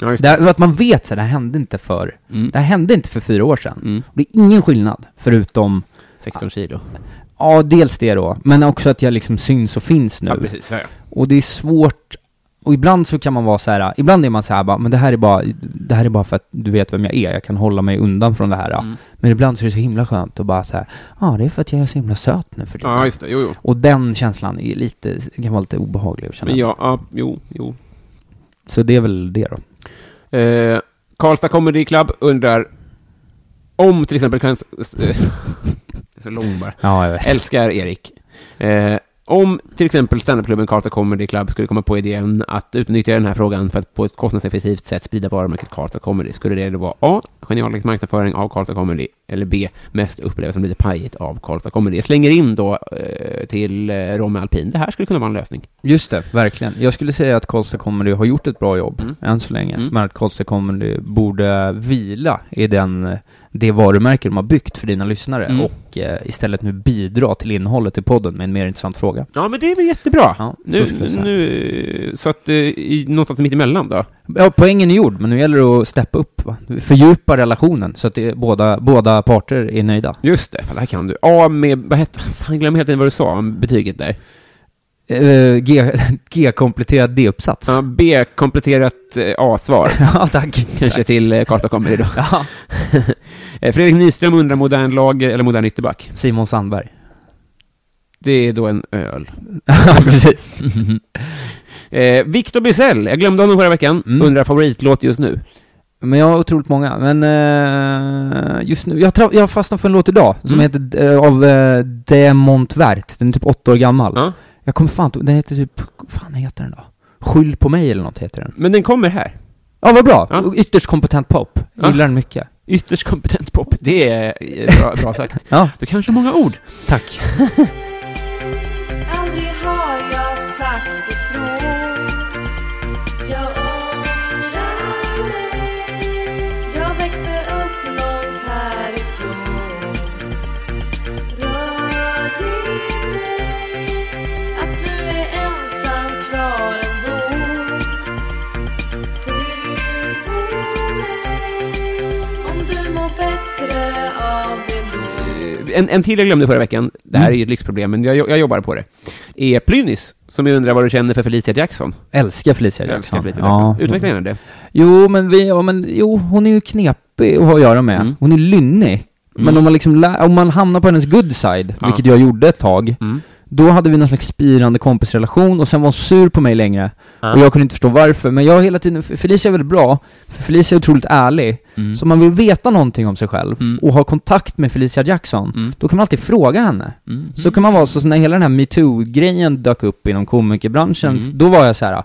C: Ja, just
D: Det, här- att man vet så här, det här hände inte för,
C: Mm.
D: det här hände inte för fyra år sedan.
C: Mm.
D: Det är ingen skillnad, förutom,
C: 16 kilo.
D: ja, dels det då, men också att jag liksom syns och finns nu.
C: Ja, precis. Ja, ja.
D: Och det är svårt, och ibland så kan man vara så här, ibland är man så här bara, men det här är bara, det här är bara för att du vet vem jag är, jag kan hålla mig undan från det här.
C: Mm.
D: ja. Men ibland så är det så himla skönt att bara så här, ja ah, det är för att jag är så himla söt nu för tiden.
C: ja, just det. Jo, jo.
D: Och den känslan är lite, kan vara lite obehaglig att känna.
C: Men ja, ja jo, jo.
D: Så det är väl det då.
C: Eh, Karlstad Comedy Club undrar om till exempel kan... så lång bara.
D: Ja, jag vet.
C: Älskar Erik. Eh, om till exempel standupklubben Karlstad Comedy Club skulle komma på idén att utnyttja den här frågan för att på ett kostnadseffektivt sätt sprida varumärket Karlstad Comedy, skulle det då vara A. Genialisk marknadsföring av Karlstad Comedy, eller B. Mest upplevs som lite pajigt av Karlstad Comedy. Jag slänger in då eh, till eh, Romme Alpin, det här skulle kunna vara en lösning.
D: Just det, verkligen. Jag skulle säga att Karlstad Comedy har gjort ett bra jobb,
C: Mm.
D: än så länge.
C: Mm.
D: Men att Karlstad Comedy borde vila i den, det varumärke de har byggt för dina lyssnare
C: Mm.
D: och eh, istället nu bidra till innehållet i podden med en mer intressant fråga.
C: Ja, men det är väl jättebra.
D: Ja, så
C: nu,
D: skulle jag
C: så,
D: säga.
C: nu, så att eh, i, någonstans mitt emellan då?
D: Ja, poängen är gjord, men nu gäller det att steppa upp, va? fördjupa relationen så att det, båda, båda parter är nöjda.
C: Just det, fan, det här kan du. A med, vad hette, fan jag glömmer helt enkelt vad du sa om betyget där.
D: Eh, G- G-kompletterad D-uppsats.
C: Ja, B kompletterat eh, A-svar.
D: Ja, tack.
C: Kanske till eh, Karlstad Comedy då.
D: Ja.
C: Eh, Fredrik Nyström undrar modern lager eller modern ytterback.
D: Simon Sandberg.
C: Det är då en öl.
D: Ja, precis.
C: Eh, Victor Bysell, jag glömde honom förra veckan,
D: Mm.
C: undrar favoritlåt just nu.
D: Men jag har otroligt många, men eh, just nu, jag, tra- jag fastnade för en låt idag
C: Mm.
D: som heter eh, av eh, De Montvert, den är typ åtta år gammal.
C: Ja.
D: Jag kommer fan inte- den heter typ, vad fan heter den då? Skyll på mig eller något heter den.
C: Men den kommer här.
D: Ja vad bra,
C: Ja.
D: ytterst kompetent pop,
C: Ja.
D: gillar den mycket.
C: Ytterst kompetent pop, det är eh, bra, bra sagt.
D: Ja,
C: Du kanske har många ord.
D: tack.
E: Aldrig har jag sagt ifrån Jag ångrar mig Jag växte upp långt härifrån Rör dig Att du är ensam kvar ändå Skynda dig Om du mår bättre av det då
C: Eh, En, en till jag glömde förra veckan, det här
D: Mm.
C: är ju ett lyxproblem, men jag, jo- jag jobbar på det. Är Plynnis, som jag undrar vad du känner för Felicia Jackson.
D: Älskar Felicia
C: Jag älskar
D: Jackson.
C: Felicia Jackson. Utveckla gärna det.
D: Jo, men vi, ja, men jo, hon är ju knepig att ha att göra med.
C: Mm.
D: Hon är lynnig. Men
C: Mm.
D: om man liksom, lä- om man hamnar på hennes good side,
C: Ja.
D: vilket jag gjorde ett tag,
C: Mm.
D: Då hade vi någon slags spirande kompisrelation och sen var hon sur på mig längre.
C: Ja.
D: Och jag kunde inte förstå varför, men jag har hela tiden, Felicia är väldigt bra, för Felicia är otroligt ärlig. Så om man vill veta någonting om sig själv
C: Mm.
D: och ha kontakt med Felicia Jackson,
C: Mm.
D: då kan man alltid fråga henne. Så kan man vara så, så när hela den här metoo-grejen dök upp inom komikerbranschen,
C: Mm.
D: då var jag så här. eh,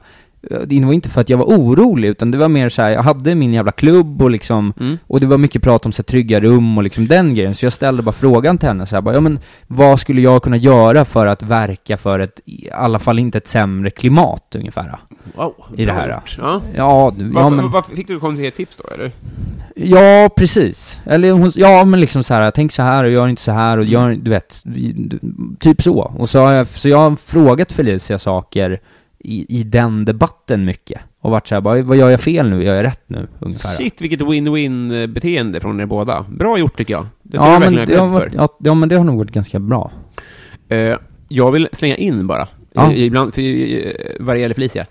D: Det var inte för att jag var orolig, utan det var mer så här, jag hade min jävla klubb och liksom,
C: Mm.
D: och det var mycket prat om så här, trygga rum och liksom den grejen, så jag ställde bara frågan till henne så här, bara, ja men vad skulle jag kunna göra för att verka för ett, i alla fall inte ett sämre klimat ungefär?
C: Wow.
D: I det här,
C: bra
D: då.
C: gjort. Ja.
D: Ja, du- ja
C: Varför,
D: men,
C: varför fick du konkreta tips då, eller?
D: ja precis. Eller hon, ja men liksom så här, tänk så här och gör inte så här
C: Mm.
D: och gör, du vet, vi- du- typ så. Och så har jag, så jag har frågat Felicia saker i, i den debatten mycket. Och varit så här, bara, vad gör jag fel nu? Gör jag rätt nu? Ungefär.
C: Shit, vilket win-win-beteende från er båda. Bra gjort, tycker jag. Det ska
D: ja,
C: du
D: men
C: verkligen
D: det
C: ha
D: har
C: cred
D: varit, ja, ja men det har nog varit ganska bra.
C: för. Eh, jag vill slänga in bara,
D: Ja.
C: eh, ibland, för, eh, vad det gäller Felicia.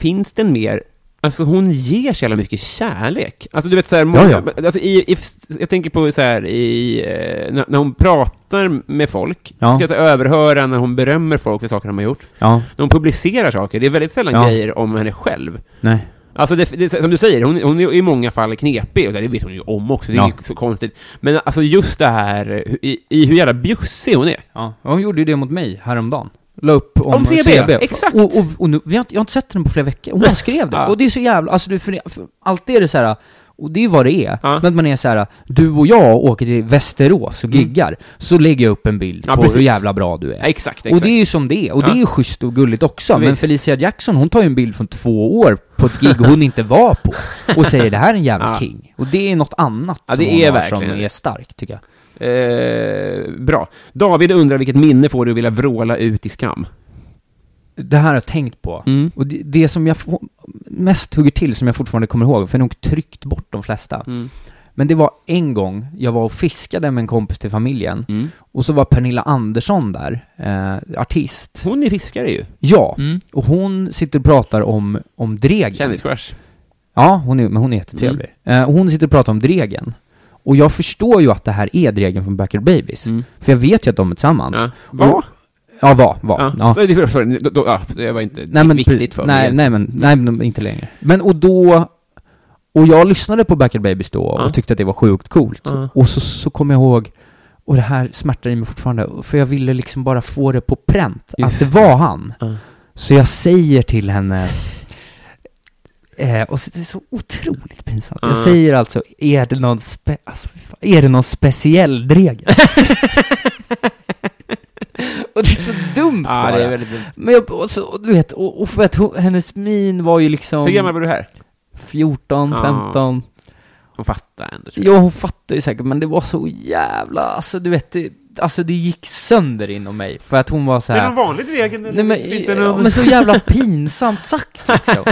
C: Finns det en mer Alltså hon ger så jävla mycket kärlek. Alltså du vet så här,
D: Ja,
C: Alltså, i, i, jag tänker på så här, i, eh, när, när hon pratar med folk,
D: Ja.
C: jag kan jag överhöra när hon berömmer folk för saker de har gjort.
D: Ja,
C: När hon publicerar saker, det är väldigt sällan
D: Ja.
C: grejer om henne själv.
D: nej.
C: Alltså det, det, som du säger, hon, hon är i många fall knepig, och det vet hon ju om också, det är
D: Ja.
C: ju så konstigt. Men alltså just det här, eh, hu- i, i hur jävla bjussig hon är.
D: Ja, och hon gjorde ju det mot mig häromdagen. La upp om,
C: Om CB, exakt.
D: Och, och, och nu, vi har inte, jag har inte sett den på flera veckor. Och Hon bara skrev det.
C: Ja.
D: Och det är så jävla, alltså du, för, det- för, alltid är det så här. Och det är vad det är.
C: Ja. Mm.
D: Men att man är så här, du och jag åker till Västerås och giggar, så lägger jag upp en bild
C: Ja,
D: på hur
C: precis.
D: jävla bra du är.
C: Ja, exakt, exakt.
D: Och det är ju som det är, och
C: Ja.
D: det är ju schysst och gulligt också. Men
C: Visst.
D: Felicia Jackson, hon tar ju en bild från två år på ett gig hon inte var på, och säger det här är en jävla
C: Ja.
D: king. Och det är något annat
C: Ja,
D: som
C: det
D: hon
C: är
D: har
C: verkligen
D: som
C: det.
D: är starkt, tycker jag.
C: Eh, bra. David undrar vilket minne får du att vilja vråla ut i skam?
D: Det här har jag tänkt på.
C: Mm.
D: Och det, det som jag få- mest hugger till, som jag fortfarande kommer ihåg, för jag har nog tryckt bort de flesta.
C: Mm.
D: Men det var en gång jag var och fiskade med en kompis till familjen,
C: Mm.
D: och så var Pernilla Andersson där, eh, artist.
C: Hon Mm. är fiskare ju.
D: Ja, och hon sitter och pratar om, om Dregen.
C: Kändiscrush.
D: Ja, hon är, men hon är jättetrevlig.
C: Mm.
D: Eh, hon sitter och pratar om Dregen. Och jag förstår ju att det här är Dregen från Backyard Babies. För jag vet ju att de är tillsammans.
C: Mm. Ja.
D: Och-
C: Va?
D: Mm. Ja, var, var.
C: Ja.
D: Ja.
C: Så det, för, för, då, då, ja, det var inte
D: Nej, men,
C: viktigt för
D: nej,
C: mig.
D: Nej, men, nej, men inte längre. Men och då, och jag lyssnade på Backyard Babies då och
C: Ja.
D: tyckte att det var sjukt coolt.
C: Ja.
D: Och så, så kom jag ihåg, och det här smärtar i mig fortfarande, för jag ville liksom bara få det på pränt, att
C: Just
D: det var han.
C: Ja.
D: Så jag säger till henne, eh, och så, det är så otroligt pinsamt.
C: Ja.
D: Jag säger alltså, är det någon, spe, alltså, fy fan, är det någon speciell dregel? och det är så dumt
C: Ja,
D: bara.
C: det är väldigt dumt.
D: Men jag, och så, och du vet, och, och för att hon, hennes min var ju liksom
C: Hur gammal var du här?
D: 14,
C: Ja.
D: 15.
C: Hon fattar ändå. tror jag.
D: Jo, hon fattar ju säkert, men det var så jävla, alltså du vet, det, alltså det gick sönder inom mig. För att hon var så
C: Är det någon
D: här.
C: vanlig regel?
D: Nej men,
C: Finns det
D: ja,
C: någon-
D: men så jävla pinsamt sagt liksom.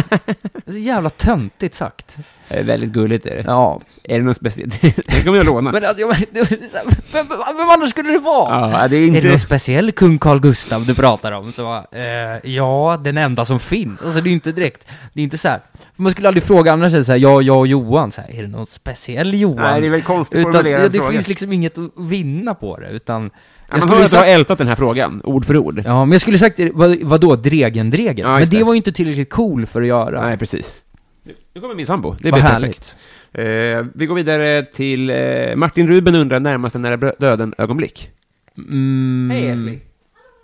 D: Så jävla töntigt sagt.
C: Det är Väldigt gulligt är det.
D: Ja.
C: Är det någon speciell? det kommer jag låna.
D: Men alltså, jag, men- det var så här, vem, vem, vem annars skulle det vara?
C: ja, det är inte...
D: Är det någon speciell kung Carl Gustav du pratar om? Så, bara, eh, ja, den enda som finns. Alltså det är inte direkt, det är inte så här. För man skulle aldrig fråga annars är det så här, ja, jag och Johan, så här, är det någon speciell Johan?
C: Nej, det är väl konstigt
D: utan,
C: formulerad
D: ja, det
C: fråga.
D: finns liksom inget att vinna på det, utan...
C: ja, man
D: skulle
C: har ju inte
D: sagt-
C: ältat den här frågan, ord för ord.
D: Ja, men jag skulle sagt, vad, vadå, dregen, dregen?
C: Ja,
D: men
C: just
D: det
C: det.
D: var ju inte tillräckligt cool för att göra.
C: Nej, precis. Nu- Nu kommer min sambo. Det
D: Vad
C: blir
D: härligt.
C: perfekt. Eh, vi går vidare till eh, Martin Ruben undrar närmaste nära brö- döden-ögonblick.
D: Mm,
C: Esli.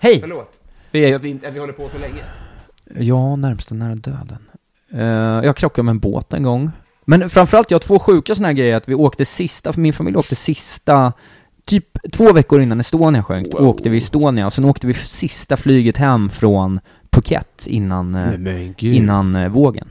D: Hej!
C: Förlåt. Vi, att, vi inte, att vi håller på så länge.
D: Ja, närmsta nära döden. Eh, jag krockade med en båt en gång. Men framförallt, jag har två sjuka såna här grejer, att vi åkte sista, för min familj åkte sista, typ två veckor innan Estonia sjönk,
C: Wow.
D: åkte vi Estonia, och sen åkte vi sista flyget hem från Phuket innan, eh,
C: men
D: innan eh, vågen.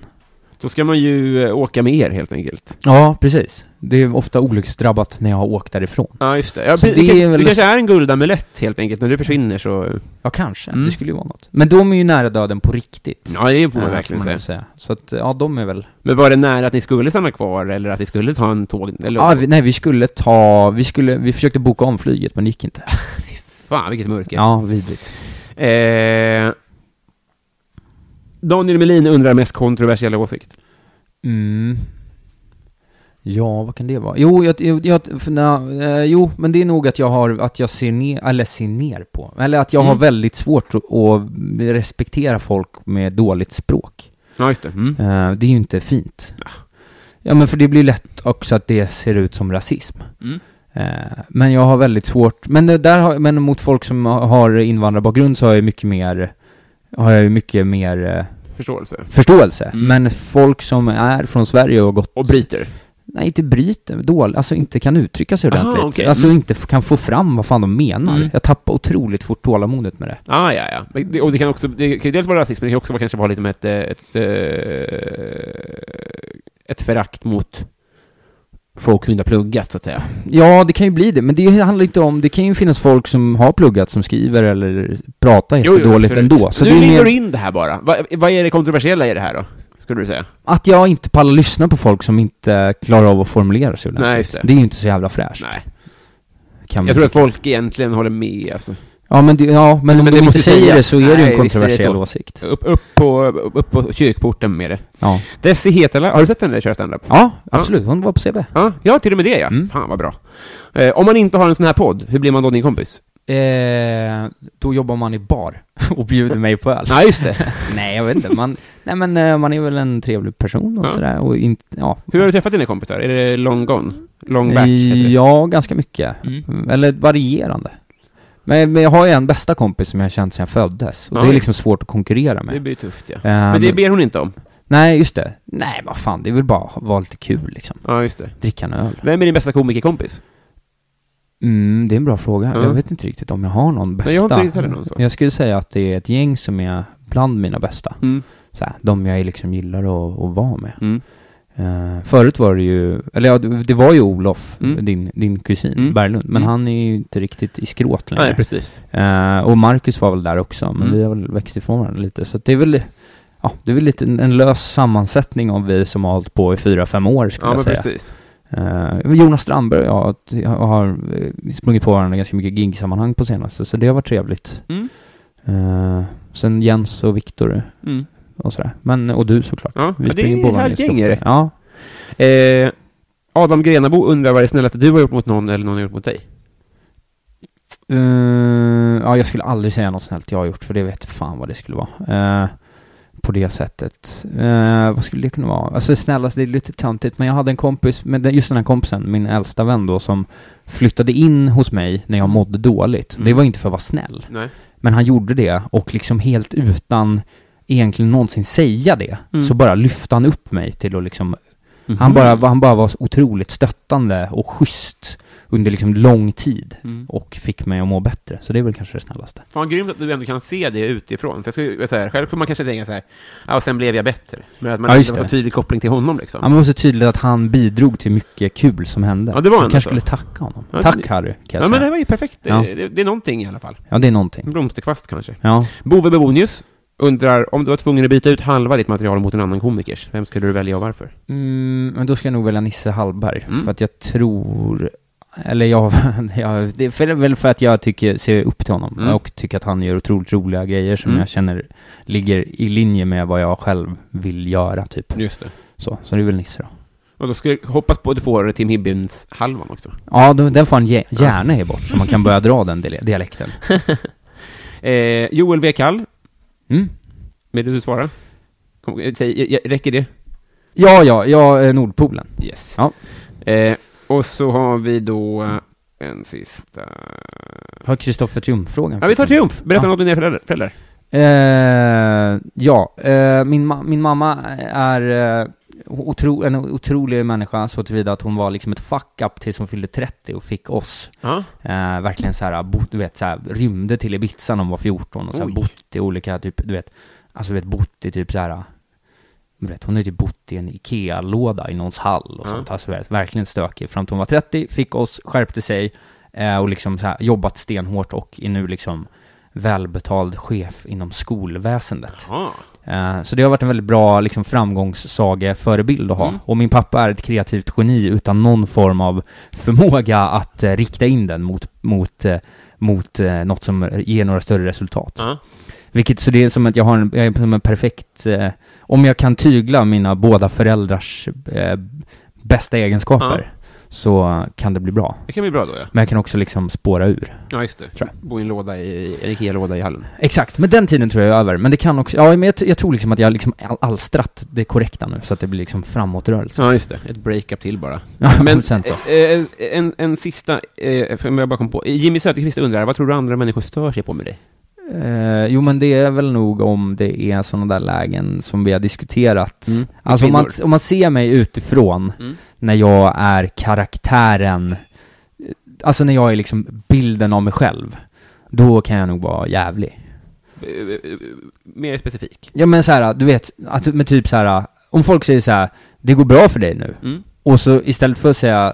C: Då ska man ju eh, åka med er helt enkelt.
D: Ja, precis. Det är ofta olycksdrabbat när jag har åkt därifrån.
C: Ja, just det. Ja,
D: Så
C: det,
D: det
C: kan-
D: är väl-
C: det kanske är en guldamulett helt enkelt. När du försvinner så...
D: Ja, kanske.
C: Mm.
D: Det skulle ju vara något. Men de är ju nära döden på riktigt.
C: Ja, det får man
D: eh,
C: verkligen
D: får man
C: säga.
D: nog Så att, ja, de är väl
C: Men var det nära att ni skulle stanna kvar eller att ni skulle ta en tåg? Eller...
D: Ja, vi, nej vi skulle ta, vi skulle, vi försökte boka om flyget men det gick inte.
C: Fan, vilket mörker.
D: Ja, vidrigt.
C: Eh... Daniel Melin undrar mest kontroversiella åsikt.
D: Mm. Ja, vad kan det vara? Jo, jag, jag, jag för, na, eh, jo, men det är nog att jag har, att jag ser ner, eller ser ner på, eller att jag har
C: Mm.
D: väldigt svårt att, att respektera folk med dåligt språk.
C: Ja, just det. Mm.
D: Eh, det är ju inte fint. Ja, men för det blir lätt också att det ser ut som rasism.
C: Mm.
D: Eh, Men jag har väldigt svårt, men, det där har, men mot folk som har invandrarbakgrund så har jag ju mycket mer, har jag ju mycket mer eh,
C: Förståelse.
D: förståelse.
C: Mm.
D: Men folk som är från Sverige och har gått...
C: Och bryter.
D: Nej, inte bryter, dåligt, alltså inte kan uttrycka sig
C: Aha,
D: ordentligt.
C: okej.
D: Alltså
C: Mm.
D: inte f- kan få fram vad fan de menar.
C: Mm.
D: Jag tappar otroligt fort tålamodet med det.
C: Ah, ja, ja. Men det- Och det kan också, det kan ju dels vara rasism, men det kan också vara- kanske vara lite med ett, eh, ett, eh, ett förakt mot folk som inte har pluggat, så att säga.
D: Ja, det kan ju bli det, men det handlar inte om, det kan ju finnas folk som har pluggat som skriver eller pratar jättedåligt
C: absolut.
D: ändå. Så
C: nu
D: det är
C: ringer
D: mer
C: du in det här bara. Vad, vad är det kontroversiella i det här då? Skulle du säga?
D: Att jag inte pallar lyssna på folk som inte klarar av att formulera sig ordentligt.
C: Nej, just det.
D: är ju inte så jävla fräscht.
C: Nej.
D: Kan man
C: Jag tror att
D: tycka.
C: folk egentligen håller med, alltså.
F: Ja men, det, ja, men
C: men
F: om de
C: det
F: inte
C: måste
F: säger det
C: sägas.
F: så är det ju en
C: Nej, visst är det
F: kontroversiell
C: så.
F: åsikt.
C: Upp, upp, på, upp på kyrkporten med det.
F: Ja.
C: Desi Hetala, har du sett henne köra standup?
F: ja, absolut. Hon var på CB.
C: Ja, ja, till och med det ja. Fan vad bra. Eh, om man inte har en sån här podd, hur blir man då din kompis?
F: Eh, då jobbar man i bar och bjuder mig på öl.
C: Ja, just det.
F: nej, jag vet inte. Man, nej, men eh, man är väl en trevlig person och
C: Ja.
F: sådär. Och inte, ja.
C: Hur har du träffat dina kompisar? Är det long gone? Long back? heter det. Mm.
F: Ja, ganska mycket. Eller varierande. Men, men jag har ju en bästa kompis som jag har känt sedan jag föddes. Och
C: Ja,
F: det är
C: just-
F: liksom svårt att konkurrera
C: Det
F: med.
C: blir tufft ja.
F: Eh,
C: Men det ber hon inte om?
F: Nej, just det. Nej, vad fan. Det är väl bara att vara lite kul liksom.
C: Ja, just det.
F: Dricka en öl.
C: Vem är din bästa komikerkompis?
F: Mm, det är en bra fråga.
C: Ja.
F: Jag vet inte riktigt om jag har någon bästa.
C: Nej, jag har inte riktigt heller någon så.
F: Jag skulle säga att det är ett gäng som är bland mina bästa.
C: Mm.
F: Så här, de jag liksom gillar att, att vara med.
C: Mm.
F: Eh, förut var det ju, eller ja, det det var ju Olof,
C: Mm.
F: din, din kusin
C: Mm.
F: Berglund, men
C: Mm.
F: han är ju inte riktigt i skråt längre.
C: Nej, precis.
F: Eh, och Marcus var väl där också, men
C: Mm.
F: vi har väl växt ifrån varandra lite. Så att det är väl, ja, det är väl lite en, en lös sammansättning av vi som har hållit på i fyra, fem år skulle
C: Ja, men
F: jag säga.
C: precis.
F: Eh, Jonas Strandberg och jag har- t- har eh, sprungit på varandra ganska mycket gigsammanhang på senaste, så det har varit trevligt.
C: Mm.
F: Eh, sen Jens och Viktor
C: Mm.
F: och sådär. Men, och du såklart.
C: Ja, men det
F: springer
C: är
F: på varandra
C: ett
F: ganska
C: gäng, är
F: ofta. Ja.
C: Eh, Adam Grenabo undrar vad det snällaste du har gjort mot någon eller någon har gjort mot dig?
F: Eh, ja, jag skulle aldrig säga något snällt jag har gjort, för det vet fan vad det skulle vara. Eh, på det sättet. Eh, vad skulle det kunna vara? Alltså snällast, det är lite töntigt, men jag hade en kompis, men den- just den här kompisen, min äldsta vän då, som flyttade in hos mig när jag mådde dåligt.
C: Mm.
F: Det var inte för att vara snäll.
C: Nej.
F: Men han gjorde det och liksom helt utan egentligen någonsin säga det,
C: Mm.
F: så bara lyfte han upp mig till att liksom, han, bara, han bara var så otroligt stöttande och schysst under liksom lång tid
C: Mm.
F: och fick mig att må bättre. Så det är väl kanske det snällaste.
C: Fan, grymt att du ändå kan se det utifrån. För jag skulle, så här, själv får man kanske tänka så här, ja, och sen blev jag bättre. Men att man
F: Ja,
C: inte
F: just
C: har
F: det.
C: så tydlig koppling till honom liksom.
F: Ja, men det var så tydligt att han bidrog till mycket kul som hände.
C: Ja, det var
F: Jag
C: ändå
F: kanske
C: så.
F: skulle tacka honom.
C: Ja,
F: Tack
C: det-
F: Harry, kan jag
C: Ja, men
F: säga.
C: det här var ju perfekt.
F: Ja.
C: Det, det är någonting i alla fall.
F: Ja, det är
C: En
F: någonting.
C: blomsterkvast kanske.
F: Ja.
C: Bove Bebonius undrar om du var tvungen att byta ut halva ditt material mot en annan komikers. Vem skulle du välja och varför?
F: Mm, men då ska jag nog välja Nisse Hallberg,
C: Mm.
F: för att jag tror... Eller jag, jag det är för- väl för att jag tycker, ser upp till honom
C: Mm.
F: och tycker att han gör otroligt roliga grejer som
C: Mm.
F: jag känner ligger i linje med vad jag själv vill göra, typ.
C: Just det.
F: Så, så det är väl Nisse då.
C: Och då ska jag hoppas på att du får Tim Hibbins halvan också.
F: Ja, då, den får han ge, gärna ge bort, så man kan börja dra den dile- dialekten.
C: Eh, Joel W. Kall,
F: Mm.
C: vill du svara? Kom, eh, säg, eh, räcker det?
F: Ja, ja, ja, eh, Nordpolen.
C: Yes.
F: Ja.
C: Eh, och så har vi då eh, en sista...
F: Har Kristoffer Triumf-frågan?
C: Ja, vi tar Triumf. Berätta
F: Ja.
C: något om dina föräldrar. föräldrar.
F: Eh, ja, eh, min, ma- min mamma är eh, otro, en otrolig människa så tillvida att hon var liksom ett fuck-up tills hon fyllde 30 och fick oss.
C: Ja.
F: Eh, verkligen så här, bo, du vet, så här, rymde till Ibiza när hon var 14 och så här,
C: Oj.
F: bott i olika, typ, du vet, alltså du vet, bott i typ så här, du vet, hon har ju typ bott i en IKEA-låda i någons hall och
C: Ja.
F: sånt. Alltså, ver- verkligen stökig. Fram till hon var 30, fick oss, skärpte sig eh, och liksom så här, jobbat stenhårt och är nu liksom välbetald chef inom skolväsendet.
C: Ja.
F: Eh, så det har varit en väldigt bra liksom, framgångssaga-förebild att ha.
C: Mm.
F: Och min pappa är ett kreativt geni utan någon form av förmåga att eh, rikta in den mot, mot, eh, mot eh, något som ger några större resultat.
C: Ja.
F: Vilket, så det är som att jag har en, jag är som en perfekt, eh, om jag kan tygla mina båda föräldrars eh, bästa egenskaper så kan det bli bra.
C: Det kan bli bra då, ja.
F: Men jag kan också liksom spåra ur.
C: Ja, just det.
F: Tror
C: Bo i en låda i, en IKEA-låda i hallen.
F: Exakt, men den tiden tror jag är över. Men det kan också, ja men jag, t- jag tror liksom att jag har liksom al- alstrat det korrekta nu så att det blir liksom framåtrörelse.
C: Ja, just det. Ett breakup till bara.
F: Ja,
C: Men-
F: men sen så.
C: Eh, en, en sista, eh, för jag bara kom på. Jimmy Söderqvist undrar, vad tror du andra människor stör sig på med dig?
F: Eh, jo men det är väl nog om det är sådana där lägen som vi har diskuterat.
C: Mm.
F: Alltså om man,
C: Kvinnor.
F: om man ser mig utifrån
C: Mm.
F: när jag är karaktären, alltså när jag är liksom bilden av mig själv, då kan jag nog vara jävlig.
C: Eh, eh, mer specifik.
F: Ja men så här, du vet, att, men typ så här, om folk säger så här, det går bra för dig nu,
C: Mm.
F: och så istället för att säga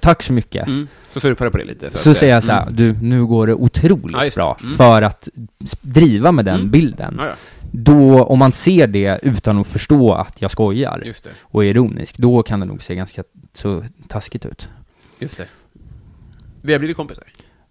F: tack så mycket,
C: Mm. Så surfar du på det lite.
F: Så,
C: att säga.
F: säger jag så här,
C: Mm.
F: du, nu går det otroligt
C: Ja, just det.
F: bra
C: Mm.
F: för att s- driva med den
C: Mm.
F: bilden.
C: Ja,
F: Då, om man ser det utan att förstå att jag skojar
C: ja. Just det.
F: och är ironisk, då kan det nog se ganska så taskigt ut.
C: Just det. Vi har blivit kompisar.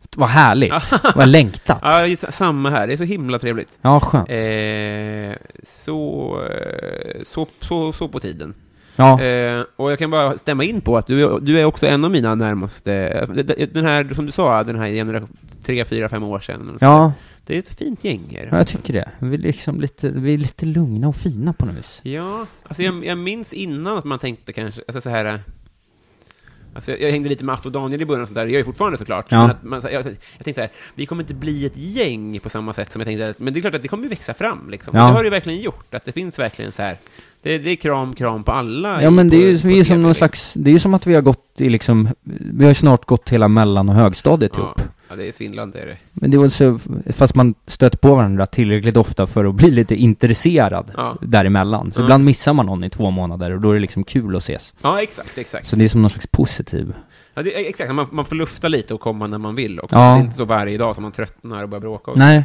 D: gott, vad härligt, vad längtat.
C: Ja, just- samma här. Det är så himla trevligt.
D: Ja, skönt.
C: Eh, så, eh, så, så, så på tiden.
D: Ja,
C: Eh, och jag kan bara stämma in på att du, du är också en av mina närmaste, eh, den här, som du sa, den här generation, tre, fyra, fem år sedan. och så.
D: ja,
C: Det är ett fint gäng här.
D: ja, jag tycker det. Vi är liksom lite, vi är lite lugna och fina på något vis.
C: Ja, alltså jag, jag minns innan att man tänkte kanske, alltså så här... äh, Alltså jag, jag hängde lite med Atto och Daniel i början och sånt där, det gör jag fortfarande såklart.
D: Ja.
C: Men att man, så här- jag, jag tänkte så här, vi kommer inte bli ett gäng på samma sätt som jag tänkte, att- men det är klart att det kommer ju växa fram liksom.
D: Ja.
C: Och Det har det ju verkligen gjort, att det finns verkligen så här, det, det är kram, kram på alla.
D: Ja
C: i-
D: men det är ju
C: på-
D: som,
C: på
D: vi är
C: TV,
D: som någon
C: liksom.
D: slags, det är ju som att vi har gått i liksom, vi har snart gått hela mellan och högstadiet ihop.
C: Ja, ja, det är svindlande är det.
D: Men det var så, fast man stöter på varandra tillräckligt ofta för att bli lite intresserad
C: Ja.
D: däremellan. Så
C: Mm.
D: ibland missar man någon i två månader och då är det liksom kul att ses.
C: Ja, exakt, exakt.
D: Så det är som någon slags positiv.
C: ja, det är, exakt. Man, man får lufta lite och komma när man vill också.
D: Ja.
C: Det är inte så varje dag som man tröttnar och börjar bråka. Och så.
D: Nej.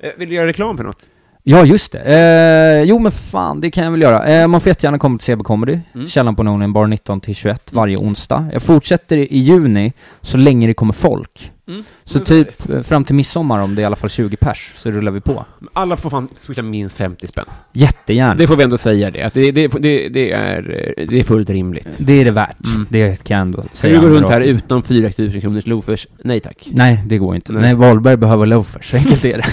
C: Eh, Vill du göra reklam för något?
D: Ja, just det. Eh, jo men fan, det kan jag väl göra. Eh, man får jättegärna komma till CB Comedy,
C: Mm.
D: Källan på Nonen, bar 19 till 21 varje onsdag. Jag fortsätter i juni, så länge det kommer folk.
C: Mm.
D: Så
C: Men-
D: typ eh, fram till midsommar, om det är i alla fall 20 pers, så rullar vi på.
C: Alla får fan swisha minst 50 spänn.
D: Jättegärna.
C: Det får vi ändå säga det, att det, det, det, det, är, eh, det är fullt rimligt.
D: Det är det värt. Det kan jag ändå
C: Mm. Ska du
D: säga.
C: gå
D: andra
C: runt här
D: året.
C: utan 4 000 kronors loafers? Nej tack.
D: Nej, det går inte.
C: Nej.
D: Nej, Wahlberg behöver loafers, så enkelt är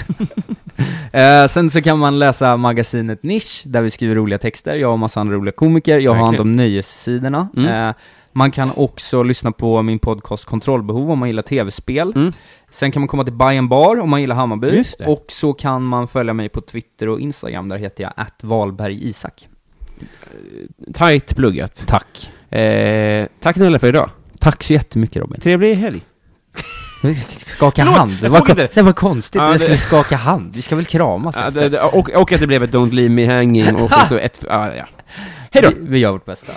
D: det. Eh, sen så kan man läsa magasinet Nisch, där vi skriver roliga texter. Jag och massa andra roliga komiker. Jag har hand om nöjessidorna.
C: Mm.
D: Eh, man kan också lyssna på min podcast Kontrollbehov om man gillar tv-spel.
C: Mm.
D: Sen kan man komma till Bayern Bar om man gillar Hammarby.
C: Just det.
D: Och så kan man följa mig på Twitter och Instagram. Där heter jag @valbergisak.
C: Tight pluggat.
D: Tack.
C: Eh, tack Nella för idag.
D: Tack så jättemycket Robin.
C: Trevlig helg.
D: Skaka
C: Förlåt,
D: hand, det
C: jag
D: var,
C: såg
D: kon-
C: inte.
D: det var konstigt,
C: Ja,
D: vi
C: det-
D: skulle skaka hand, vi ska väl kramas
C: Ja,
D: efter?
C: det, det, och, och att det blev ett Don't Leave Me Hanging och så ett... ja, ja. Hej då!
D: Vi, vi gör vårt bästa.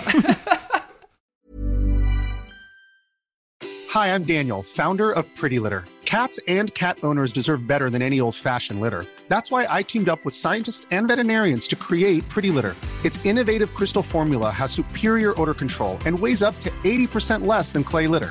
G: Hi, I'm Daniel, founder of Pretty Litter. Cats and cat owners deserve better than any old fashioned litter. That's why I teamed up with scientists and veterinarians to create Pretty Litter. Its innovative crystal formula has superior odor control and weighs up to 80% less than clay litter.